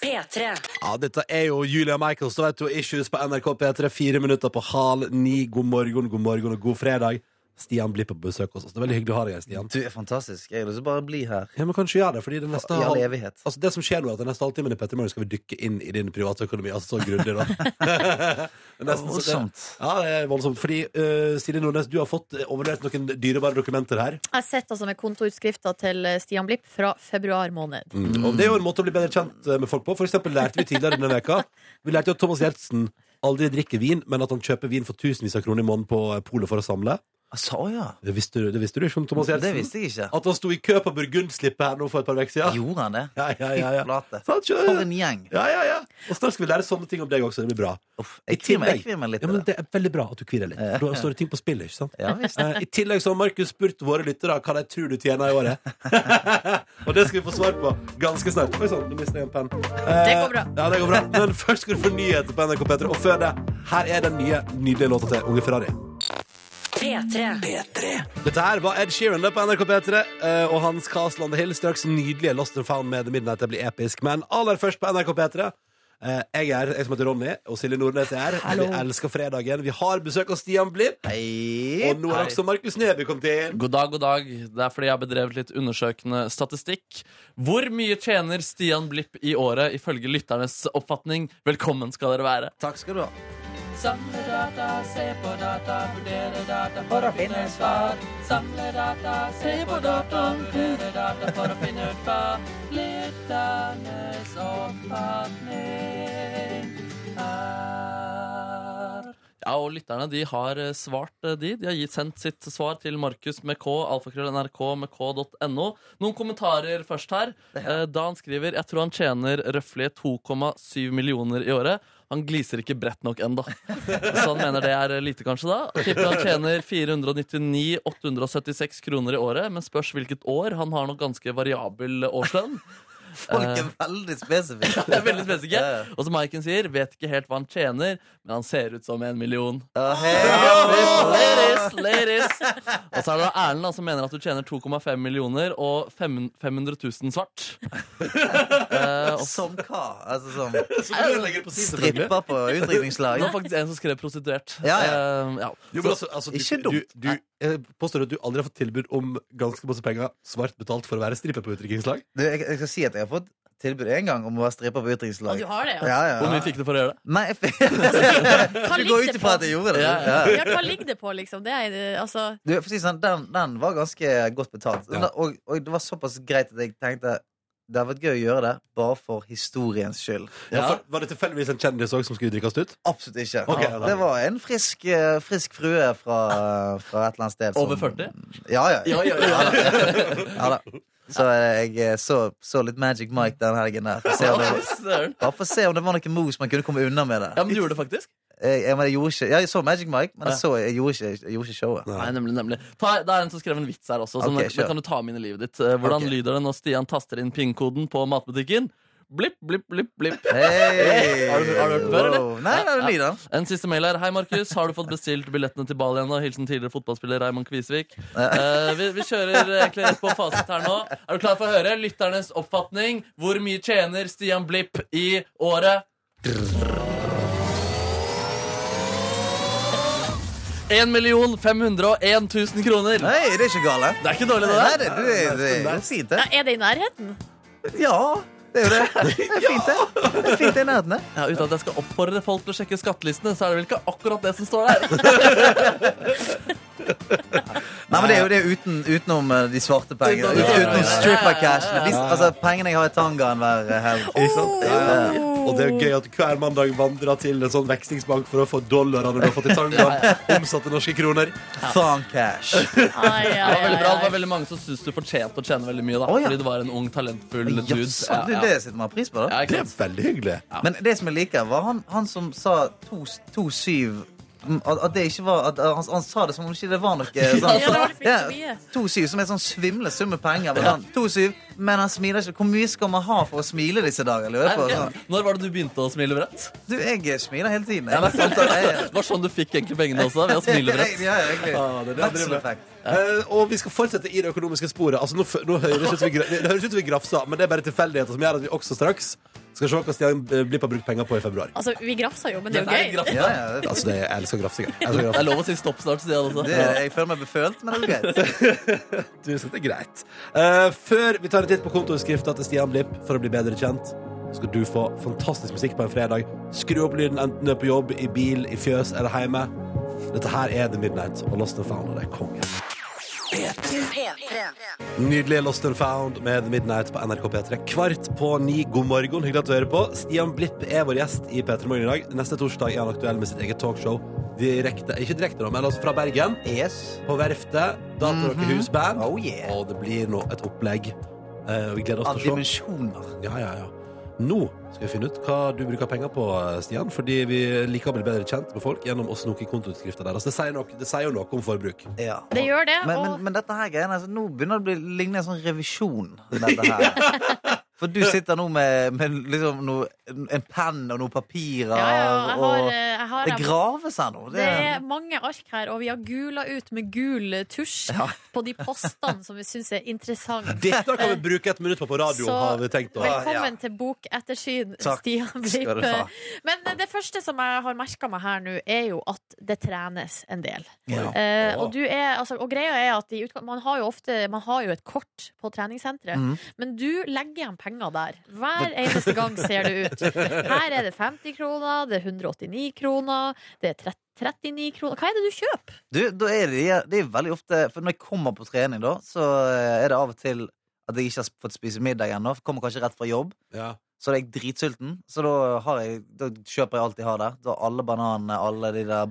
Speaker 1: P3.
Speaker 2: Ja, dette er jo Julia Michaels da vet du, og Issues på NRK P3. Fire minutter på hal ni. God morgen, god morgen og god fredag. Stian blir på besøk hos oss. Det er veldig hyggelig å ha deg her, Stian.
Speaker 9: Du er fantastisk. Jeg har lyst til å bare bli her
Speaker 2: Ja, men kanskje gjør det, fordi det neste
Speaker 9: i all
Speaker 2: halv...
Speaker 9: evighet.
Speaker 2: Altså, det som skjer nå, er at den neste halvtimen i Petter Morgen skal vi dykke inn i din privatøkonomi. Altså så grundig, da.
Speaker 9: <laughs>
Speaker 2: <laughs> Det er nesten så det-
Speaker 9: Voldsomt.
Speaker 2: Ja, det er voldsomt. Fordi, eh, Silje Nordnes, du har fått eh, overlevert noen dyrebare dokumenter her.
Speaker 4: Jeg sitter altså med kontoutskrifta til eh, Stian Blipp fra februar måned.
Speaker 9: Mm.
Speaker 2: Og det er jo en måte å bli bedre kjent eh, med folk på. For eksempel lærte vi tidligere denne veka Vi lærte jo at Thomas Gjertsen aldri drikker vin, men at han kjøper vin for tusenvis av kroner i måneden på eh, polet for å samle.
Speaker 9: Altså, å ja.
Speaker 2: Det visste du, det visste du ikke om Thomas
Speaker 9: Det
Speaker 2: Gjertsen?
Speaker 9: visste jeg ikke.
Speaker 2: At han sto i kø på Burgundslippet her nå for et par uker siden?
Speaker 9: Gjorde han det?
Speaker 2: Ja, ja, ja,
Speaker 9: Fy
Speaker 2: ja.
Speaker 9: flate.
Speaker 2: Sant, kjører.
Speaker 9: For en gjeng.
Speaker 2: ja, ja, ja. Og snart skal vi lære sånne ting om deg også. Det blir bra.
Speaker 9: Uff,
Speaker 2: I
Speaker 9: jeg kvir meg- jeg
Speaker 2: tillegg-
Speaker 9: kvir meg litt.
Speaker 2: Ja,
Speaker 9: i
Speaker 2: men
Speaker 9: det.
Speaker 2: det er veldig bra at du kvirer litt. Da står det ting på spill, ikke sant?
Speaker 9: Ja, visst.
Speaker 2: Eh, I tillegg så har Markus spurt våre lyttere hva de tror du tjener i året. <laughs> og det skal vi få svar på ganske snart. Oi sann, nå mistet jeg en penn. Eh,
Speaker 4: Det går bra.
Speaker 2: Ja, det går bra. Men først skal du få nyheter på NRK P3. Og før det, her er den nye, nydelige låta til Unge Ferrari.
Speaker 1: P3.
Speaker 2: Dette her var Ed Sheeran det på NRK P3 eh, og Hans Casland Hill. Straks nydelige Lost and Found med The Midnight. Det blir episk. Men aller først på NRK P3. eh, Jeg er her, jeg som heter Ronny, og Silje Nordnes er her. Vi elsker fredagen. Vi har besøk av Stian Blipp.
Speaker 9: Hei.
Speaker 2: Og nå er også Markus Neby kommet inn.
Speaker 3: God dag, god dag. Det er fordi jeg har bedrevet litt undersøkende statistikk. Hvor mye tjener Stian Blipp i året, ifølge lytternes oppfatning? Velkommen skal dere være.
Speaker 9: Takk skal du ha.
Speaker 3: Samle data, se på data, vurdere data for å finne et svar. Samle data, se på data, vurdere data for å finne ut hva lytternes oppfatning er. Ja, og lytterne de har eh, svart, eh, de. De har gitt, sendt sitt svar til Markus med K, alfakrøll NRK med k.no. Noen kommentarer først her. Eh, Da han skriver Jeg tror han tjener røftlig 2,7 millioner i året. Han gliser ikke bredt nok <laughs> ennå. Så han mener det er lite, kanskje, da. Tipper han tjener 499 876 kroner i året, men spørs hvilket år. Han har nok ganske variabel årslønn.
Speaker 9: Folk er veldig spesifikke.
Speaker 3: Eh. <laughs> Det er veldig spesifikke.
Speaker 9: <laughs> Ja, ja.
Speaker 3: Og som Maiken sier, vet ikke helt hva han tjener, men han ser ut som en million.
Speaker 9: Ja, hei.
Speaker 3: Ladies, <laughs> ladies. Og så er det da Erlend da, som mener at du tjener 2,5 millioner og fem- 500 000
Speaker 9: <laughs>
Speaker 3: svart. Eh, og
Speaker 9: Som hva? Altså som
Speaker 2: selvfølgelig.
Speaker 9: stripper på
Speaker 3: det var
Speaker 9: utdrikningslaget?
Speaker 3: faktisk en som skrev prostituert.
Speaker 9: Ja,
Speaker 3: Eh, ja.
Speaker 2: Jo, men altså, altså, du,
Speaker 9: Ikke dumt.
Speaker 2: Du, du, jeg påstår at du aldri har fått tilbud om ganske masse penger svart betalt for å være stripper på utdrikningslag?
Speaker 9: Du, jeg, jeg skal si at jeg har fått tilbud én gang om å være stripper på
Speaker 4: Og du
Speaker 9: utdrikningslaget.
Speaker 4: har det, ja.
Speaker 9: Ja,
Speaker 3: Hvor
Speaker 9: ja.
Speaker 3: mye fikk du for å gjøre det?
Speaker 9: Nei, jeg
Speaker 3: <laughs>
Speaker 9: fikk-
Speaker 4: Hva
Speaker 9: du
Speaker 4: ligger
Speaker 9: går
Speaker 4: det
Speaker 9: ut ifra
Speaker 4: på?
Speaker 9: at <laughs> jeg gjorde det.
Speaker 3: Ja, ja.
Speaker 9: Ja.
Speaker 4: Ja, hva ligger det på, liksom? Det er, eh, altså,
Speaker 9: Du, for å si det sånn, den, den var ganske godt betalt. Den-
Speaker 2: Ja.
Speaker 9: Og, og det var såpass greit at jeg tenkte det hadde vært gøy å gjøre det bare for historiens skyld.
Speaker 2: Ja, for, var det tilfeldigvis en kjendis òg som skulle drikkes ut?
Speaker 9: Absolutt ikke.
Speaker 2: Ok,
Speaker 9: Ja,
Speaker 2: da.
Speaker 9: det var en frisk, eh, frisk frue fra, fra et eller annet sted. som-
Speaker 3: Over 40?
Speaker 9: Ja, ja. ja.
Speaker 3: ja, ja.
Speaker 9: ja da. Så jeg eh, så, så litt Magic Mike den helgen der. For å se om det,
Speaker 3: Søren.
Speaker 9: bare for å se om det var noe mos man kunne komme unna med
Speaker 3: Ja,
Speaker 9: det.
Speaker 3: men du gjorde det faktisk?
Speaker 9: Jeg, jeg, men jeg, gjorde ikke, ja, jeg så Magic Mike, men jeg, så, jeg, gjorde, ikke, jeg gjorde ikke showet.
Speaker 3: Nei, nemlig, nemlig Ta, Det er en som skrev en vits her også. Som
Speaker 9: Ok,
Speaker 3: den-
Speaker 9: kjør.
Speaker 3: den kan du ta med inn i livet ditt. Eh, Hvordan
Speaker 9: Ok.
Speaker 3: lyder det når Stian taster inn pin-koden på matbutikken? Blipp, blipp, blipp, blipp.
Speaker 9: Hey.
Speaker 3: Har du- har du hørt den før, eller?
Speaker 9: Wow. Nei, det er ny, da.
Speaker 3: En siste mail her. Hei, Markus. Har du fått bestilt billettene til Bali ennå? Hilsen tidligere fotballspiller Raymond Kvisvik. Eh, vi, vi kjører egentlig rett på fasit her nå. Er du klar for å høre lytternes oppfatning? Hvor mye tjener Stian Blipp i året? Én million fem hundre og én tusen kroner. Det
Speaker 9: Nei, det er ikke gale.
Speaker 3: er ikke dårlig, det
Speaker 9: Nei,
Speaker 3: der.
Speaker 9: det, du, er- det er jo fint, det.
Speaker 4: ja, er det i nærheten?
Speaker 9: Ja, det er jo det. Det er fint, det. Det er fint det i nærheten, det.
Speaker 3: Ja, Uten at jeg skal oppfordre folk til å sjekke skattelistene, så er det vel ikke akkurat det som står der.
Speaker 9: Nei, men det er jo det er uten, utenom eh, de svarte pengene.
Speaker 3: Utenom de svarte
Speaker 9: Utenom
Speaker 3: pengene.
Speaker 9: stripper-cashene. De- Altså, pengene jeg har i tangaen hver helg.
Speaker 2: Ikke sant? Ja, ja. Og det er jo gøy at du hver mandag vandrer til en sånn vekstingsbank for å få dollarene du har fått i tangaen, omsatt til norske kroner.
Speaker 9: Thang cash.
Speaker 4: Ai, ai,
Speaker 3: Det var veldig
Speaker 4: ai,
Speaker 3: bra, det
Speaker 4: ai.
Speaker 3: var veldig mange som syntes du fortjente å tjene veldig mye. da
Speaker 9: Eh, Å, ja.
Speaker 3: Fordi du var en ung, talentfull dude.
Speaker 9: Jaså, det er det jeg setter mer pris på, da.
Speaker 3: Ja, ikke
Speaker 2: Det er
Speaker 3: sant?
Speaker 2: veldig hyggelig.
Speaker 9: Men det som jeg liker, var han, han som sa 2-7 mm, at, at det ikke var at, at han, han sa det som om ikke det var noe sånn.
Speaker 4: Ja, det var liksom ikke så mye.
Speaker 9: 2-7, som er sånn svimle sum med penger. Men, han, 2-7, men han smiler ikke. Hvor mye skal man ha for å smile disse dager?
Speaker 3: Nei,
Speaker 9: Lurer jeg på.
Speaker 3: ok.
Speaker 9: Sånn.
Speaker 3: Når var det du begynte å smile bredt?
Speaker 9: Du, jeg smiler hele tiden.
Speaker 3: Ja, det, er sant, det.
Speaker 9: Jeg-
Speaker 3: <laughs> det var sånn du fikk egentlig pengene også, ved å smile bredt.
Speaker 9: Ja, egentlig.
Speaker 2: Ja, det er det jeg driver med.
Speaker 9: Vekseleffekt.
Speaker 2: Eh, og vi skal fortsette i det økonomiske sporet. Altså, nå, f- nå høres ut som vi, gra- det høres ut som vi grafser, men det er bare tilfeldigheter som gjør at vi også straks skal se hva Stian eh, Blipp har brukt penger på i februar.
Speaker 4: Altså, vi grafsa jo, men det
Speaker 3: Det
Speaker 4: er
Speaker 3: er
Speaker 4: jo gøy.
Speaker 3: gratis.
Speaker 9: Ja, ja, det,
Speaker 2: Altså, det er, jeg elsker grafsing. jeg. Jeg elsker
Speaker 3: Det
Speaker 2: grafsing.
Speaker 3: er lov å si stopp snart, sier han også.
Speaker 9: det, jeg føler meg befølt, men det er greit.
Speaker 2: Du synes det er greit. Eh, før vi tar en titt på kontoutskrifta til Stian Blipp for å bli bedre kjent, skal du få fantastisk musikk på en fredag. Skru opp lyden enten du er på jobb, i bil, i fjøs eller hjemme. Dette her er The Midnight og Lost and Found, og det er konge. Nydelig Lost and Found med The Midnight på NRK P3. Kvart på ni, god morgen. Hyggelig at du hører på. Stian Blipp er vår gjest i P3 Morgen i dag. Neste torsdag er han aktuell med sitt eget talkshow direkte, ikke direkte, da, men altså fra Bergen.
Speaker 9: Yes.
Speaker 2: På Verftet. Datarockerhusband.
Speaker 9: Oh yeah.
Speaker 2: Og det blir nå et opplegg. Eh, og vi gleder
Speaker 9: Av
Speaker 2: oss til å se.
Speaker 9: dimensjoner.
Speaker 2: Ja, ja, ja. Nå skal vi finne ut hva du bruker penger på, Stian. Fordi vi liker å bli bedre kjent med folk gjennom å snoke i kontoutskrifta deres. Det sier, nok- det sier jo noe om forbruk.
Speaker 9: Ja.
Speaker 4: Det gjør det,
Speaker 9: Men,
Speaker 4: og
Speaker 9: men, men dette her greiene, altså, nå begynner det å bli, ligne en sånn revisjon.
Speaker 4: <laughs>
Speaker 9: Dette her. For du sitter nå med, med liksom noe, en penn og noen papirer,
Speaker 4: ja, ja, jeg har,
Speaker 9: og
Speaker 4: eh, jeg har
Speaker 9: det graves her nå.
Speaker 4: Det er mange ark her, og vi har gula ut med gul eh, tusj på de postene som vi syns er
Speaker 9: <laughs>
Speaker 4: interessante.
Speaker 2: Dette kan vi bruke et minutt på på radio,
Speaker 4: Så,
Speaker 2: har vi tenkt. å-
Speaker 4: Velkommen til Bokettersyn,
Speaker 9: Takk
Speaker 4: Stian
Speaker 9: skal du
Speaker 4: Blipp.
Speaker 9: ha.
Speaker 4: Men eh, det første som jeg har merka meg her nå, er jo at det trenes en del.
Speaker 9: Ja.
Speaker 4: Eh, og, du er, altså, og greia er at i utgang, man har jo ofte Man har jo et kort på treningssenteret,
Speaker 9: Mhm.
Speaker 4: men du legger igjen penger der. Hver eneste gang ser det ut. Her er det 50 kroner, det er 189 kroner, det er 30 39 kroner Hva er det du kjøper?
Speaker 9: Du, da er det, det er veldig ofte For når jeg kommer på trening, da, så eh, er det av og til at jeg ikke har fått spise middag ennå. Kommer kanskje rett fra jobb.
Speaker 2: Ja.
Speaker 9: Så er jeg dritsulten, så da, har jeg, da kjøper jeg alt jeg har der. Da har alle bananene, alle de der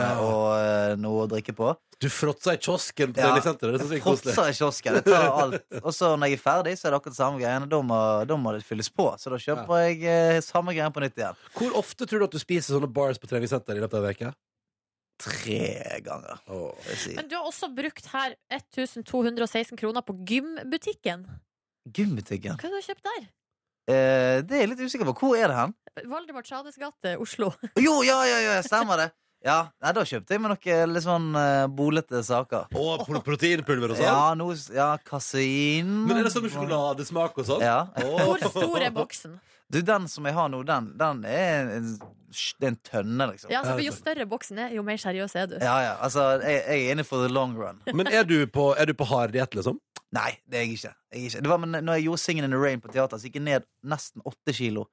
Speaker 2: Å, ja.
Speaker 9: og eh, noe å drikke på.
Speaker 2: Du fråtsa i kiosken på
Speaker 9: Ja.
Speaker 2: treningssenteret. Det synes jeg er koselig.
Speaker 9: Fråtser i kiosken. Jeg tar alt. Og så når jeg er ferdig, så er det akkurat samme greiene. Da må, da må det fylles på. Så da kjøper jeg eh, samme greiene på nytt igjen.
Speaker 2: Hvor ofte tror du at du spiser sånne bars på treningssenteret i løpet av en uke?
Speaker 9: Tre ganger. vil jeg Si.
Speaker 4: Men du har også brukt her 1216 kroner på gymbutikken.
Speaker 9: Gymbutikken.
Speaker 4: Hva har du kjøpt der?
Speaker 9: Eh, det er jeg litt usikker på. Hvor er det hen?
Speaker 4: Valdemar Tsjades gate,
Speaker 9: <laughs>
Speaker 4: Oslo.
Speaker 9: Jo, ja, ja, ja, stemmer det. Ja, nei, Da kjøpte jeg meg noen litt sånn eh, bolete saker.
Speaker 2: Og pro- proteinpulver og sånn.
Speaker 9: Ja, noe, s- ja, kasein
Speaker 2: Men er det sånn med sjokoladesmak og sånn?
Speaker 9: Ja.
Speaker 2: Åh.
Speaker 4: Hvor stor
Speaker 2: <laughs>
Speaker 4: er boksen?
Speaker 9: Du, den som jeg har nå, den, den er en, det er en tønne, liksom.
Speaker 4: Ja, så Jo større boksen er, jo mer seriøs er du.
Speaker 9: ja, ja, altså, jeg, jeg er inne for the long run.
Speaker 2: Men er du på, er du på hard diett, liksom?
Speaker 9: Nei, det er jeg ikke. Jeg er ikke. Det var men når jeg gjorde Singing in the Rain på teater, så gikk jeg ned nesten åtte kilo.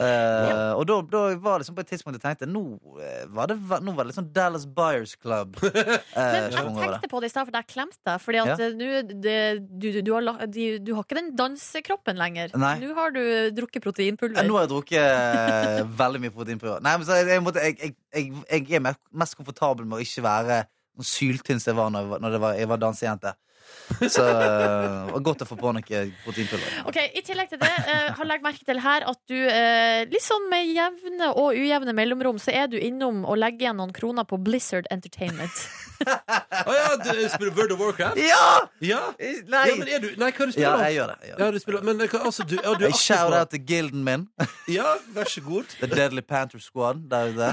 Speaker 9: Eh, Og da, da var det sånn på et tidspunkt jeg tenkte nå eh, var det, ve- nå var det litt sånn Dallas Buyers
Speaker 2: <laughs>
Speaker 9: Club. Uh,
Speaker 4: Men jeg tenkte på det i stad, for jeg klemte deg. Fordi at
Speaker 9: Ja.
Speaker 4: eh, nå, det- du, du, du, har, la- de- du har ikke den dansekroppen lenger.
Speaker 9: Nei.
Speaker 4: Nå har du drukket proteinpulver.
Speaker 9: Ja, nå har jeg drukket eh, veldig mye proteinpulver. Nei, men så jeg, jeg, måtte- jeg, jeg, jeg, jeg er me- mest komfortabel med å ikke være så syltynn som jeg var når jeg var, når det var, jeg var dansejente. Så eh, det var godt å få på noe proteinpulver.
Speaker 4: Ok, I tillegg til det eh, har lagt merke til her at du eh, liksom med jevne og ujevne mellomrom så er du innom og legger igjen noen kroner på Blizzard Entertainment.
Speaker 2: Å ja, du spiller World of Warcraft?
Speaker 9: Ja!
Speaker 2: Ja!
Speaker 9: Jeg-
Speaker 2: ja men
Speaker 9: Nei!
Speaker 2: er du Nei, hva er det du
Speaker 9: Ja,
Speaker 2: spiller?
Speaker 9: jeg gjør det. Jeg
Speaker 2: Ja,
Speaker 9: gjør det.
Speaker 2: du spiller Men hva- altså, du, ja, du er
Speaker 9: Jeg shout
Speaker 2: aktiv
Speaker 9: out til gilden min,
Speaker 2: på Ja, vær så god.
Speaker 9: The Deadly Panther Squad. Der ute.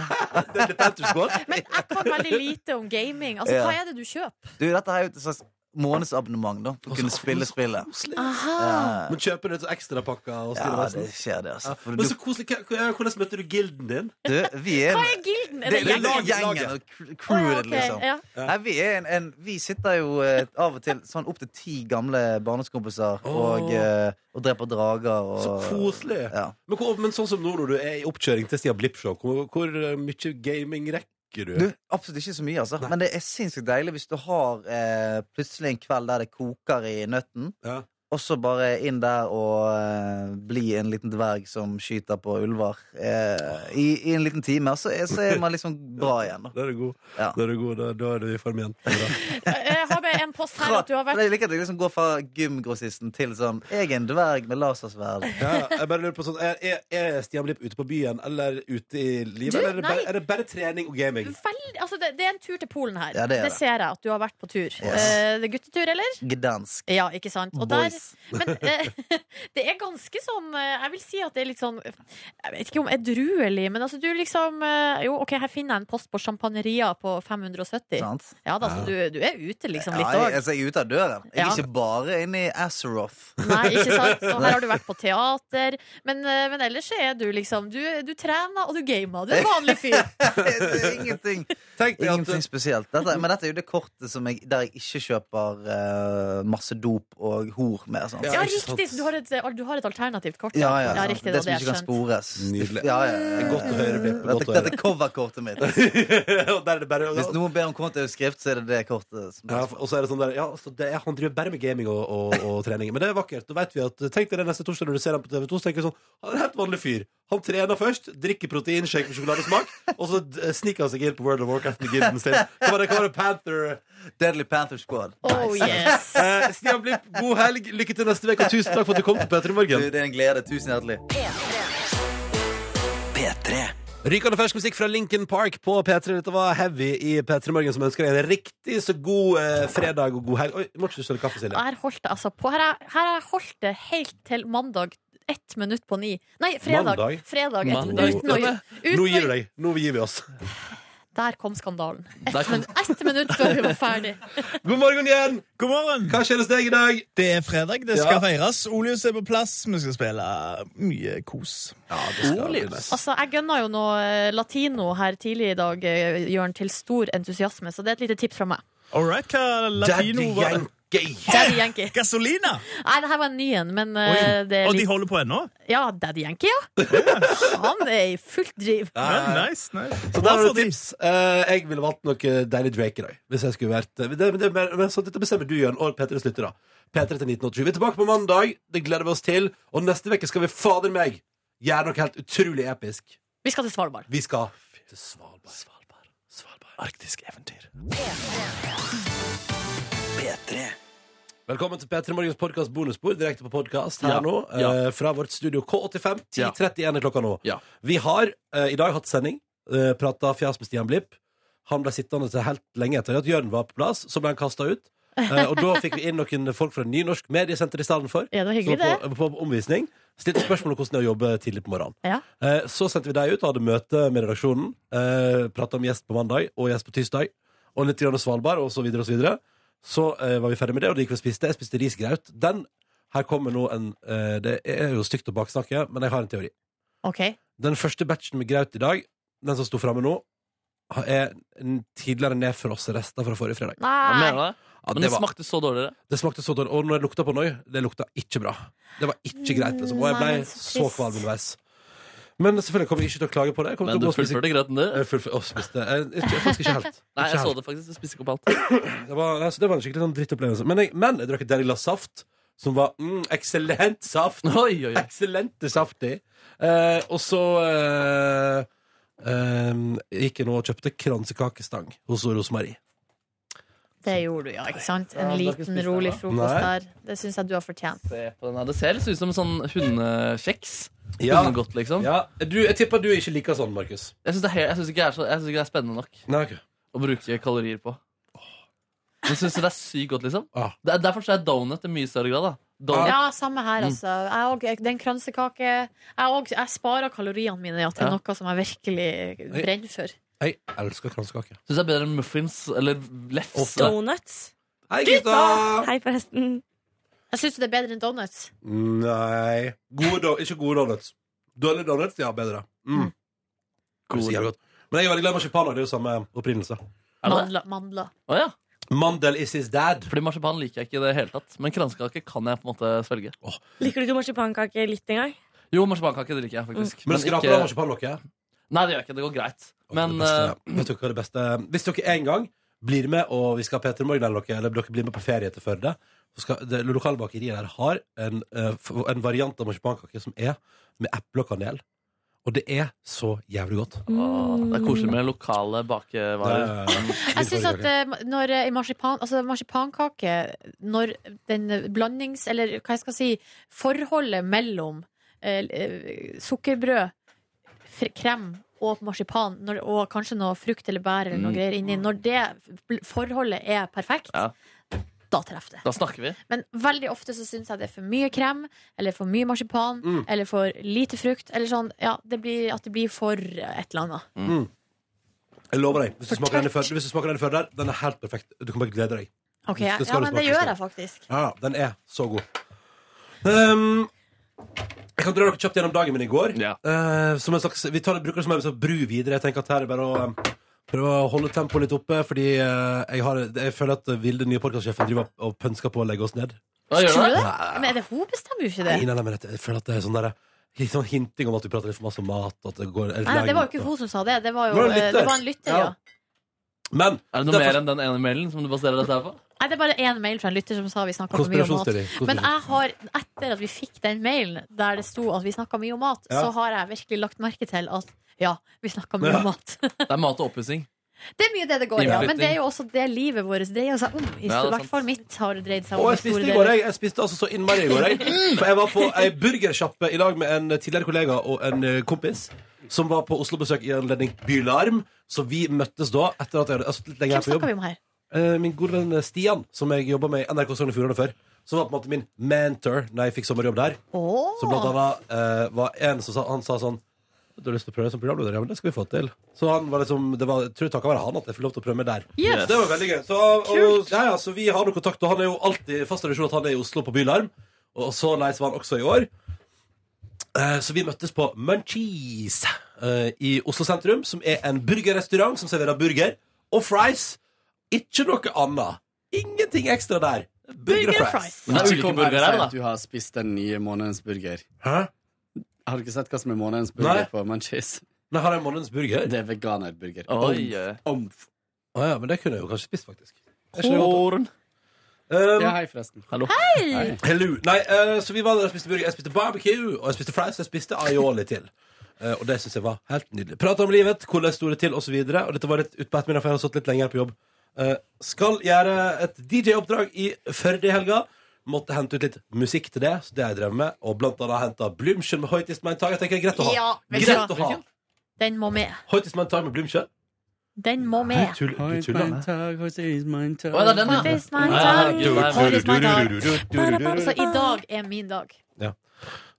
Speaker 2: Det er Panther
Speaker 9: <laughs>
Speaker 2: Squad.
Speaker 4: Men jeg kan veldig lite om gaming. Altså,
Speaker 9: Ja.
Speaker 4: Hva er det du kjøper?
Speaker 9: Du, dette her er jo et slags månedsabonnement da, for å kunne spille spillet.
Speaker 2: Koselig.
Speaker 4: Aha.
Speaker 9: Ja,
Speaker 2: Men kjøper du et ekstrapakke og styrer
Speaker 9: ja,
Speaker 2: resten?
Speaker 9: det skjer, det, altså.
Speaker 2: sånn. Ja,
Speaker 9: For
Speaker 2: Men
Speaker 9: du,
Speaker 2: så koselig. Hva- hva- Hvordan møtte du gilden din?
Speaker 9: du, vi er
Speaker 4: Hva er gilden? Er
Speaker 9: det,
Speaker 4: det,
Speaker 9: det
Speaker 2: lag-
Speaker 9: er
Speaker 4: gjengen?
Speaker 9: gjengen og cr- crewet,
Speaker 4: Å, ja, ok,
Speaker 9: liksom.
Speaker 4: ja.
Speaker 9: Nei, vi, er en, en, vi sitter jo eh, av og til sånn opptil ti gamle barndomskompiser og,
Speaker 2: Åh.
Speaker 9: eh, og dreper drager og
Speaker 2: Så koselig.
Speaker 9: Ja.
Speaker 2: Men, hvor, men sånn som nå når du er i oppkjøring til Stian Blipp-show, hvor, hvor eh, mye gaming rekker du?
Speaker 9: Du, absolutt ikke så mye, altså. Men det er sinnssykt deilig hvis du har eh, plutselig en kveld der det koker i nøtten,
Speaker 2: Ja.
Speaker 9: og så bare inn der og eh, bli en liten dverg som skyter på ulver eh, i, i en liten time, og så, er- så er man liksom bra
Speaker 4: <laughs>
Speaker 9: igjen. Da.
Speaker 2: Da er du god.
Speaker 9: Ja.
Speaker 2: Da er du god, da, da er du i form igjen. Det er bra.
Speaker 4: Jeg Eh, har med en post her
Speaker 9: Fra,
Speaker 4: at du har
Speaker 9: for
Speaker 4: vært
Speaker 9: jeg liker at jeg liksom går fra gymgrossisten til sånn Jeg er en dverg med lasersverd.
Speaker 2: Ja, jeg bare lurer på sånn Er, er- er Stian Blipp ute på byen eller ute i livet?
Speaker 4: Du,
Speaker 2: eller er det, bare,
Speaker 4: nei.
Speaker 2: er det bare trening og gaming?
Speaker 4: Vel, altså det, det er en tur til Polen her.
Speaker 9: Ja, det er det.
Speaker 4: ser jeg at du har vært på tur. Eh, det er guttetur, eller?
Speaker 9: Gdansk.
Speaker 4: Ja, ikke sant? Og der,
Speaker 9: Boys. <laughs>
Speaker 4: men eh, <laughs> det er ganske sånn eh, Jeg vil si at det er litt sånn Jeg vet ikke om edruelig, men altså du liksom eh, Jo, OK, her finner jeg en post på Champagneria på 570.
Speaker 9: Sant?
Speaker 4: Ja da, så du, du er ute liksom litt
Speaker 9: ja, jeg,
Speaker 4: òg.
Speaker 9: altså, jeg er ute av døren. Jeg er
Speaker 4: Ja.
Speaker 9: ikke bare inne i Azeroth. <laughs>
Speaker 4: Nei, ikke sant? Og her har du vært på teater. Men, eh, men ellers så er du liksom Du, du trener, og du gamer. Du er en vanlig fyr.
Speaker 9: <laughs> Det er Ingenting,
Speaker 2: Tenk deg
Speaker 9: ingenting
Speaker 2: at
Speaker 9: spesielt. Dette, men dette er jo det kortet som jeg, der jeg ikke kjøper eh, masse dop og hor med. Sant?
Speaker 4: Ja,
Speaker 2: Ja, ikke sant.
Speaker 4: riktig! Så du har et, eh, du har et alternativt kort.
Speaker 9: Ja, ja, sant.
Speaker 4: riktig,
Speaker 9: det,
Speaker 4: da,
Speaker 9: som
Speaker 4: er
Speaker 9: ikke kan
Speaker 4: skjønt.
Speaker 9: spores.
Speaker 2: Nydelig.
Speaker 9: Ja, ja, ja, ja.
Speaker 2: Godt å høre, Blipp. Godt
Speaker 9: Dette,
Speaker 2: å
Speaker 9: dette
Speaker 2: høre.
Speaker 9: er coverkortet
Speaker 2: <laughs>
Speaker 9: mitt.
Speaker 2: Og der er det bare
Speaker 9: Hvis
Speaker 2: ja,
Speaker 9: noen ber om kontoutskrift, så er det det kortet. Som
Speaker 2: ja, og så er det sånn der Ja, altså, det er, han driver bare med gaming og, og, og trening. Men det er vakkert. Da vet vi at Tenk deg det neste torsdag når du ser ham på TV2. Så tenker du sånn Han er en helt vanlig fyr. Han trener først, drikker proteinshake med sjokoladesmak, og så d- sniker han seg inn på World of Warcraft med gilden sin. Hva var det, hva var det Panther
Speaker 9: Deadly Panther Squad.
Speaker 4: Oh
Speaker 3: <laughs>
Speaker 4: yes!
Speaker 2: Eh, Stian Blipp, god helg, lykke til neste uke, og tusen takk for at du kom til Petter i
Speaker 9: Du,
Speaker 2: morgen.
Speaker 9: det er en glede. Tusen hjertelig.
Speaker 2: Rykende fersk musikk fra Lincoln Park på P3. Dette var Heavy i P3 Morgen, som ønsker deg en riktig så god eh, fredag og god helg. Oi, må ikke du søle kaffe,
Speaker 4: Og
Speaker 2: Silje?
Speaker 4: her holdt det altså på Her har her har jeg holdt det helt til mandag ett minutt på ni. Nei, fredag.
Speaker 2: Mandag?
Speaker 4: Fredag, et,
Speaker 3: Mandag.
Speaker 4: Uten å, uten
Speaker 2: Nå
Speaker 4: å-
Speaker 2: gir du deg. Nå gir vi oss.
Speaker 4: Der kom skandalen. Ett
Speaker 3: Der kom-
Speaker 4: minutt, ett minutt før vi var ferdig.
Speaker 3: <laughs>
Speaker 2: God morgen igjen!
Speaker 10: God morgen!
Speaker 2: Hva skjer hos deg i dag?
Speaker 10: Det er fredag, det skal feires. Olius er på plass, vi skal spille mye kos.
Speaker 3: Olius.
Speaker 4: Altså, Jeg gønna jo noe eh, latino her tidlig i dag, eh, Jørn, til stor entusiasme, så det er et lite tips fra meg.
Speaker 10: All right, hva
Speaker 2: Daddy
Speaker 10: latino var det?
Speaker 2: Yankee.
Speaker 4: Daddy Yankee.
Speaker 10: Gasolina!
Speaker 4: Nei, det her var en ny en, men eh, det er
Speaker 10: Og de
Speaker 4: litt,
Speaker 10: holder på ennå?
Speaker 4: Ja, Daddy Yankee, ja. Han er i fullt driv.
Speaker 10: Ja, nice, nice.
Speaker 2: Så
Speaker 10: Bra
Speaker 2: der har
Speaker 10: for
Speaker 2: du
Speaker 10: de.
Speaker 2: tips. Eh, jeg ville valgt noe deilig Drake i dag. Hvis jeg skulle vært Men, det, men, det, men, men så dette bestemmer du, Jørn, og P3 slutter, da. P3 til 1987. Vi er tilbake på mandag. Det gleder vi oss til. Og neste uke skal vi fader meg gjøre noe helt utrolig episk.
Speaker 4: Vi skal til Svalbard.
Speaker 2: Vi skal til Svalbard. Svalbard.
Speaker 10: Arktisk eventyr.
Speaker 2: Velkommen til P3 Morgens podkast bonusbord direkte på podkast her
Speaker 3: Ja,
Speaker 2: nå.
Speaker 3: ja.
Speaker 2: Eh, fra vårt studio K85.
Speaker 3: Ja.
Speaker 2: 10.31 er klokka nå.
Speaker 3: Ja.
Speaker 2: Vi har eh, i dag hatt sending. Eh, Prata fjas med Stian Blipp. Han ble sittende til helt lenge etter at Jørn var på plass. Så ble han kasta ut. Eh, og da fikk vi inn noen folk fra Nynorsk Mediesenter i stedet for.
Speaker 4: Ja, det var hyggelig,
Speaker 2: som var på, på omvisning. Stilte spørsmål om hvordan det er å jobbe tidlig på morgenen.
Speaker 4: Ja.
Speaker 2: Eh, Så sendte vi deg ut og hadde møte med redaksjonen. Eh, Prata om gjest på mandag og gjest på tirsdag. Og litt grann om Svalbard og så videre og så videre. Så eh, var vi ferdig med det, og det gikk vi og spiste. Jeg spiste risgraut. Den Her kommer nå en eh, Det er jo stygt å baksnakke, men jeg har en teori.
Speaker 4: OK.
Speaker 2: Den første batchen med graut i dag, den som sto framme nå, er en tidligere nedfrosset rester fra forrige fredag.
Speaker 3: Hva
Speaker 4: Nei.
Speaker 3: mener du?
Speaker 2: Ja,
Speaker 3: Men det
Speaker 2: var-
Speaker 3: smakte så dårligere.
Speaker 2: det smakte så dårlig. Og når jeg lukta på Noi, det lukta ikke bra. Det var ikke greit, liksom. Og jeg ble
Speaker 4: Nei, så
Speaker 2: så
Speaker 4: trist.
Speaker 2: kvalm underveis. Men selvfølgelig kommer jeg ikke til å klage på det. Jeg kommer til
Speaker 3: Men du
Speaker 2: å gå og spise
Speaker 3: fullførte grøten, du.
Speaker 2: Jeg fullfør- å, spiste. Jeg, jeg, jeg, faktisk ikke helt.
Speaker 3: Nei,
Speaker 2: Ikke
Speaker 3: jeg så
Speaker 2: helt.
Speaker 3: det faktisk. Du spiser ikke opp alt.
Speaker 2: Det var, nei, så det var en skikkelig sånn drittopplevelse. Men jeg, men jeg drakk et deilig glass saft, som var mm, eksellent saft.
Speaker 3: <laughs> Oi, oi, oi.
Speaker 2: Eksellente saftig. Eh, og så eh, eh, gikk jeg nå og kjøpte kransekakestang hos Rosmarie.
Speaker 4: Det gjorde du, ja. ikke sant?
Speaker 3: Ja,
Speaker 4: En
Speaker 3: du har ikke
Speaker 4: liten,
Speaker 3: spist
Speaker 4: rolig
Speaker 3: den, da.
Speaker 4: frokost
Speaker 2: Nei.
Speaker 4: der. Det syns jeg du har fortjent.
Speaker 3: Se på den her. Det ser litt ut som sånn hundekjeks.
Speaker 2: Ja.
Speaker 3: Hundegodt, liksom.
Speaker 2: Ja, du, jeg tipper du ikke liker sånn, Markus.
Speaker 3: Jeg syns ikke, det er så- jeg synes ikke det er spennende nok
Speaker 2: Nei, ok.
Speaker 3: å bruke kalorier på. Men syns du det er sykt godt, liksom?
Speaker 2: Ah.
Speaker 3: Det er derfor så er donut i mye større grad. da Donut
Speaker 4: Ja, samme her, altså. Jeg og, det er en kransekake. Jeg, og, jeg sparer kaloriene mine ja, til
Speaker 3: Ja.
Speaker 4: noe som jeg virkelig brenner for.
Speaker 2: Jeg elsker kransekake.
Speaker 3: syns jeg er bedre enn muffins eller lefse.
Speaker 11: Donuts.
Speaker 2: Hei, gutta!
Speaker 11: Hei, forresten.
Speaker 4: Jeg syns det er bedre enn donuts.
Speaker 2: Nei gode, do- Ikke gode donuts. Dårlige donuts, ja, bedre. Mm.
Speaker 3: Gode.
Speaker 2: Sikkert godt. Men jeg er veldig glad i marsipan. og Det er jo samme opprinnelse.
Speaker 3: Er det det?
Speaker 4: Mandler. mandler.
Speaker 3: Å ja.
Speaker 2: Mandel is his dad.
Speaker 3: Fordi marsipan liker jeg ikke i det hele tatt. Men kransekake kan jeg på en måte svelge.
Speaker 11: Liker du ikke marsipankake litt engang?
Speaker 3: Jo, marsipankake drikker jeg faktisk.
Speaker 2: Mm. Men skraper av marsipanlokket?
Speaker 3: Nei, det gjør jeg ikke. Det går greit.
Speaker 2: Å,
Speaker 3: Men eh,
Speaker 2: det beste. Vet dere hva er det beste Hvis dere en gang blir med og vi skal ha Peter Morgen eller dere, eller dere blir med på ferie til Førde så skal, Det lokale bakeriet der har en, eh, f- en variant av marsipankake som er med eple og kanel. Og det er så jævlig godt.
Speaker 3: eh, å, det er koselig med lokale bakevarer.
Speaker 4: Jeg syns at eh, når eh, i marsipan, altså marsipankake Når den blandings... Eller hva jeg skal si Forholdet mellom eh, eh, sukkerbrød, fr- krem og marsipan, når, og kanskje noe frukt eller bær eller noe
Speaker 3: Mm.
Speaker 4: greier inni, når det bl- forholdet er perfekt,
Speaker 3: Ja.
Speaker 4: da treffer det.
Speaker 3: Da snakker vi.
Speaker 4: Men veldig ofte så syns jeg det er for mye krem, eller for mye marsipan,
Speaker 2: Mm.
Speaker 4: eller for lite frukt. Eller sånn, ja, det blir, at det blir for et eller annet.
Speaker 2: Jeg lover deg. Hvis du
Speaker 4: For
Speaker 2: smaker den i
Speaker 4: tørt.
Speaker 2: Førde, hvis du smaker den i Førde der, den er helt perfekt. Du kan bare glede deg.
Speaker 4: Ok,
Speaker 2: Det skal
Speaker 4: Ja,
Speaker 2: du
Speaker 4: men det
Speaker 2: smake,
Speaker 4: gjør
Speaker 2: Kristin.
Speaker 4: jeg faktisk.
Speaker 2: Ja, ja, den er så god. Ehm, jeg kan dra dere kjapt gjennom dagen min i går.
Speaker 3: Ja.
Speaker 2: Eh, som en slags, vi tar det, bruker det som en slags bru videre. Jeg tenker at her er det bare å eh, prøve å holde tempoet litt oppe, fordi eh, jeg, har, jeg føler at Vilde, den nye podkastsjefen, driver og pønsker på å legge oss ned.
Speaker 3: Hva gjør du?
Speaker 4: Tror du
Speaker 3: da?
Speaker 4: det? Men er det hun bestemmer jo ikke det?
Speaker 2: Nei, nei, nei, men jeg føler at det er sånn der, litt sånn hinting om at vi prater litt for masse om mat. Og at det, går,
Speaker 4: Nei, det var jo ikke hun som sa det. Det var jo
Speaker 2: Var det en
Speaker 4: eh,
Speaker 2: lytter?
Speaker 4: det var en lytter.
Speaker 2: Ja.
Speaker 4: ja
Speaker 2: Men
Speaker 3: Er det noe mer enn den ene mailen som du baserer dette her på?
Speaker 4: Nei, Det er bare én mail fra en lytter som sa vi snakka for mye om mat.
Speaker 2: konspirasjonsteori.
Speaker 4: Men jeg har, etter at vi fikk den mailen der det sto at vi snakka mye om mat,
Speaker 2: Ja.
Speaker 4: så har jeg virkelig lagt merke til at ja, vi snakka mye
Speaker 2: Ja.
Speaker 4: om mat. <laughs>
Speaker 3: Det er mat og oppussing.
Speaker 4: Det er mye det det går i, ja.
Speaker 3: Innflytting.
Speaker 4: men det er jo også det livet vårt dreier seg om. I
Speaker 3: Ja, det er
Speaker 4: hvert fall
Speaker 3: sant.
Speaker 4: mitt har dreid seg
Speaker 2: Og
Speaker 4: om.
Speaker 2: jeg
Speaker 4: i store
Speaker 2: spiste i går,
Speaker 4: deler. Mm.
Speaker 2: jeg. jeg spiste altså så innmari i går jeg. For jeg var på ei burgersjappe i lag med en tidligere kollega og en eh, kompis som var på Oslo-besøk i anledning Bylarm. Så vi møttes da etter at jeg hadde altså, litt lenger
Speaker 4: Hvem
Speaker 2: her på jobb.
Speaker 4: snakker vi om her?
Speaker 2: Eh, Min gode venn Stian, som jeg jobba med i NRK Sogn og Fjordane før, som var på en måte min mentor da jeg fikk sommerjobb der.
Speaker 4: Åh.
Speaker 2: Så blant annet eh, var en som sa, han sa sånn Du har lyst til å prøve som programleder? Ja, men det skal vi få til. Så han var liksom, det var, jeg tror takket være han at jeg fikk lov til å prøve meg der.
Speaker 4: Yes.
Speaker 2: Det var veldig gøy. Så, og, ja, ja, så vi har noe kontakt, og han er jo alltid fast tradisjon at han er i Oslo på Bylarm. Og så leis var han også i år. Eh, Så vi møttes på Munchies eh, i Oslo sentrum, som er en burgerrestaurant som serverer burger og fries. Ikke noe annet. Ingenting ekstra der. Burger og fries.
Speaker 3: Men det er ulike burgere her, da.
Speaker 7: Du har spist den nye månedens burger.
Speaker 2: Hæ?
Speaker 7: Har du ikke sett hva som er månedens
Speaker 2: Nei.
Speaker 7: burger på Munchies?
Speaker 2: Nei, har jeg månedens burger?
Speaker 7: Det er veganerburger.
Speaker 3: Oi, oi.
Speaker 7: Omf.
Speaker 2: Å ja, men det kunne jeg jo kanskje spist, faktisk. Er ikke det godt, da?
Speaker 3: Korn.
Speaker 2: Um,
Speaker 7: Ja, hei, forresten.
Speaker 3: Hallo.
Speaker 2: Hello. Nei, eh, så vi var der og spiste burger. Jeg spiste barbecue, og jeg spiste fries, og jeg spiste aioli til. Eh, og det syns jeg var helt nydelig. Prata om livet, hvordan sto det til, osv. Og, så og dette var litt utpå ettermiddagen, for jeg har stått litt lenger på jobb. Eh, skal gjøre et DJ-oppdrag i Førde i helga. Måtte hente ut litt musikk til det, så det har jeg drevet med. Og blant annet henta Blümchen med Hoitist Mein Tag. Jeg tenker det er greit å ha.
Speaker 4: Ja, vet du
Speaker 2: greit
Speaker 4: hva?
Speaker 2: å ha
Speaker 4: Den må med.
Speaker 2: Hoitist Mein Tag med Blümchen.
Speaker 4: Den må med.
Speaker 7: Du tuller- du tuller med?
Speaker 4: Å, det er den, ja. What is my time?
Speaker 7: Du-
Speaker 4: What is my time?
Speaker 7: du- du- du- du- du- du- du-
Speaker 4: Så i dag er min dag.
Speaker 2: Ja.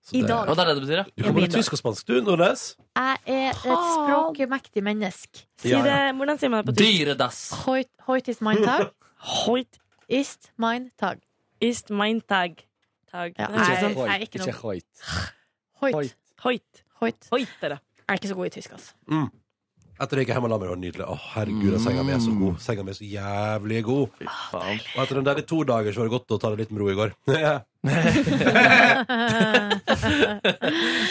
Speaker 2: Så
Speaker 4: I dag.
Speaker 2: Og det er det det betyr, ja. Du kan både tysk og spansk, du, Nordnes.
Speaker 4: Jeg er et språkmektig menneske.
Speaker 2: Si Ja, ja.
Speaker 11: Eh,
Speaker 2: det-
Speaker 4: Hvordan sier man
Speaker 3: Dyredass.
Speaker 4: Hoit, hoit is mein tag. <laughs> hoit ist mein tag.
Speaker 11: Ist mein tag. tag.
Speaker 4: Ja,
Speaker 11: Det høres
Speaker 4: jeg-
Speaker 11: ut som-
Speaker 4: jeg er ikke noe- Ikke Hoit.
Speaker 11: Hoit.
Speaker 4: Hoit.
Speaker 11: dere.
Speaker 4: Jeg er ikke så god i tysk, altså.
Speaker 2: Mm. Etter å gikk hjem og la meg, det var nydelig. Å, herregud, den senga mi er så
Speaker 3: Mm.
Speaker 2: god. Senga mi er så jævlig god. Og etter den der i to dager, så var det godt å ta det litt med ro i går. <laughs>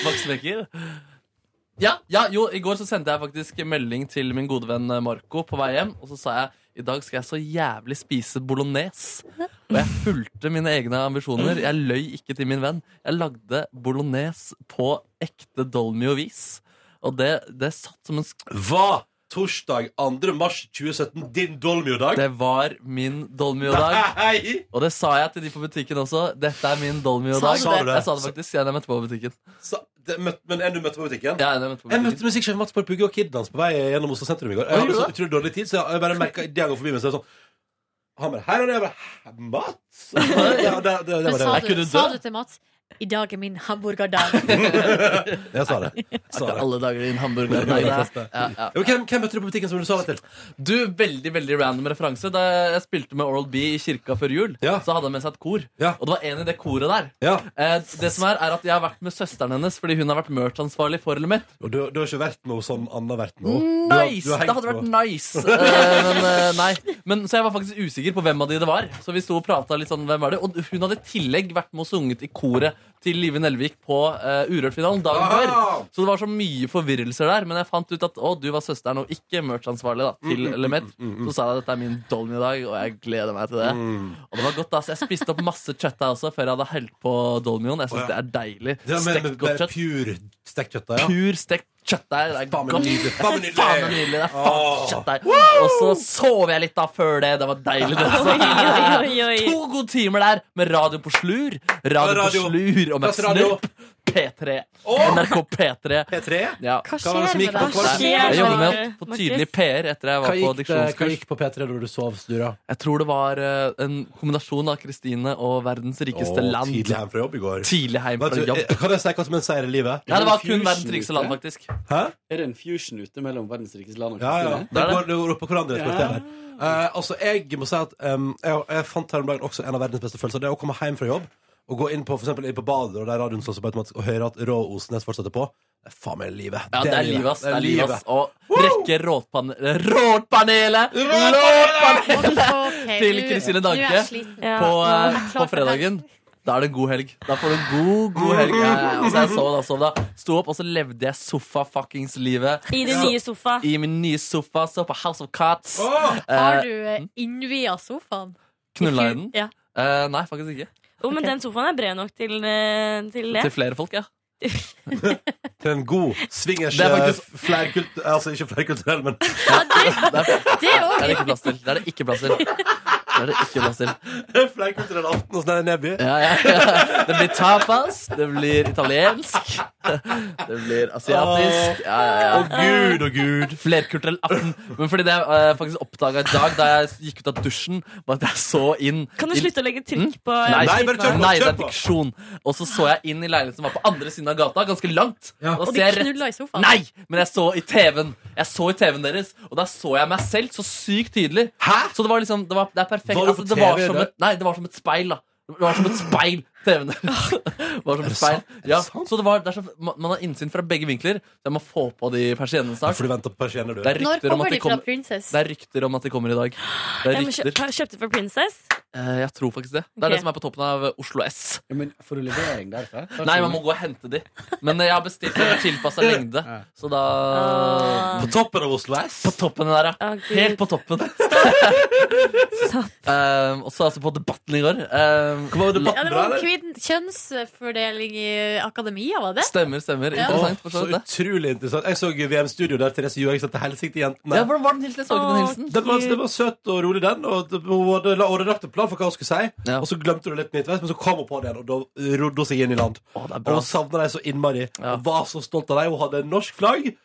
Speaker 3: Vaksmekker. Ja, ja, jo, i går så sendte jeg faktisk melding til min gode venn Marco på vei hjem, og så sa jeg i dag skal jeg så jævlig spise bolognese. Og jeg fulgte mine egne ambisjoner. Jeg løy ikke til min venn. Jeg lagde bolognese på ekte dolmio-vis. Og det, det satt som en
Speaker 2: Hva? Torsdag 2. mars 2017, din dolmio-dag?
Speaker 3: Det var min
Speaker 2: <laughs>
Speaker 3: dolmio-dag. Og det sa jeg til de på butikken også. Dette er min dolmio-dag.
Speaker 2: Sa du det?
Speaker 3: Jeg sa det faktisk. Jeg møtte på butikken.
Speaker 2: men en du møtte på butikken?
Speaker 3: Ja, en jeg møtte
Speaker 2: Jeg
Speaker 3: på butikken.
Speaker 2: møtte musikksjef Mats Borg Pugge og Kiddans på vei gjennom Oslo sentrum i går. Jeg
Speaker 3: Oi,
Speaker 2: hadde så
Speaker 3: gjorde
Speaker 2: utrolig dårlig tid, så jeg bare merket idet han går forbi meg, så er det sånn Han bare Her er det, jeg bare
Speaker 3: <laughs>
Speaker 2: Mats? Ja, det, det, det,
Speaker 4: Men
Speaker 2: var det.
Speaker 4: sa du, sa du til Mats i dag er min hamburgerdag?
Speaker 2: Jeg sa det. Sa det.
Speaker 3: Alle dager i en hamburger.
Speaker 2: Ja,
Speaker 3: Ja,
Speaker 2: det er
Speaker 3: ja, ja.
Speaker 2: Hvem, hvem møtte du på butikken som du sa det til?
Speaker 3: Du, Veldig veldig random referanse. Da jeg spilte med Oral B i kirka før jul, så hadde han med seg et kor. Og det var en i det koret der. Eh, det som er, er at Jeg har vært med søsteren hennes fordi hun har vært merch-ansvarlig for Element.
Speaker 2: Og du, du har ikke vært noe som Anna har vært noe? Du har-
Speaker 3: Nice!
Speaker 2: du har hengt
Speaker 3: det hadde vært
Speaker 2: noe.
Speaker 3: nice. <laughs> Eh, men,
Speaker 2: <laughs>
Speaker 3: eh, nei. Men, så jeg var faktisk usikker på hvem av de det var. Så vi sto Og pratet litt sånn, hvem var det Og hun hadde i tillegg vært med og sunget i koret til Live Nelvik på eh, Urørt-finalen dagen
Speaker 2: Ah!
Speaker 3: før. Så det var så mye forvirrelser der. Men jeg fant ut at å, du var søsteren og ikke merch-ansvarlig da, til
Speaker 2: Mm, mm,
Speaker 3: Element.
Speaker 2: mm, mm, mm.
Speaker 3: Så sa jeg at dette er min dolmy i dag, og jeg gleder meg til det. Og det var godt da, så Jeg spiste opp masse kjøtt der også før jeg hadde helt på dolmioen. Jeg
Speaker 2: Å,
Speaker 3: synes
Speaker 2: ja.
Speaker 3: det er deilig.
Speaker 2: Ja, men- men-
Speaker 3: Stekt godt
Speaker 2: men
Speaker 3: kjøtt.
Speaker 2: Pur stekt kjøttdeig, ja.
Speaker 3: Pur stekt kjøttdeig. Det er
Speaker 2: Faen meg
Speaker 3: godt.
Speaker 2: nydelig. Faen meg nydelig.
Speaker 3: Faen meg nydelig. Det er faen
Speaker 2: Åh.
Speaker 3: kjøttdeig. Og så sov jeg litt da før det. Det var deilig. Det. også.
Speaker 11: Oi, oi, oi.
Speaker 3: To gode timer der med radio på slur. Radio,
Speaker 2: Radio.
Speaker 3: på slur og
Speaker 2: Hva
Speaker 3: med
Speaker 2: slags radio?
Speaker 3: snurp. P3. NRK P3. Ja.
Speaker 2: Hva skjer Hva var det som gikk med deg? på kvarten? Hva skjer
Speaker 3: Jeg jobber med
Speaker 2: med
Speaker 3: å få
Speaker 2: Markus?
Speaker 3: tydelig PR etter
Speaker 2: Hva
Speaker 3: jeg var på
Speaker 2: gikk det- hva
Speaker 3: diksjonskurs.
Speaker 2: gikk på P3 da du sov, Stura?
Speaker 3: Jeg tror det var eh, en kombinasjon av Kristine og verdens rikeste
Speaker 2: Åh,
Speaker 3: land.
Speaker 2: Tidlig hjem fra jobb i går.
Speaker 3: Tidlig hjem fra
Speaker 2: Vet du,
Speaker 3: jobb.
Speaker 2: eh, Kan jeg si hva som er en seier i livet?
Speaker 3: Ja, det var kun verdens rikeste land, faktisk.
Speaker 2: Hæ?
Speaker 7: Er det en fusion ute mellom verdens rikeste land og
Speaker 2: Ja, ja.
Speaker 7: Kristine?
Speaker 2: Det går, det går opp på hverandre.
Speaker 7: Ja.
Speaker 2: Ja. Uh, altså, jeg må si at um, jeg, jeg fant her om dagen også en av verdens beste følelser. Det er å komme hjem fra jobb og gå inn på, for eksempel, inn på badet og der radioen slår seg på automatisk, og høre at Rå Osnes fortsetter på. Det er faen meg livet.
Speaker 3: Ja, det er livet, ass. Det er livet, ass. Og rekke rådpanelet Rådpanelet! <laughs> Rådpanelet! Til Kristine
Speaker 11: Nå er
Speaker 3: Danke
Speaker 11: jeg sliten.
Speaker 3: på,
Speaker 11: Ja.
Speaker 3: eh, på fredagen. Da er det god helg. Da får du en god, god helg. Ja, ja, ja. Så jeg sov da, sov da. Sto opp, og så levde jeg sofa-fuckings-livet.
Speaker 11: I din nye sofa.
Speaker 3: I min nye sofa. Så på House of Cats.
Speaker 4: Har du eh, innvia sofaen?
Speaker 3: Knulla i den?
Speaker 4: Ja.
Speaker 3: Eh, nei, faktisk ikke.
Speaker 11: Jo, men den sofaen er bred nok til, eh, til det.
Speaker 3: Til flere folk, ja.
Speaker 2: Til en god swingers
Speaker 3: Det er faktisk-
Speaker 2: eh, flerkult... Altså, ikke flerkulturell, men <laughs>
Speaker 3: Det er det ikke plass til. Det er det ikke plass til. Det er det ikke plass til.
Speaker 2: flerkulturell aften hos Nære Neby.
Speaker 3: Ja, ja, ja. Det blir tapas, det blir italiensk, det blir asiatisk. Ja, ja, ja.
Speaker 2: Å, Gud, å Gud.
Speaker 3: Flerkulturell aften. Men fordi det jeg eh, faktisk oppdaga i dag da jeg gikk ut av dusjen, var at jeg så inn
Speaker 11: Kan du
Speaker 3: inn-
Speaker 11: slutte å legge trykk på
Speaker 3: Mm?
Speaker 11: eh,
Speaker 3: Nei,
Speaker 11: Nei,
Speaker 3: nei, det er diksjon. Og så så jeg inn i leiligheten som var på andre siden av gata, ganske langt. da
Speaker 4: Og
Speaker 3: ser
Speaker 4: de
Speaker 3: jeg rett-
Speaker 4: knulla i sofaen?
Speaker 3: Nei, men jeg så i TV-en Jeg så i TV-en deres, og da så jeg meg selv så sykt tydelig. Så det var liksom det, var, det er perfekt.
Speaker 2: Var du på
Speaker 3: altså, det, var
Speaker 2: TV
Speaker 3: som
Speaker 2: der?
Speaker 3: et, nei, det var som et speil, da. Det var som et speil. TV-en deres. var som et speil. Ja, så det var, det er så, man, man har innsyn fra begge vinkler. Så jeg må få på de persiennene snart.
Speaker 2: For du venter på persienner, du.
Speaker 3: Det er
Speaker 4: Når
Speaker 3: rykter om
Speaker 4: kommer
Speaker 3: at
Speaker 4: de
Speaker 3: de
Speaker 4: fra
Speaker 3: kommer
Speaker 4: Princess?
Speaker 3: det er rykter om at de kommer i dag. Det er
Speaker 11: Jeg må kjø-
Speaker 3: rykter.
Speaker 11: kjøpte for Princess.
Speaker 3: Eh, Jeg tror faktisk det. Det er
Speaker 11: Ok.
Speaker 3: det som er på toppen av eh, Oslo S.
Speaker 7: Men får du levering derfra?
Speaker 3: Nei, man må gå og hente de. Men eh, jeg har bestilt en tilpassa lengde, så da
Speaker 1: Ah.
Speaker 2: På toppen av Oslo S?
Speaker 3: På toppen der, ja. Helt på toppen. um, og så altså på Debatten i går. Um,
Speaker 2: Hva var
Speaker 4: Ja, det var kvinn, kjønnsfordeling i akademia, var det?
Speaker 3: Stemmer, stemmer.
Speaker 4: Ja.
Speaker 3: Interessant. for
Speaker 2: så
Speaker 3: så vidt det.
Speaker 2: utrolig interessant. Jeg så VM Studio der Therese Johaug sendte hilsen til jentene.
Speaker 3: Ja, hvordan var den hilsen? Jeg så ikke den hilsen.
Speaker 2: Det var, det var søt og rolig, den. Og det- hun hadde la- hun hadde lagt en plan for hva hun skulle si,
Speaker 3: Ja.
Speaker 2: og så glemte hun det litt midtveis, men så kom hun på det igjen, og da rodde hun seg inn i land.
Speaker 3: er
Speaker 2: Og
Speaker 3: bra.
Speaker 2: hun savna dem så innmari, og var så stolt av dem. Hun hadde norsk flagg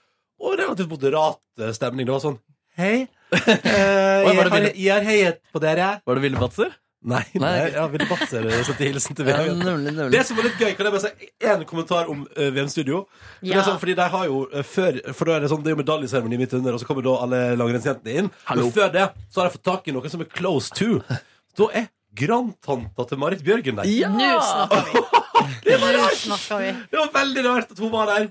Speaker 2: og relativt moderat eh, stemning. Det var sånn Hei.
Speaker 3: <laughs>
Speaker 2: Eh,
Speaker 3: Oi, var
Speaker 2: jeg,
Speaker 3: det
Speaker 2: har,
Speaker 3: Ville-
Speaker 2: jeg har heiet på dere.
Speaker 3: Var det Ville Batzer?
Speaker 2: Nei, nei, ja, Ville Batzer sendte hilsen til
Speaker 3: Ja,
Speaker 2: VM.
Speaker 3: nemlig, nemlig.
Speaker 2: Det som var litt gøy, kan jeg bare si én kommentar om eh, VM Studio? For, det
Speaker 3: Ja.
Speaker 2: er sånn, fordi de har jo eh, før, for da er det sånn, det er jo medaljeseremoni midt under, og så kommer da alle langrennsjentene inn.
Speaker 3: Hallo.
Speaker 2: Men før det så har de fått tak i noen som er close to. Da er grandtanta til Marit Bjørgen der.
Speaker 4: Ja! Nå snakker
Speaker 2: vi. <laughs> det var
Speaker 4: Nå
Speaker 2: rart!
Speaker 4: snakker vi.
Speaker 2: Det var veldig rart at hun var der.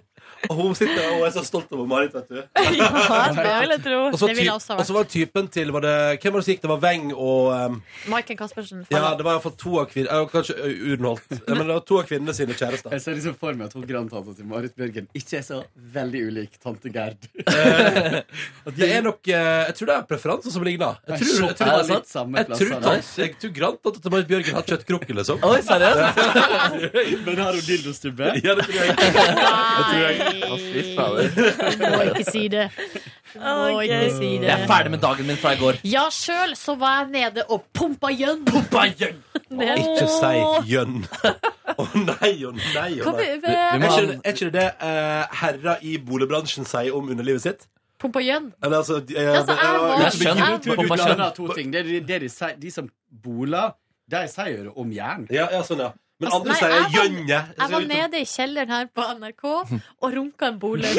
Speaker 2: Og hun sitter der og er så stolt over Marit, vet du.
Speaker 4: Ja, det vil jeg tro.
Speaker 2: Og så
Speaker 4: Det ville jeg
Speaker 2: typ-
Speaker 4: også ha
Speaker 2: og
Speaker 4: vært.
Speaker 2: så var typen til var det, Hvem var det som gikk? Det var Weng og ehm,
Speaker 4: Maiken Caspersen.
Speaker 2: ja, det var iallfall to av kvinnene Kanskje ø, Urenholt. Ja, Men det var to av kvinnene sine <laughs> kjærester.
Speaker 7: Jeg ser liksom for meg at hun grandtanta til Marit Bjørgen ikke er så veldig ulik tante Gerd.
Speaker 2: Det er nok eh, Jeg tror det er preferanser som ligner. Jeg tror, jeg tror,
Speaker 7: Er
Speaker 2: jeg tror,
Speaker 7: det sant? Samme
Speaker 2: jeg tror,
Speaker 7: plasser,
Speaker 2: tant- jeg tror grandtante til Marit Bjørgen har kjøttkrukke, liksom.
Speaker 3: Oi, seriøst?
Speaker 7: <laughs> Men har hun dildostubbe?
Speaker 2: Ja, det tror jeg.
Speaker 4: Må ikke si det. Må ikke si det.
Speaker 3: Jeg er ferdig med dagen min fra i går.
Speaker 4: Ja, sjøl så var jeg nede og pumpa gjønn. Ned.
Speaker 2: Ikke si gjønn. Å nei, å nei, å
Speaker 4: Hva
Speaker 2: nei.
Speaker 4: be- be-
Speaker 2: Er ikke det er ikke det det eh, herrer i boligbransjen sier om underlivet sitt?
Speaker 4: Pumpa gjønn.
Speaker 2: Eller altså de- eh,
Speaker 4: Ja, så jeg var-
Speaker 2: ja,
Speaker 4: Jeg skjønner.
Speaker 2: men-
Speaker 4: Jeg
Speaker 7: Du, du blander to ting. Det er det de, sier, de som boler, de sier det om jern.
Speaker 2: Ja, sånn, ja. Men
Speaker 4: Altså,
Speaker 2: andre
Speaker 4: nei,
Speaker 2: sier
Speaker 4: jeg var-
Speaker 2: gjønne.
Speaker 4: Jeg var nede i kjelleren her på NRK og runka
Speaker 2: <laughs>
Speaker 4: en bolig.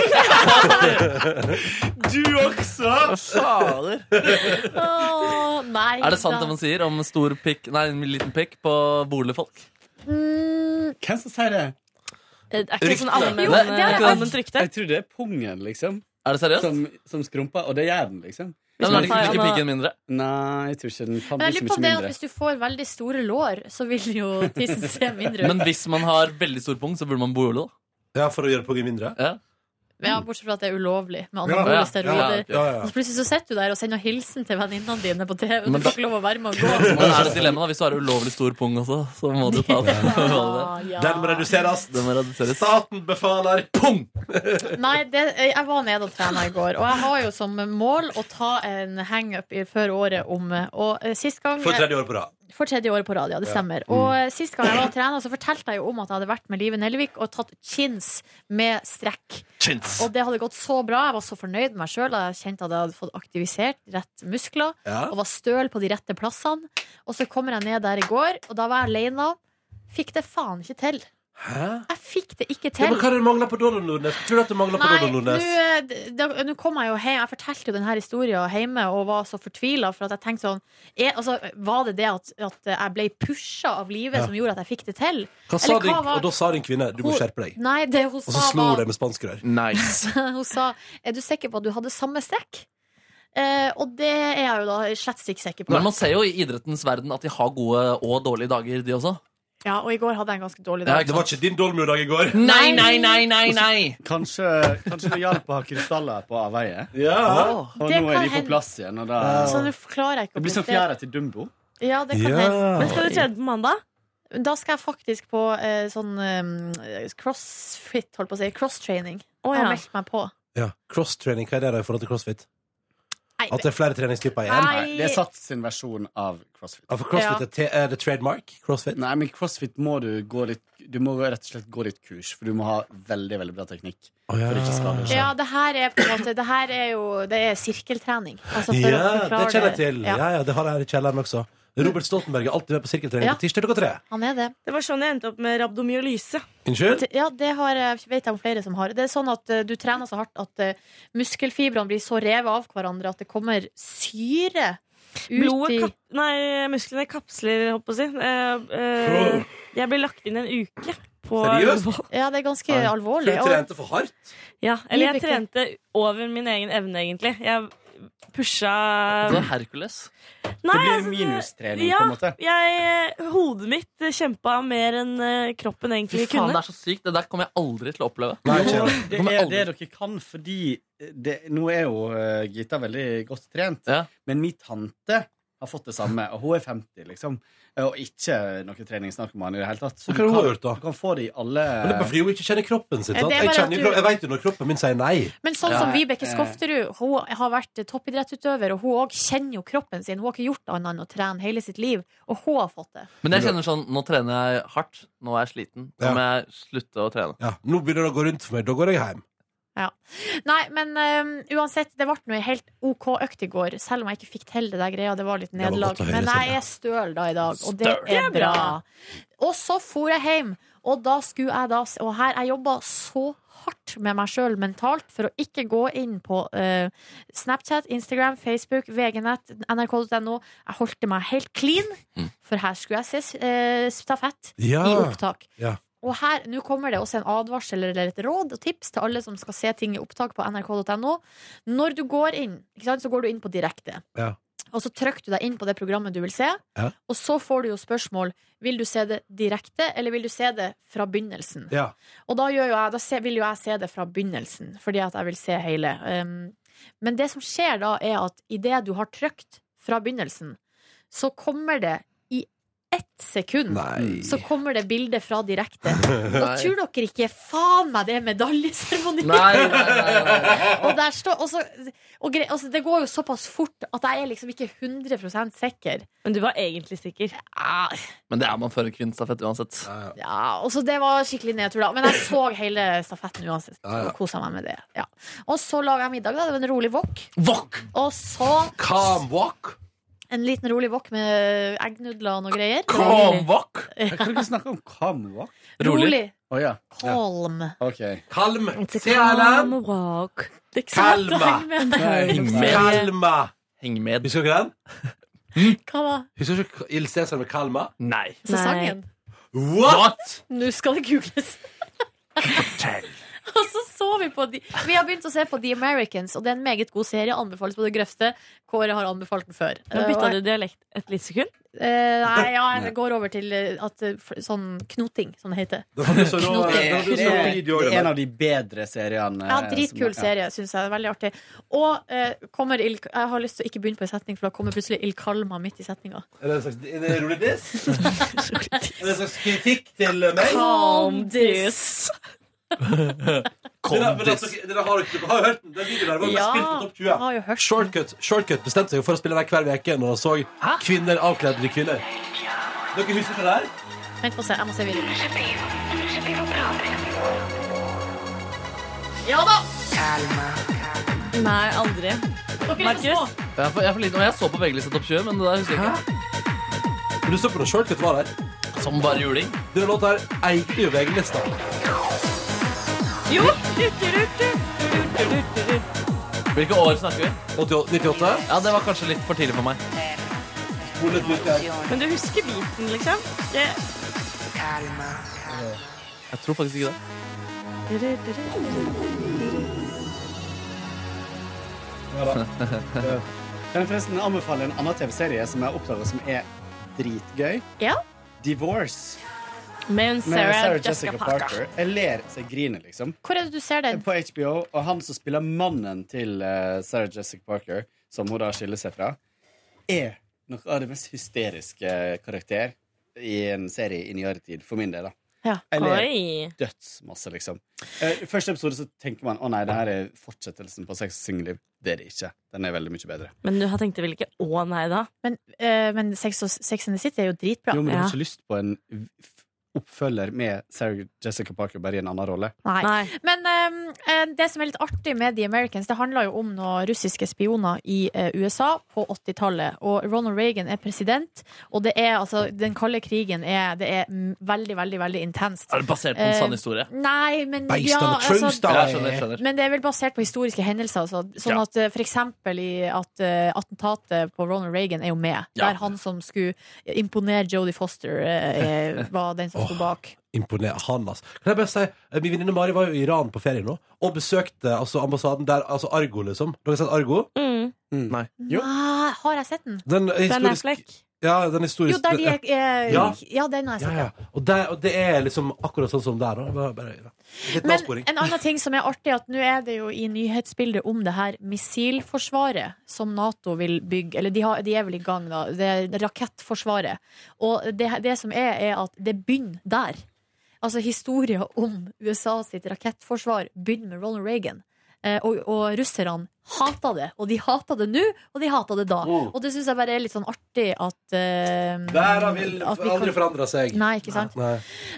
Speaker 7: Du også!
Speaker 3: Fader.
Speaker 4: Å, nei
Speaker 3: Er det sant
Speaker 4: da.
Speaker 3: det man sier om stor pikk Nei, en liten pikk på boligfolk?
Speaker 4: Mm,
Speaker 7: Hvem som sier det?
Speaker 4: Eh,
Speaker 11: Er ikke det sånn
Speaker 3: Ryktene.
Speaker 11: allmenn-
Speaker 3: Jo, det er
Speaker 11: eh,
Speaker 3: det.
Speaker 11: allment rykte?
Speaker 7: Jeg tror det er pungen, liksom.
Speaker 3: Er det
Speaker 2: Sånn,
Speaker 3: seriøst?
Speaker 7: Som, som skrumper. Og det gjør den, liksom.
Speaker 3: Ja, men er det ikke- blir ikke piggen mindre?
Speaker 7: Nei, jeg tror ikke den
Speaker 4: Men
Speaker 7: kan bli
Speaker 4: jeg
Speaker 7: så
Speaker 4: lurer på
Speaker 7: mye
Speaker 4: om det er at
Speaker 7: mindre.
Speaker 4: hvis du får veldig store lår, så vil jo tissen se mindre
Speaker 3: Men
Speaker 4: ut.
Speaker 3: hvis man har veldig stor pung, så burde man bole, da.
Speaker 2: Ja, for å gjøre pungen mindre?
Speaker 3: Ja.
Speaker 4: Ja, bortsett fra at det er ulovlig
Speaker 2: Ja,
Speaker 4: med anabole
Speaker 3: ja,
Speaker 4: steroider.
Speaker 2: ja, ja, ja.
Speaker 4: Og Så plutselig så sitter du der og sender hilsen til venninnene dine på TV. Du
Speaker 3: Men-
Speaker 4: får ikke lov å være med og
Speaker 3: <laughs> Men
Speaker 4: gå.
Speaker 3: er det dilemma da? Hvis du har ulovlig stor pung også, så må du ta den.
Speaker 4: ja.
Speaker 2: Den må reduseres.
Speaker 3: Den må reduseres.
Speaker 2: Staten befaler.
Speaker 3: Pung!
Speaker 4: Nei, det, jeg var nede og trena i går, og jeg har jo som mål å ta en hangup i- før året om. Og eh, sist gang
Speaker 2: For tredje år på rad.
Speaker 4: For tredje året på rad, ja. Det
Speaker 2: Ja.
Speaker 4: stemmer. Og eh, sist gang jeg var trener, så fortalte jeg jo om at jeg hadde vært med Live Nelvik og tatt chins med strekk.
Speaker 2: Chins.
Speaker 4: Og det hadde gått så bra. Jeg var så fornøyd med meg sjøl. Jeg kjente at jeg hadde fått aktivisert rett muskler
Speaker 2: Ja.
Speaker 4: og var støl på de rette plassene. Og så kommer jeg ned der i går, og da var jeg aleine. Fikk det faen ikke til.
Speaker 2: Hæ?
Speaker 4: Jeg fikk det
Speaker 2: Ja,
Speaker 4: ikke til.
Speaker 2: men hva er det du mangler på Donald Nordnes? Tror du at du mangler på
Speaker 4: Nei,
Speaker 2: Donald
Speaker 4: nå
Speaker 2: Nordnes?
Speaker 4: eh, d- da- nå kom jeg jo hjem. Jeg fortalte jo denne historien hjemme og var så fortvila. For at jeg tenkte sånn er, altså, Var det det at, at jeg ble pusha av livet
Speaker 2: Ja.
Speaker 4: som gjorde at jeg fikk det til?
Speaker 2: Hva sa din, og da sa din kvinne du må
Speaker 4: Hun-
Speaker 2: skjerpe deg.
Speaker 4: Nei, det hun
Speaker 2: Og så
Speaker 4: sa
Speaker 2: slo hun
Speaker 4: var
Speaker 2: deg med spanskrør.
Speaker 7: Mm.
Speaker 3: Nice.
Speaker 4: Hun sa Er du sikker på at du hadde samme strekk? Eh, og det er jeg jo da slett ikke sikker på.
Speaker 3: Men man ser jo i idrettens verden at de har gode og dårlige dager, de også.
Speaker 4: Ja, Og i går hadde jeg en ganske dårlig
Speaker 3: Ja,
Speaker 4: dag.
Speaker 2: Det var ikke din dolmiodag i
Speaker 7: <laughs>
Speaker 2: går.
Speaker 3: Nei, nei, nei, nei, nei!
Speaker 7: Kanskje, kanskje det hjalp å ha krystaller på avveie?
Speaker 2: Ja.
Speaker 7: Og
Speaker 4: Det
Speaker 7: nå
Speaker 4: kan
Speaker 7: er de på
Speaker 4: hende.
Speaker 7: plass igjen. Og da,
Speaker 4: Så nå forklarer jeg ikke
Speaker 7: det
Speaker 4: å
Speaker 7: blir som
Speaker 4: prestere.
Speaker 7: fjæra til Dumbo.
Speaker 4: Ja, det kan
Speaker 2: Ja.
Speaker 4: hende.
Speaker 11: sånn Men skal du trene på mandag?
Speaker 4: Da skal jeg faktisk på eh, sånn eh, crossfit, holdt på å si. Crosstraining.
Speaker 11: Å,
Speaker 4: Jeg har
Speaker 11: ja.
Speaker 4: meldt meg på.
Speaker 2: Ja. Cross-training, hva er det da i forhold til crossfit?
Speaker 4: Nei,
Speaker 2: At det er flere treningstyper igjen?
Speaker 4: Nei.
Speaker 7: Nei, det er satt sin versjon av crossfit.
Speaker 2: Ja, for crossfit er, te- er det trademark? Crossfit?
Speaker 7: Nei, men crossfit må du gå litt Du må rett og slett gå litt kurs, for du må ha veldig veldig bra teknikk.
Speaker 2: Å, ja.
Speaker 7: For ikke skade seg.
Speaker 4: Ja, det her er på en måte Det her er jo Det er sirkeltrening. Altså, for å
Speaker 2: Ja, det
Speaker 4: forklare
Speaker 2: kjenner jeg til.
Speaker 4: Ja,
Speaker 2: Ja, ja, det har jeg her i kjelleren også. Robert Stoltenberg er alltid med på sirkeltrening
Speaker 4: Ja.
Speaker 2: på tirsdag klokka tre.
Speaker 4: han er det.
Speaker 11: Det var sånn jeg endte opp med rabdomyolyse.
Speaker 2: Unnskyld?
Speaker 4: Ja, det har, eh, vet jeg om flere som har. Det er sånn at eh, du trener så hardt at eh, muskelfibrene blir så revet av hverandre at det kommer syre ut
Speaker 11: Blodet
Speaker 4: i
Speaker 11: kap... Nei, musklene kapsler, holdt på å si. Eh, eh, jeg ble lagt inn en uke på
Speaker 2: Seriøst?
Speaker 4: Ja, det er ganske
Speaker 2: Nei. Du
Speaker 4: alvorlig. Og,
Speaker 2: trente for hardt?
Speaker 11: Ja, eller jeg
Speaker 4: Vibeke.
Speaker 11: trente over min egen evne, egentlig. Jeg pusha
Speaker 3: Det var Hercules.
Speaker 11: Nei,
Speaker 7: Det blir
Speaker 11: altså,
Speaker 7: minustrening,
Speaker 11: ja,
Speaker 7: på en måte.
Speaker 11: Jeg, eh, hodet mitt kjempa mer enn eh, kroppen
Speaker 3: Fy
Speaker 11: egentlig
Speaker 3: faen, det
Speaker 11: kunne.
Speaker 3: er så sykt. Det der kommer jeg aldri til å oppleve.
Speaker 2: Nei,
Speaker 7: Jo,
Speaker 2: kjære.
Speaker 7: det
Speaker 3: Kommer
Speaker 7: er
Speaker 3: aldri-
Speaker 7: det dere kan, fordi det, Nå er jo eh, Gita veldig godt trent,
Speaker 3: Ja.
Speaker 7: men min tante har fått det samme, og hun er 50, liksom. Og ikke noe treningsnarkoman i det hele tatt. Så
Speaker 2: Hva
Speaker 7: du
Speaker 2: har hun
Speaker 7: kan,
Speaker 2: gjort da?
Speaker 7: du kan få det i alle
Speaker 2: Men det er bare fordi hun ikke kjenner kroppen sin.
Speaker 4: Ja,
Speaker 2: Sant?
Speaker 4: det er
Speaker 2: Jeg,
Speaker 4: bare
Speaker 2: kjenner, jo
Speaker 4: at
Speaker 2: kro-
Speaker 4: du-
Speaker 2: jeg vet jo når kroppen min sier nei.
Speaker 4: men sånn
Speaker 7: Ja,
Speaker 4: som Vibeke
Speaker 7: eh.
Speaker 4: Skofterud, hun har vært toppidrettsutøver, og hun òg kjenner jo kroppen sin. Hun har ikke gjort annet enn å trene hele sitt liv, og hun har fått det.
Speaker 3: Men jeg kjenner sånn, nå trener jeg hardt. Nå er jeg sliten.
Speaker 2: Ja.
Speaker 3: Nå må jeg slutte å trene.
Speaker 2: Ja, nå begynner det å gå rundt for meg. Da går jeg hjem.
Speaker 4: Ja. Nei, men eh, uansett, det ble nå ei helt OK økt i går, selv om jeg ikke fikk til det der greia. Det var litt
Speaker 12: var godt
Speaker 4: nederlag.
Speaker 12: å høre,
Speaker 4: Men jeg
Speaker 12: Silje.
Speaker 4: er støl da i dag, og det
Speaker 12: Støl. Det
Speaker 4: er
Speaker 12: er
Speaker 4: bra.
Speaker 12: bra.
Speaker 4: Og så for jeg hjem, og da skulle jeg da Og her, jeg jobba så hardt med meg sjøl mentalt for å ikke gå inn på eh, Snapchat, Instagram, Facebook, VG-nett, nrk.no. Jeg holdt meg helt clean,
Speaker 12: Mm.
Speaker 4: for her skulle jeg se eh, stafett
Speaker 2: Ja.
Speaker 4: i opptak.
Speaker 2: Ja.
Speaker 4: Og her, nå kommer det også en advarsel eller et råd og tips til alle som skal se ting i opptak på nrk.no. Når du går inn, ikke sant, så går du inn på direkte.
Speaker 2: Ja.
Speaker 4: Og så trykker du deg inn på det programmet du vil se,
Speaker 2: Ja.
Speaker 4: og så får du jo spørsmål Vil du se det direkte, eller vil du se det fra begynnelsen.
Speaker 2: Ja.
Speaker 4: Og da, gjør jo jeg, da se, vil jo jeg se det fra begynnelsen, fordi at jeg vil se hele. Um, men det som skjer da, er at idet du har trykt fra begynnelsen, så kommer det i ett sekund Så kommer det bilde fra
Speaker 12: <laughs>
Speaker 4: direkte. Og
Speaker 12: Nei.
Speaker 4: tror dere ikke faen meg det er medaljeseremoni?
Speaker 12: Nei, nei,
Speaker 4: og der står, og så, og gre, altså, det går jo såpass fort at jeg er liksom ikke 100 sikker.
Speaker 11: Men du var egentlig sikker?
Speaker 4: Ja,
Speaker 3: Men det er man før en kvinnestafett uansett.
Speaker 4: ja, og så det var skikkelig nedtur, da. Men jeg så hele stafetten uansett.
Speaker 3: Ja, ja.
Speaker 4: Og kosa meg med det. Ja. Og så laga jeg middag, da. Det var en rolig wok. Og så
Speaker 2: Calm walk.
Speaker 4: en liten rolig wok med eggnudler og noe greier. Det var hyggelig.
Speaker 7: Calm walk? Jeg kan ikke snakke om calm walk.
Speaker 4: Rolig. Rolig.
Speaker 7: Å, ja.
Speaker 4: Calm.
Speaker 7: Ok.
Speaker 2: Kalm.
Speaker 11: walk.
Speaker 4: Det er ikke så lett å henge med.
Speaker 2: Kalma. Kalma.
Speaker 3: Heng med.
Speaker 2: Husker dere den?
Speaker 4: Hva da?
Speaker 2: Husker du ikke Il Cæsar med Kalma?
Speaker 3: Nei.
Speaker 4: Så sangen.
Speaker 2: What?!
Speaker 4: Nå skal det googles. <laughs> Og så så vi på de Vi har begynt å se på The Americans, og det er en meget god serie. Anbefales på det grøvste. Kåre har anbefalt den før.
Speaker 11: Nå bytta du dialekt et lite sekund.
Speaker 4: Eh, nei, ja, jeg går over til eh, at, eh, f- sånn knoting, som det heter.
Speaker 7: Det er,
Speaker 2: eh,
Speaker 4: Knoting.
Speaker 7: det er en av de bedre seriene.
Speaker 4: Ja,
Speaker 7: eh,
Speaker 4: dritkul
Speaker 7: som er-
Speaker 4: serie, syns jeg. Veldig artig. Og eh, kommer Il Jeg har lyst til å ikke begynne på en setning, for da kommer plutselig Il Kalma midt i setninga.
Speaker 2: Er det en slags er det rolig diss? er det en slags kritikk til meg?
Speaker 4: Calm this.
Speaker 2: Dere, men altså, dere har, dere har jo hørt den. Den ligger der. Det var mest
Speaker 4: Ja,
Speaker 2: spilt på topp 20.
Speaker 4: jeg har jo hørt den.
Speaker 2: Shortcut, Shortcut bestemte seg for å spille den hver uke når han så kvinner avkledd til kvinner. Dere husker ikke det der?
Speaker 4: Vent, få se. Jeg må se videoen. Ja da!
Speaker 11: Nei, aldri. Markus?
Speaker 3: Jeg er for, jeg er for liten, og jeg så på VG-lista Topp 20, men det der husker jeg ikke.
Speaker 2: Men du så på når Shortcut var der.
Speaker 3: Som bare juling.
Speaker 2: Denne låta her eide jo VG-lista.
Speaker 11: Jo!
Speaker 3: Hvilke år snakker vi?
Speaker 2: 98?
Speaker 3: Ja, det var kanskje litt for tidlig for meg.
Speaker 11: Men du husker biten, liksom? Jeg-
Speaker 3: Jeg tror faktisk ikke det.
Speaker 7: Ja, da. Ja. Kan jeg forresten anbefale en annen TV-serie som jeg oppdaga som er dritgøy?
Speaker 4: Ja.
Speaker 7: Divorce.
Speaker 11: Med Sarah, Jessica, Parker.
Speaker 7: Jeg ler så jeg griner, liksom.
Speaker 4: Hvor er det du ser den?
Speaker 7: På HBO. Og han som spiller mannen til eh, Sarah Jessica Parker, som hun da skiller seg fra, er noe av det mest hysteriske karakter i en serie i nyere tid, for min del. da.
Speaker 4: Ja.
Speaker 7: Jeg
Speaker 11: Oi.
Speaker 7: ler dødsmasse, liksom. Eh, I første episode så tenker man å nei, det her er fortsettelsen på Sex og singelliv. Det er det ikke. Den er veldig mye bedre.
Speaker 11: Men du tenkte vel ikke 'å nei', da?
Speaker 4: Men, eh, men Sex, og, Sex and the City er jo dritbra.
Speaker 7: Jo, men du
Speaker 4: Ja.
Speaker 7: har ikke lyst på en f- oppfølger med Sarah Jessica Parker bare i en annen rolle?
Speaker 4: Nei. Men ehm, eh, det som er litt artig med The Americans, det handler jo om noen russiske spioner i eh, USA på 80-tallet. Og Ronald Reagan er president, og det er altså Den kalde krigen er, det er mm, veldig, veldig veldig intenst.
Speaker 3: Er det basert på en
Speaker 4: Eh,
Speaker 3: sann historie?
Speaker 4: Nei, men
Speaker 3: Based
Speaker 4: ja, altså,
Speaker 3: on the true story. Ja, jeg skjønner, jeg skjønner.
Speaker 4: Men det er vel basert på historiske hendelser. Altså. Sånn
Speaker 3: Ja.
Speaker 4: at eh, for eksempel i at eh, attentatet på Ronald Reagan er jo med.
Speaker 2: Ja.
Speaker 4: Der han som skulle imponere Jodie Foster, eh,
Speaker 3: <laughs>
Speaker 4: eh, var den som sto bak.
Speaker 2: Imponer han, altså. Kan jeg bare si, eh, Min venninne Mari var jo i Iran på ferie nå og besøkte altså, ambassaden der. Altså Argo, liksom. Dere har sett Argo? Nei. Jo.
Speaker 4: Nei, Ah, har jeg sett Mm. den?
Speaker 2: Den historisk- Ja, den historisk
Speaker 4: Jo, der de er, er ja.
Speaker 2: Ja.
Speaker 4: den har
Speaker 2: Ja,
Speaker 4: jeg sett.
Speaker 2: ja. Og, det, og det er liksom akkurat sånn som der. Da. Det var Bare, ja. Litt
Speaker 4: Men
Speaker 2: avsporing.
Speaker 4: en annen ting som er artig, er at nå er det jo i nyhetsbildet om det her missilforsvaret som Nato vil bygge. Eller de, har, de er vel i gang, da. Det er rakettforsvaret. Og det, det som er, er at det begynner der. Altså historien om USA sitt rakettforsvar begynner med Ronald Reagan. Eh, Og, og russerne hata det. Og de hata det nå, og de hata det da.
Speaker 2: Mm.
Speaker 4: Og det syns jeg bare er litt sånn artig at eh,
Speaker 2: Verden vil
Speaker 4: at vi
Speaker 2: aldri forandre seg.
Speaker 4: Nei, ikke sant.
Speaker 2: Nei.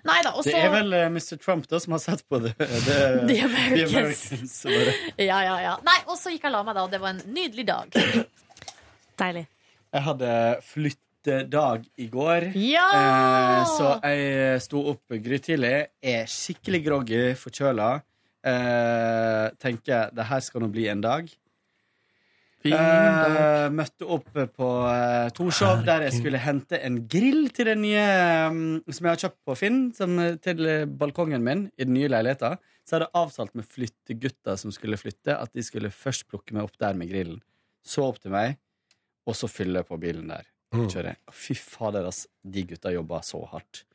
Speaker 4: Nei da, og
Speaker 7: Det
Speaker 4: så
Speaker 7: er vel eh, Mr. Trump da som har sett på det. <laughs> det
Speaker 4: <laughs> The Americans.
Speaker 7: Americans, bare.
Speaker 4: <laughs> Ja, ja, ja. Nei, og så gikk jeg og la meg, da, og det var en nydelig dag.
Speaker 11: Deilig.
Speaker 7: Jeg hadde flyttedag i går.
Speaker 4: Ja!
Speaker 7: Eh, så jeg sto opp grytidlig, er skikkelig groggy, forkjøla. Eh, tenker det her skal nå bli en dag. Eh, møtte opp på eh, Torshov, der jeg skulle hente en grill til den nye mm, som jeg har kjøpt på Finn, som, eh, til eh, balkongen min i den nye leiligheta. Så hadde jeg avtalt med flyttegutta som skulle flytte, at de skulle først plukke meg opp der med grillen. Så opp til meg, og så fylle på bilen der.
Speaker 2: Mm.
Speaker 7: Kjøre. Fy fader, ass. De gutta jobba så hardt.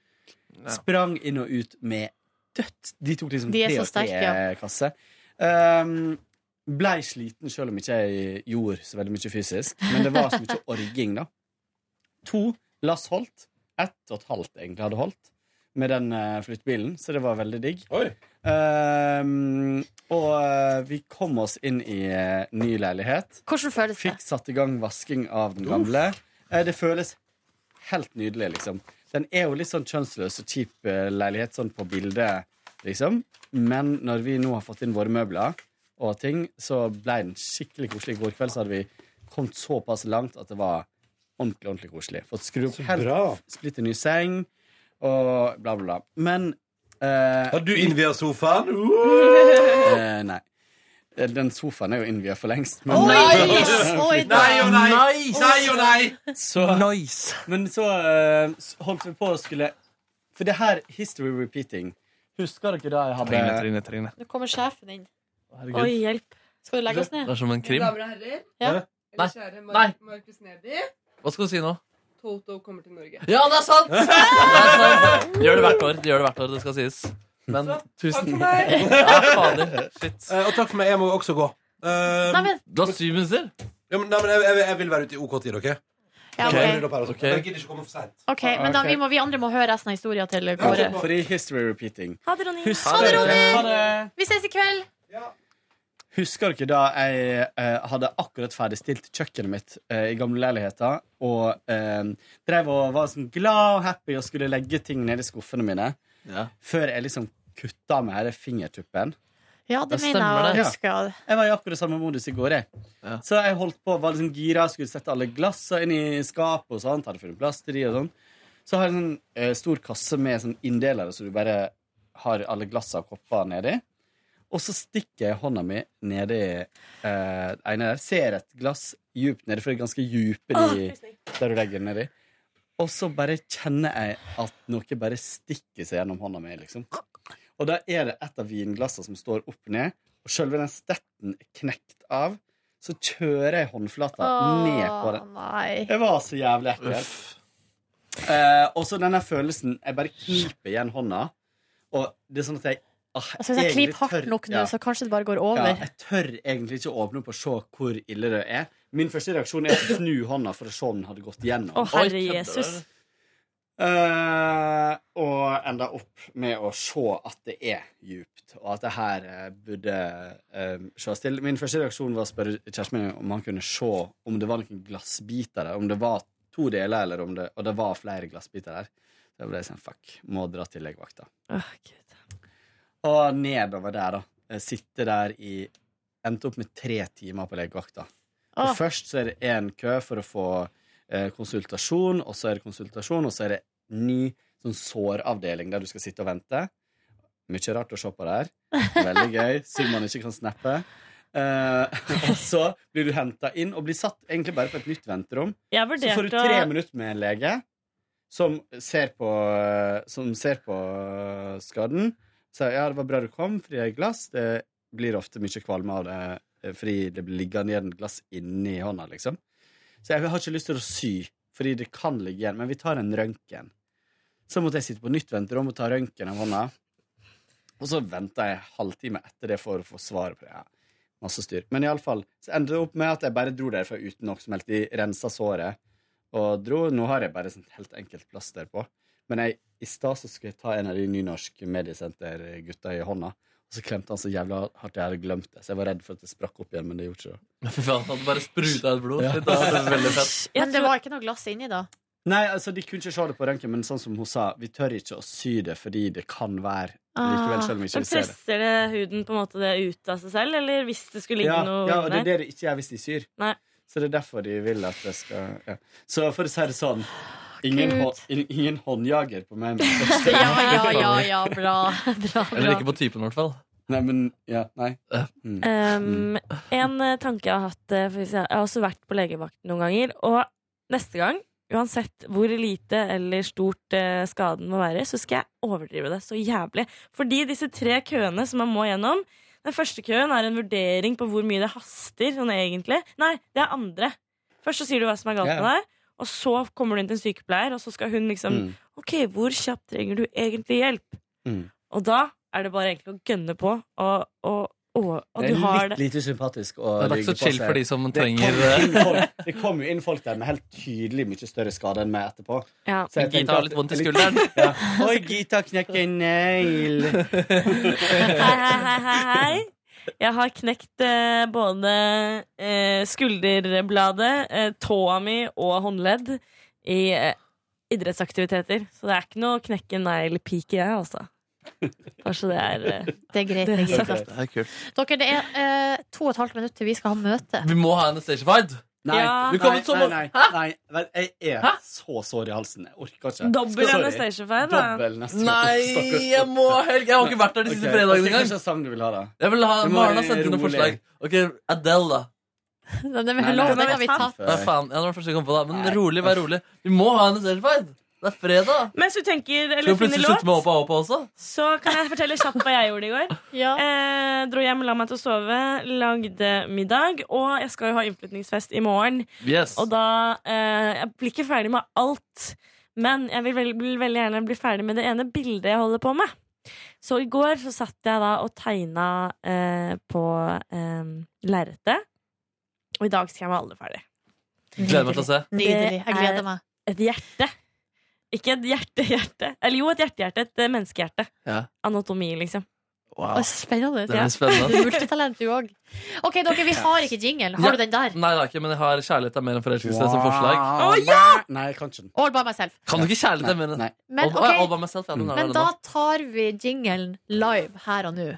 Speaker 7: Sprang inn og ut med dødt. De tok liksom
Speaker 4: De er
Speaker 7: tre
Speaker 4: så
Speaker 7: og tre
Speaker 4: sterke, ja.
Speaker 7: kasse. Um, Blei sliten selv om ikke jeg gjorde så veldig mye fysisk. Men det var så
Speaker 4: <laughs>
Speaker 7: mye orging, da. To lass holdt. Ett og et halvt egentlig hadde holdt med den eh, flyttebilen, så det var veldig digg. Um, og eh, vi kom oss inn i eh, ny leilighet.
Speaker 4: Hvordan føles det?
Speaker 7: Fikk satt i gang vasking av den gamle. Eh, Det føles helt nydelig, liksom. Den er jo litt sånn kjønnsløs og kjip eh, leilighet sånn på bildet, liksom. Men når vi nå har fått inn våre møbler og ting, så ble den skikkelig koselig. I går kveld så hadde vi kommet såpass langt at det var ordentlig, ordentlig koselig. Fått skru opp helt splitter ny seng og bla, bla, bla. Men eh,
Speaker 2: Har du innvia sofaen?
Speaker 7: eh, Nei. Eh, Den sofaen er jo innvia for lengst. Men <laughs>
Speaker 4: Oi, da.
Speaker 2: Nei og nei! Nei og nei!
Speaker 7: så, Men så eh, s- holdt vi på å skulle For det her history repeating. Husker dere da jeg hadde
Speaker 10: Trine, Trine, Trine.
Speaker 4: Nå kommer sjefen inn.
Speaker 3: Herregud.
Speaker 11: Oi, hjelp.
Speaker 4: Skal du legge oss ned?
Speaker 3: Det er som en krim.
Speaker 12: Damer og herrer.
Speaker 4: Ja.
Speaker 3: Nei.
Speaker 12: Eller kjære Mar
Speaker 3: Nei.
Speaker 12: Markus Neby.
Speaker 3: Hva skal du si nå?
Speaker 12: Toto kommer til Norge.
Speaker 3: Ja, det er sant! Det er sant. De gjør det hvert år, de gjør det, hvert år, det skal sies. Men
Speaker 12: Takk
Speaker 3: tusen
Speaker 12: for meg!
Speaker 3: ja, fader. Shit.
Speaker 2: Eh, og takk for meg. Jeg må også gå. Eh,
Speaker 4: Nei, men
Speaker 3: Du har syv minutter.
Speaker 2: ja, men, nei, men jeg, jeg, jeg vil være ute i OK tid, OK?
Speaker 4: ja,
Speaker 2: Jeg
Speaker 4: ok.
Speaker 2: rydder opp her også.
Speaker 3: Ok.
Speaker 2: Jeg gidder ikke komme for seint.
Speaker 4: Ok, men da, vi, må, vi andre må høre resten av historien til Kåre.
Speaker 7: Fordi history repeating.
Speaker 11: Ha det, Ronny.
Speaker 7: Husker,
Speaker 3: Ha det,
Speaker 7: dere, ha det.
Speaker 4: Vi ses i kveld!
Speaker 7: Husker dere da jeg eh, hadde akkurat ferdigstilt kjøkkenet mitt eh, i gamle leiligheter, og eh, drev og var sånn glad og happy og skulle legge ting ned i skuffene mine, før jeg liksom kutta med her fingertuppen?
Speaker 4: Ja, det
Speaker 3: Det
Speaker 4: mener
Speaker 3: stemmer
Speaker 4: jeg å
Speaker 7: det.
Speaker 4: huske.
Speaker 7: Jeg var i akkurat samme modus i går. Jeg.
Speaker 3: Ja.
Speaker 7: Så jeg holdt på, var liksom gira, skulle sette alle glassene inn i skapet og sånt. Hadde funnet plass til de og sånn. Så har jeg en sånn eh, stor kasse med sånn inndelere, så du bare har alle glassene og koppene nedi. Og så stikker jeg hånda mi nedi eh, ene der. Ser et glass djupt nedi, for det er ganske djupe de der du legger den nedi. Og så bare kjenner jeg at noe bare stikker seg gjennom hånda mi, liksom. Og da er det et av vinglassene som står opp ned, og sjølve den stetten er knekt av. Så kjører jeg håndflata ned på
Speaker 4: Å,
Speaker 7: den.
Speaker 4: nei.
Speaker 7: Det var så jævlig ekkelt. Eh, og så denne følelsen Jeg bare kniper igjen hånda, og det er sånn at jeg ah,
Speaker 4: Altså, hvis jeg
Speaker 7: egentlig
Speaker 4: klyper hardt
Speaker 7: tør-
Speaker 4: nok nå,
Speaker 7: Ja.
Speaker 4: så kanskje det bare går
Speaker 7: Ja,
Speaker 4: over.
Speaker 7: jeg tør egentlig ikke å åpne opp og se hvor ille det er. Min første reaksjon er å snu hånda for å se om den hadde gått gjennom.
Speaker 11: Å, herre
Speaker 3: Oi, kødder
Speaker 11: Jesus.
Speaker 3: du?
Speaker 7: Eh, og enda opp med å se at det er djupt, og at det her eh, burde um, ses til. Min første reaksjon var å spørre kjæresten min om han kunne se om det var noen glassbiter der. Om det var to deler, eller om det, og det var flere glassbiter der. Da ble jeg sånn fuck, må dra til legevakta.
Speaker 11: Åh, Gud.
Speaker 7: Og nedover der, da. Eh, Sitte der i Endte opp med tre timer på legevakta. For
Speaker 4: Åh.
Speaker 7: Først så er det én kø for å få eh, konsultasjon, og så er det konsultasjon, og så er det ni sånn såravdeling der du skal sitte og vente. Mye rart å se på der. Veldig gøy, siden man ikke kan snappe. Eh, <laughs> og så blir du henta inn og blir satt egentlig bare på et nytt venterom.
Speaker 11: Jeg
Speaker 7: Så får du
Speaker 11: vurderte
Speaker 7: tre
Speaker 11: å
Speaker 7: minutter med en lege som ser på, som ser på skaden. Sier ja, det var bra du kom, fordi jeg er glass. Det blir ofte mye kvalme av det eh, fordi det blir liggende igjen glass inni hånda, liksom. Så jeg har ikke lyst til å sy, fordi det kan ligge igjen. Men vi tar en røntgen. Så måtte jeg sitte på nytt venterom og ta røntgen av hånda. Og så venta jeg halvtime etter det for å få svaret på det. Ja, masse styr. Men iallfall så endte det opp med at jeg bare dro derfra uten noe som helst. De rensa såret og dro. Nå har jeg bare sånt helt enkelt plaster på. Men jeg, i stad så skulle jeg ta en av de nynorsk mediesenter-gutta i hånda. Og så klemte han så jævla hardt jeg hadde glemt det. Så jeg var redd for at det sprakk opp igjen, men det gjorde ikke det.
Speaker 3: Fy faen, han bare spruta ut blod.
Speaker 7: Ja.
Speaker 3: Shit, ass, det er veldig fett.
Speaker 4: Men det var ikke noe glass inni da?
Speaker 7: Nei, altså De kunne ikke se det på røntgen, men sånn som hun sa, vi tør ikke å sy det fordi det kan være likevel, selv om vi ikke
Speaker 11: Men
Speaker 7: vil se det.
Speaker 11: presser det huden på en måte det ut av seg selv, eller hvis det skulle ligge
Speaker 7: Ja,
Speaker 11: noe
Speaker 7: ja, og det er det
Speaker 11: der?
Speaker 7: det ikke er hvis de syr.
Speaker 11: Nei.
Speaker 7: Så det er derfor de vil at det skal ja. Så for å si det sånn Ingen,
Speaker 4: Gud.
Speaker 7: hå- in- ingen håndjager på meg.
Speaker 4: Ja, ja, ja, ja, bra. bra, bra.
Speaker 7: på typen, i hvert fall. Nei, men Ja, nei. Mm.
Speaker 11: Um, en eh, tanke jeg har hatt eh, for hvis Jeg jeg har også vært på legevakten noen ganger. Og neste gang, uansett hvor lite eller stort eh, skaden må være, så skal jeg overdrive det så jævlig. Fordi disse tre køene som man må gjennom Den første køen er en vurdering på hvor mye det haster. Sånn egentlig Nei, det er andre. Først så sier du hva som er galt
Speaker 13: Ja.
Speaker 11: med deg, og så kommer du inn til en sykepleier, og så skal hun liksom
Speaker 13: Mm.
Speaker 11: OK, hvor kjapt trenger du egentlig hjelp?
Speaker 7: Mm.
Speaker 11: Og da er det bare egentlig å gønne på, og, og, og, og
Speaker 7: Det
Speaker 11: du har
Speaker 7: er litt
Speaker 11: det.
Speaker 7: lite sympatisk. Å
Speaker 3: Det er ikke så
Speaker 7: ligge på
Speaker 3: chill
Speaker 7: seg.
Speaker 3: for de som
Speaker 7: Det kom
Speaker 3: trenger-
Speaker 7: inn folk- Det kom jo inn folk der med helt tydelig mye større skade enn meg etterpå.
Speaker 11: Ja.
Speaker 7: Så jeg
Speaker 3: Gita
Speaker 7: tenkte
Speaker 3: har eh,
Speaker 7: at-
Speaker 3: litt vondt i skulderen.
Speaker 7: ja. Oi, Gita knekk en negl.
Speaker 11: Hei, hei, hei, hei, hei. Jeg har knekt eh, både eh, skulderbladet, eh, tåa mi og håndledd i eh, idrettsaktiviteter. Så det er ikke noe knekke negl-pike, jeg, altså. Bare så det er eh,
Speaker 4: Det er greit, det er greit.
Speaker 11: sagt.
Speaker 3: Det er kult.
Speaker 4: Dere, det er eh, to og et halvt minutt til vi skal ha møte.
Speaker 3: Vi må ha en stage-fight.
Speaker 7: Nei,
Speaker 11: Ja.
Speaker 7: nei,
Speaker 11: Du kom ut som-
Speaker 7: nei, nei, nei, Vel, Jeg er
Speaker 11: Hæ?
Speaker 7: så sår i halsen. Jeg orker ikke.
Speaker 11: <laughs> Dobbel
Speaker 7: Sorry.
Speaker 11: Anastasia-fan, da.
Speaker 7: Dobbel neste
Speaker 3: Nei,
Speaker 7: gang.
Speaker 3: jeg må ha helg. Jeg har ikke vært der de siste
Speaker 7: Ok,
Speaker 3: fredagene
Speaker 7: jeg tenker
Speaker 3: engang.
Speaker 7: ikke sang du vil ha, da.
Speaker 3: Jeg vil ha
Speaker 7: Du må
Speaker 3: Maren har
Speaker 7: være
Speaker 3: sendt inn noen
Speaker 7: rolig.
Speaker 3: forslag. Ok, Adele, da.
Speaker 4: Den, den,
Speaker 3: Nei,
Speaker 4: loven,
Speaker 3: nei,
Speaker 4: den kan vi ta.
Speaker 3: Nei, faen. Ja, det var det første jeg kom på, da. Men rolig, vær rolig. Vi må ha en stage-fight. Det er fredag.
Speaker 11: Mens du tenker
Speaker 3: Skal
Speaker 11: eller
Speaker 3: vi
Speaker 11: finner
Speaker 3: plutselig slutte
Speaker 11: låt,
Speaker 3: med Håpa Håpa også?
Speaker 11: så kan jeg fortelle kjapt hva jeg gjorde i <laughs> går. eh, dro hjem, la meg til å sove, lagde middag, og jeg skal jo ha innflytningsfest i morgen.
Speaker 3: Yes.
Speaker 11: Og da eh, Jeg blir ikke ferdig med alt, men jeg vil veldig, vil veldig gjerne bli ferdig med det ene bildet jeg holder på med. Så i går så satt jeg da og tegna eh, på eh, lerretet, og i dag skal jeg meg aldri ferdig.
Speaker 3: Gleder meg til å se.
Speaker 4: Nydelig. Jeg gleder meg.
Speaker 11: Det er Et hjerte. Ikke et hjerte-hjerte. Eller jo, et hjerte-hjerte. Et eh, menneskehjerte.
Speaker 3: Ja.
Speaker 11: Anatomi, liksom.
Speaker 4: Å, så spennende.
Speaker 11: Det er
Speaker 4: Ja.
Speaker 3: spennende.
Speaker 4: Du er multitalent, du òg. OK, dere, vi har ikke jingelen. Har du den der?
Speaker 3: Nei, det er ikke, men jeg har 'Kjærlighet er mer enn forelskelse' som forslag.
Speaker 7: Wow. Å, ja! Nei, jeg kan ikke den.
Speaker 4: All by myself.
Speaker 3: Kan du ikke 'Kjærlighet er mer enn
Speaker 4: Men,
Speaker 3: All- All-
Speaker 4: ok.
Speaker 3: All by myself, ja, den er
Speaker 4: Men
Speaker 3: der
Speaker 4: da
Speaker 3: nå.
Speaker 4: tar vi jingelen live her og nå.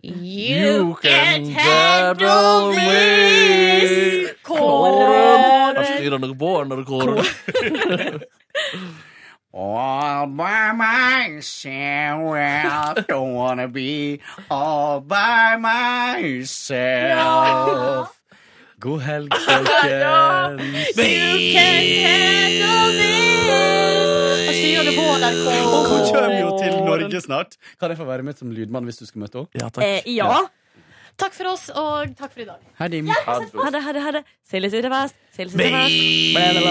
Speaker 3: You can handle this!
Speaker 4: Kåre.
Speaker 3: Er styrer når Bård når Kåre
Speaker 7: All by myself, <laughs> don't wanna be all by myself. God helg, folkens.
Speaker 5: You can handle this.
Speaker 4: Hva sier du på NRK?
Speaker 7: Hun kommer jo til Norge snart. Kan jeg få være med som lydmann hvis du skal møte henne?
Speaker 3: Ja,
Speaker 11: Eh, ja.
Speaker 4: Takk for oss, og takk for i dag.
Speaker 7: Hei, Dim.
Speaker 11: Ha det, ha det, ha det. Seiles i revers. Seiles i revers.
Speaker 5: Bye.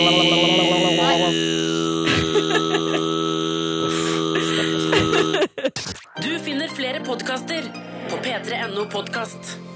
Speaker 1: Du finner flere podkaster på p3.no podkast.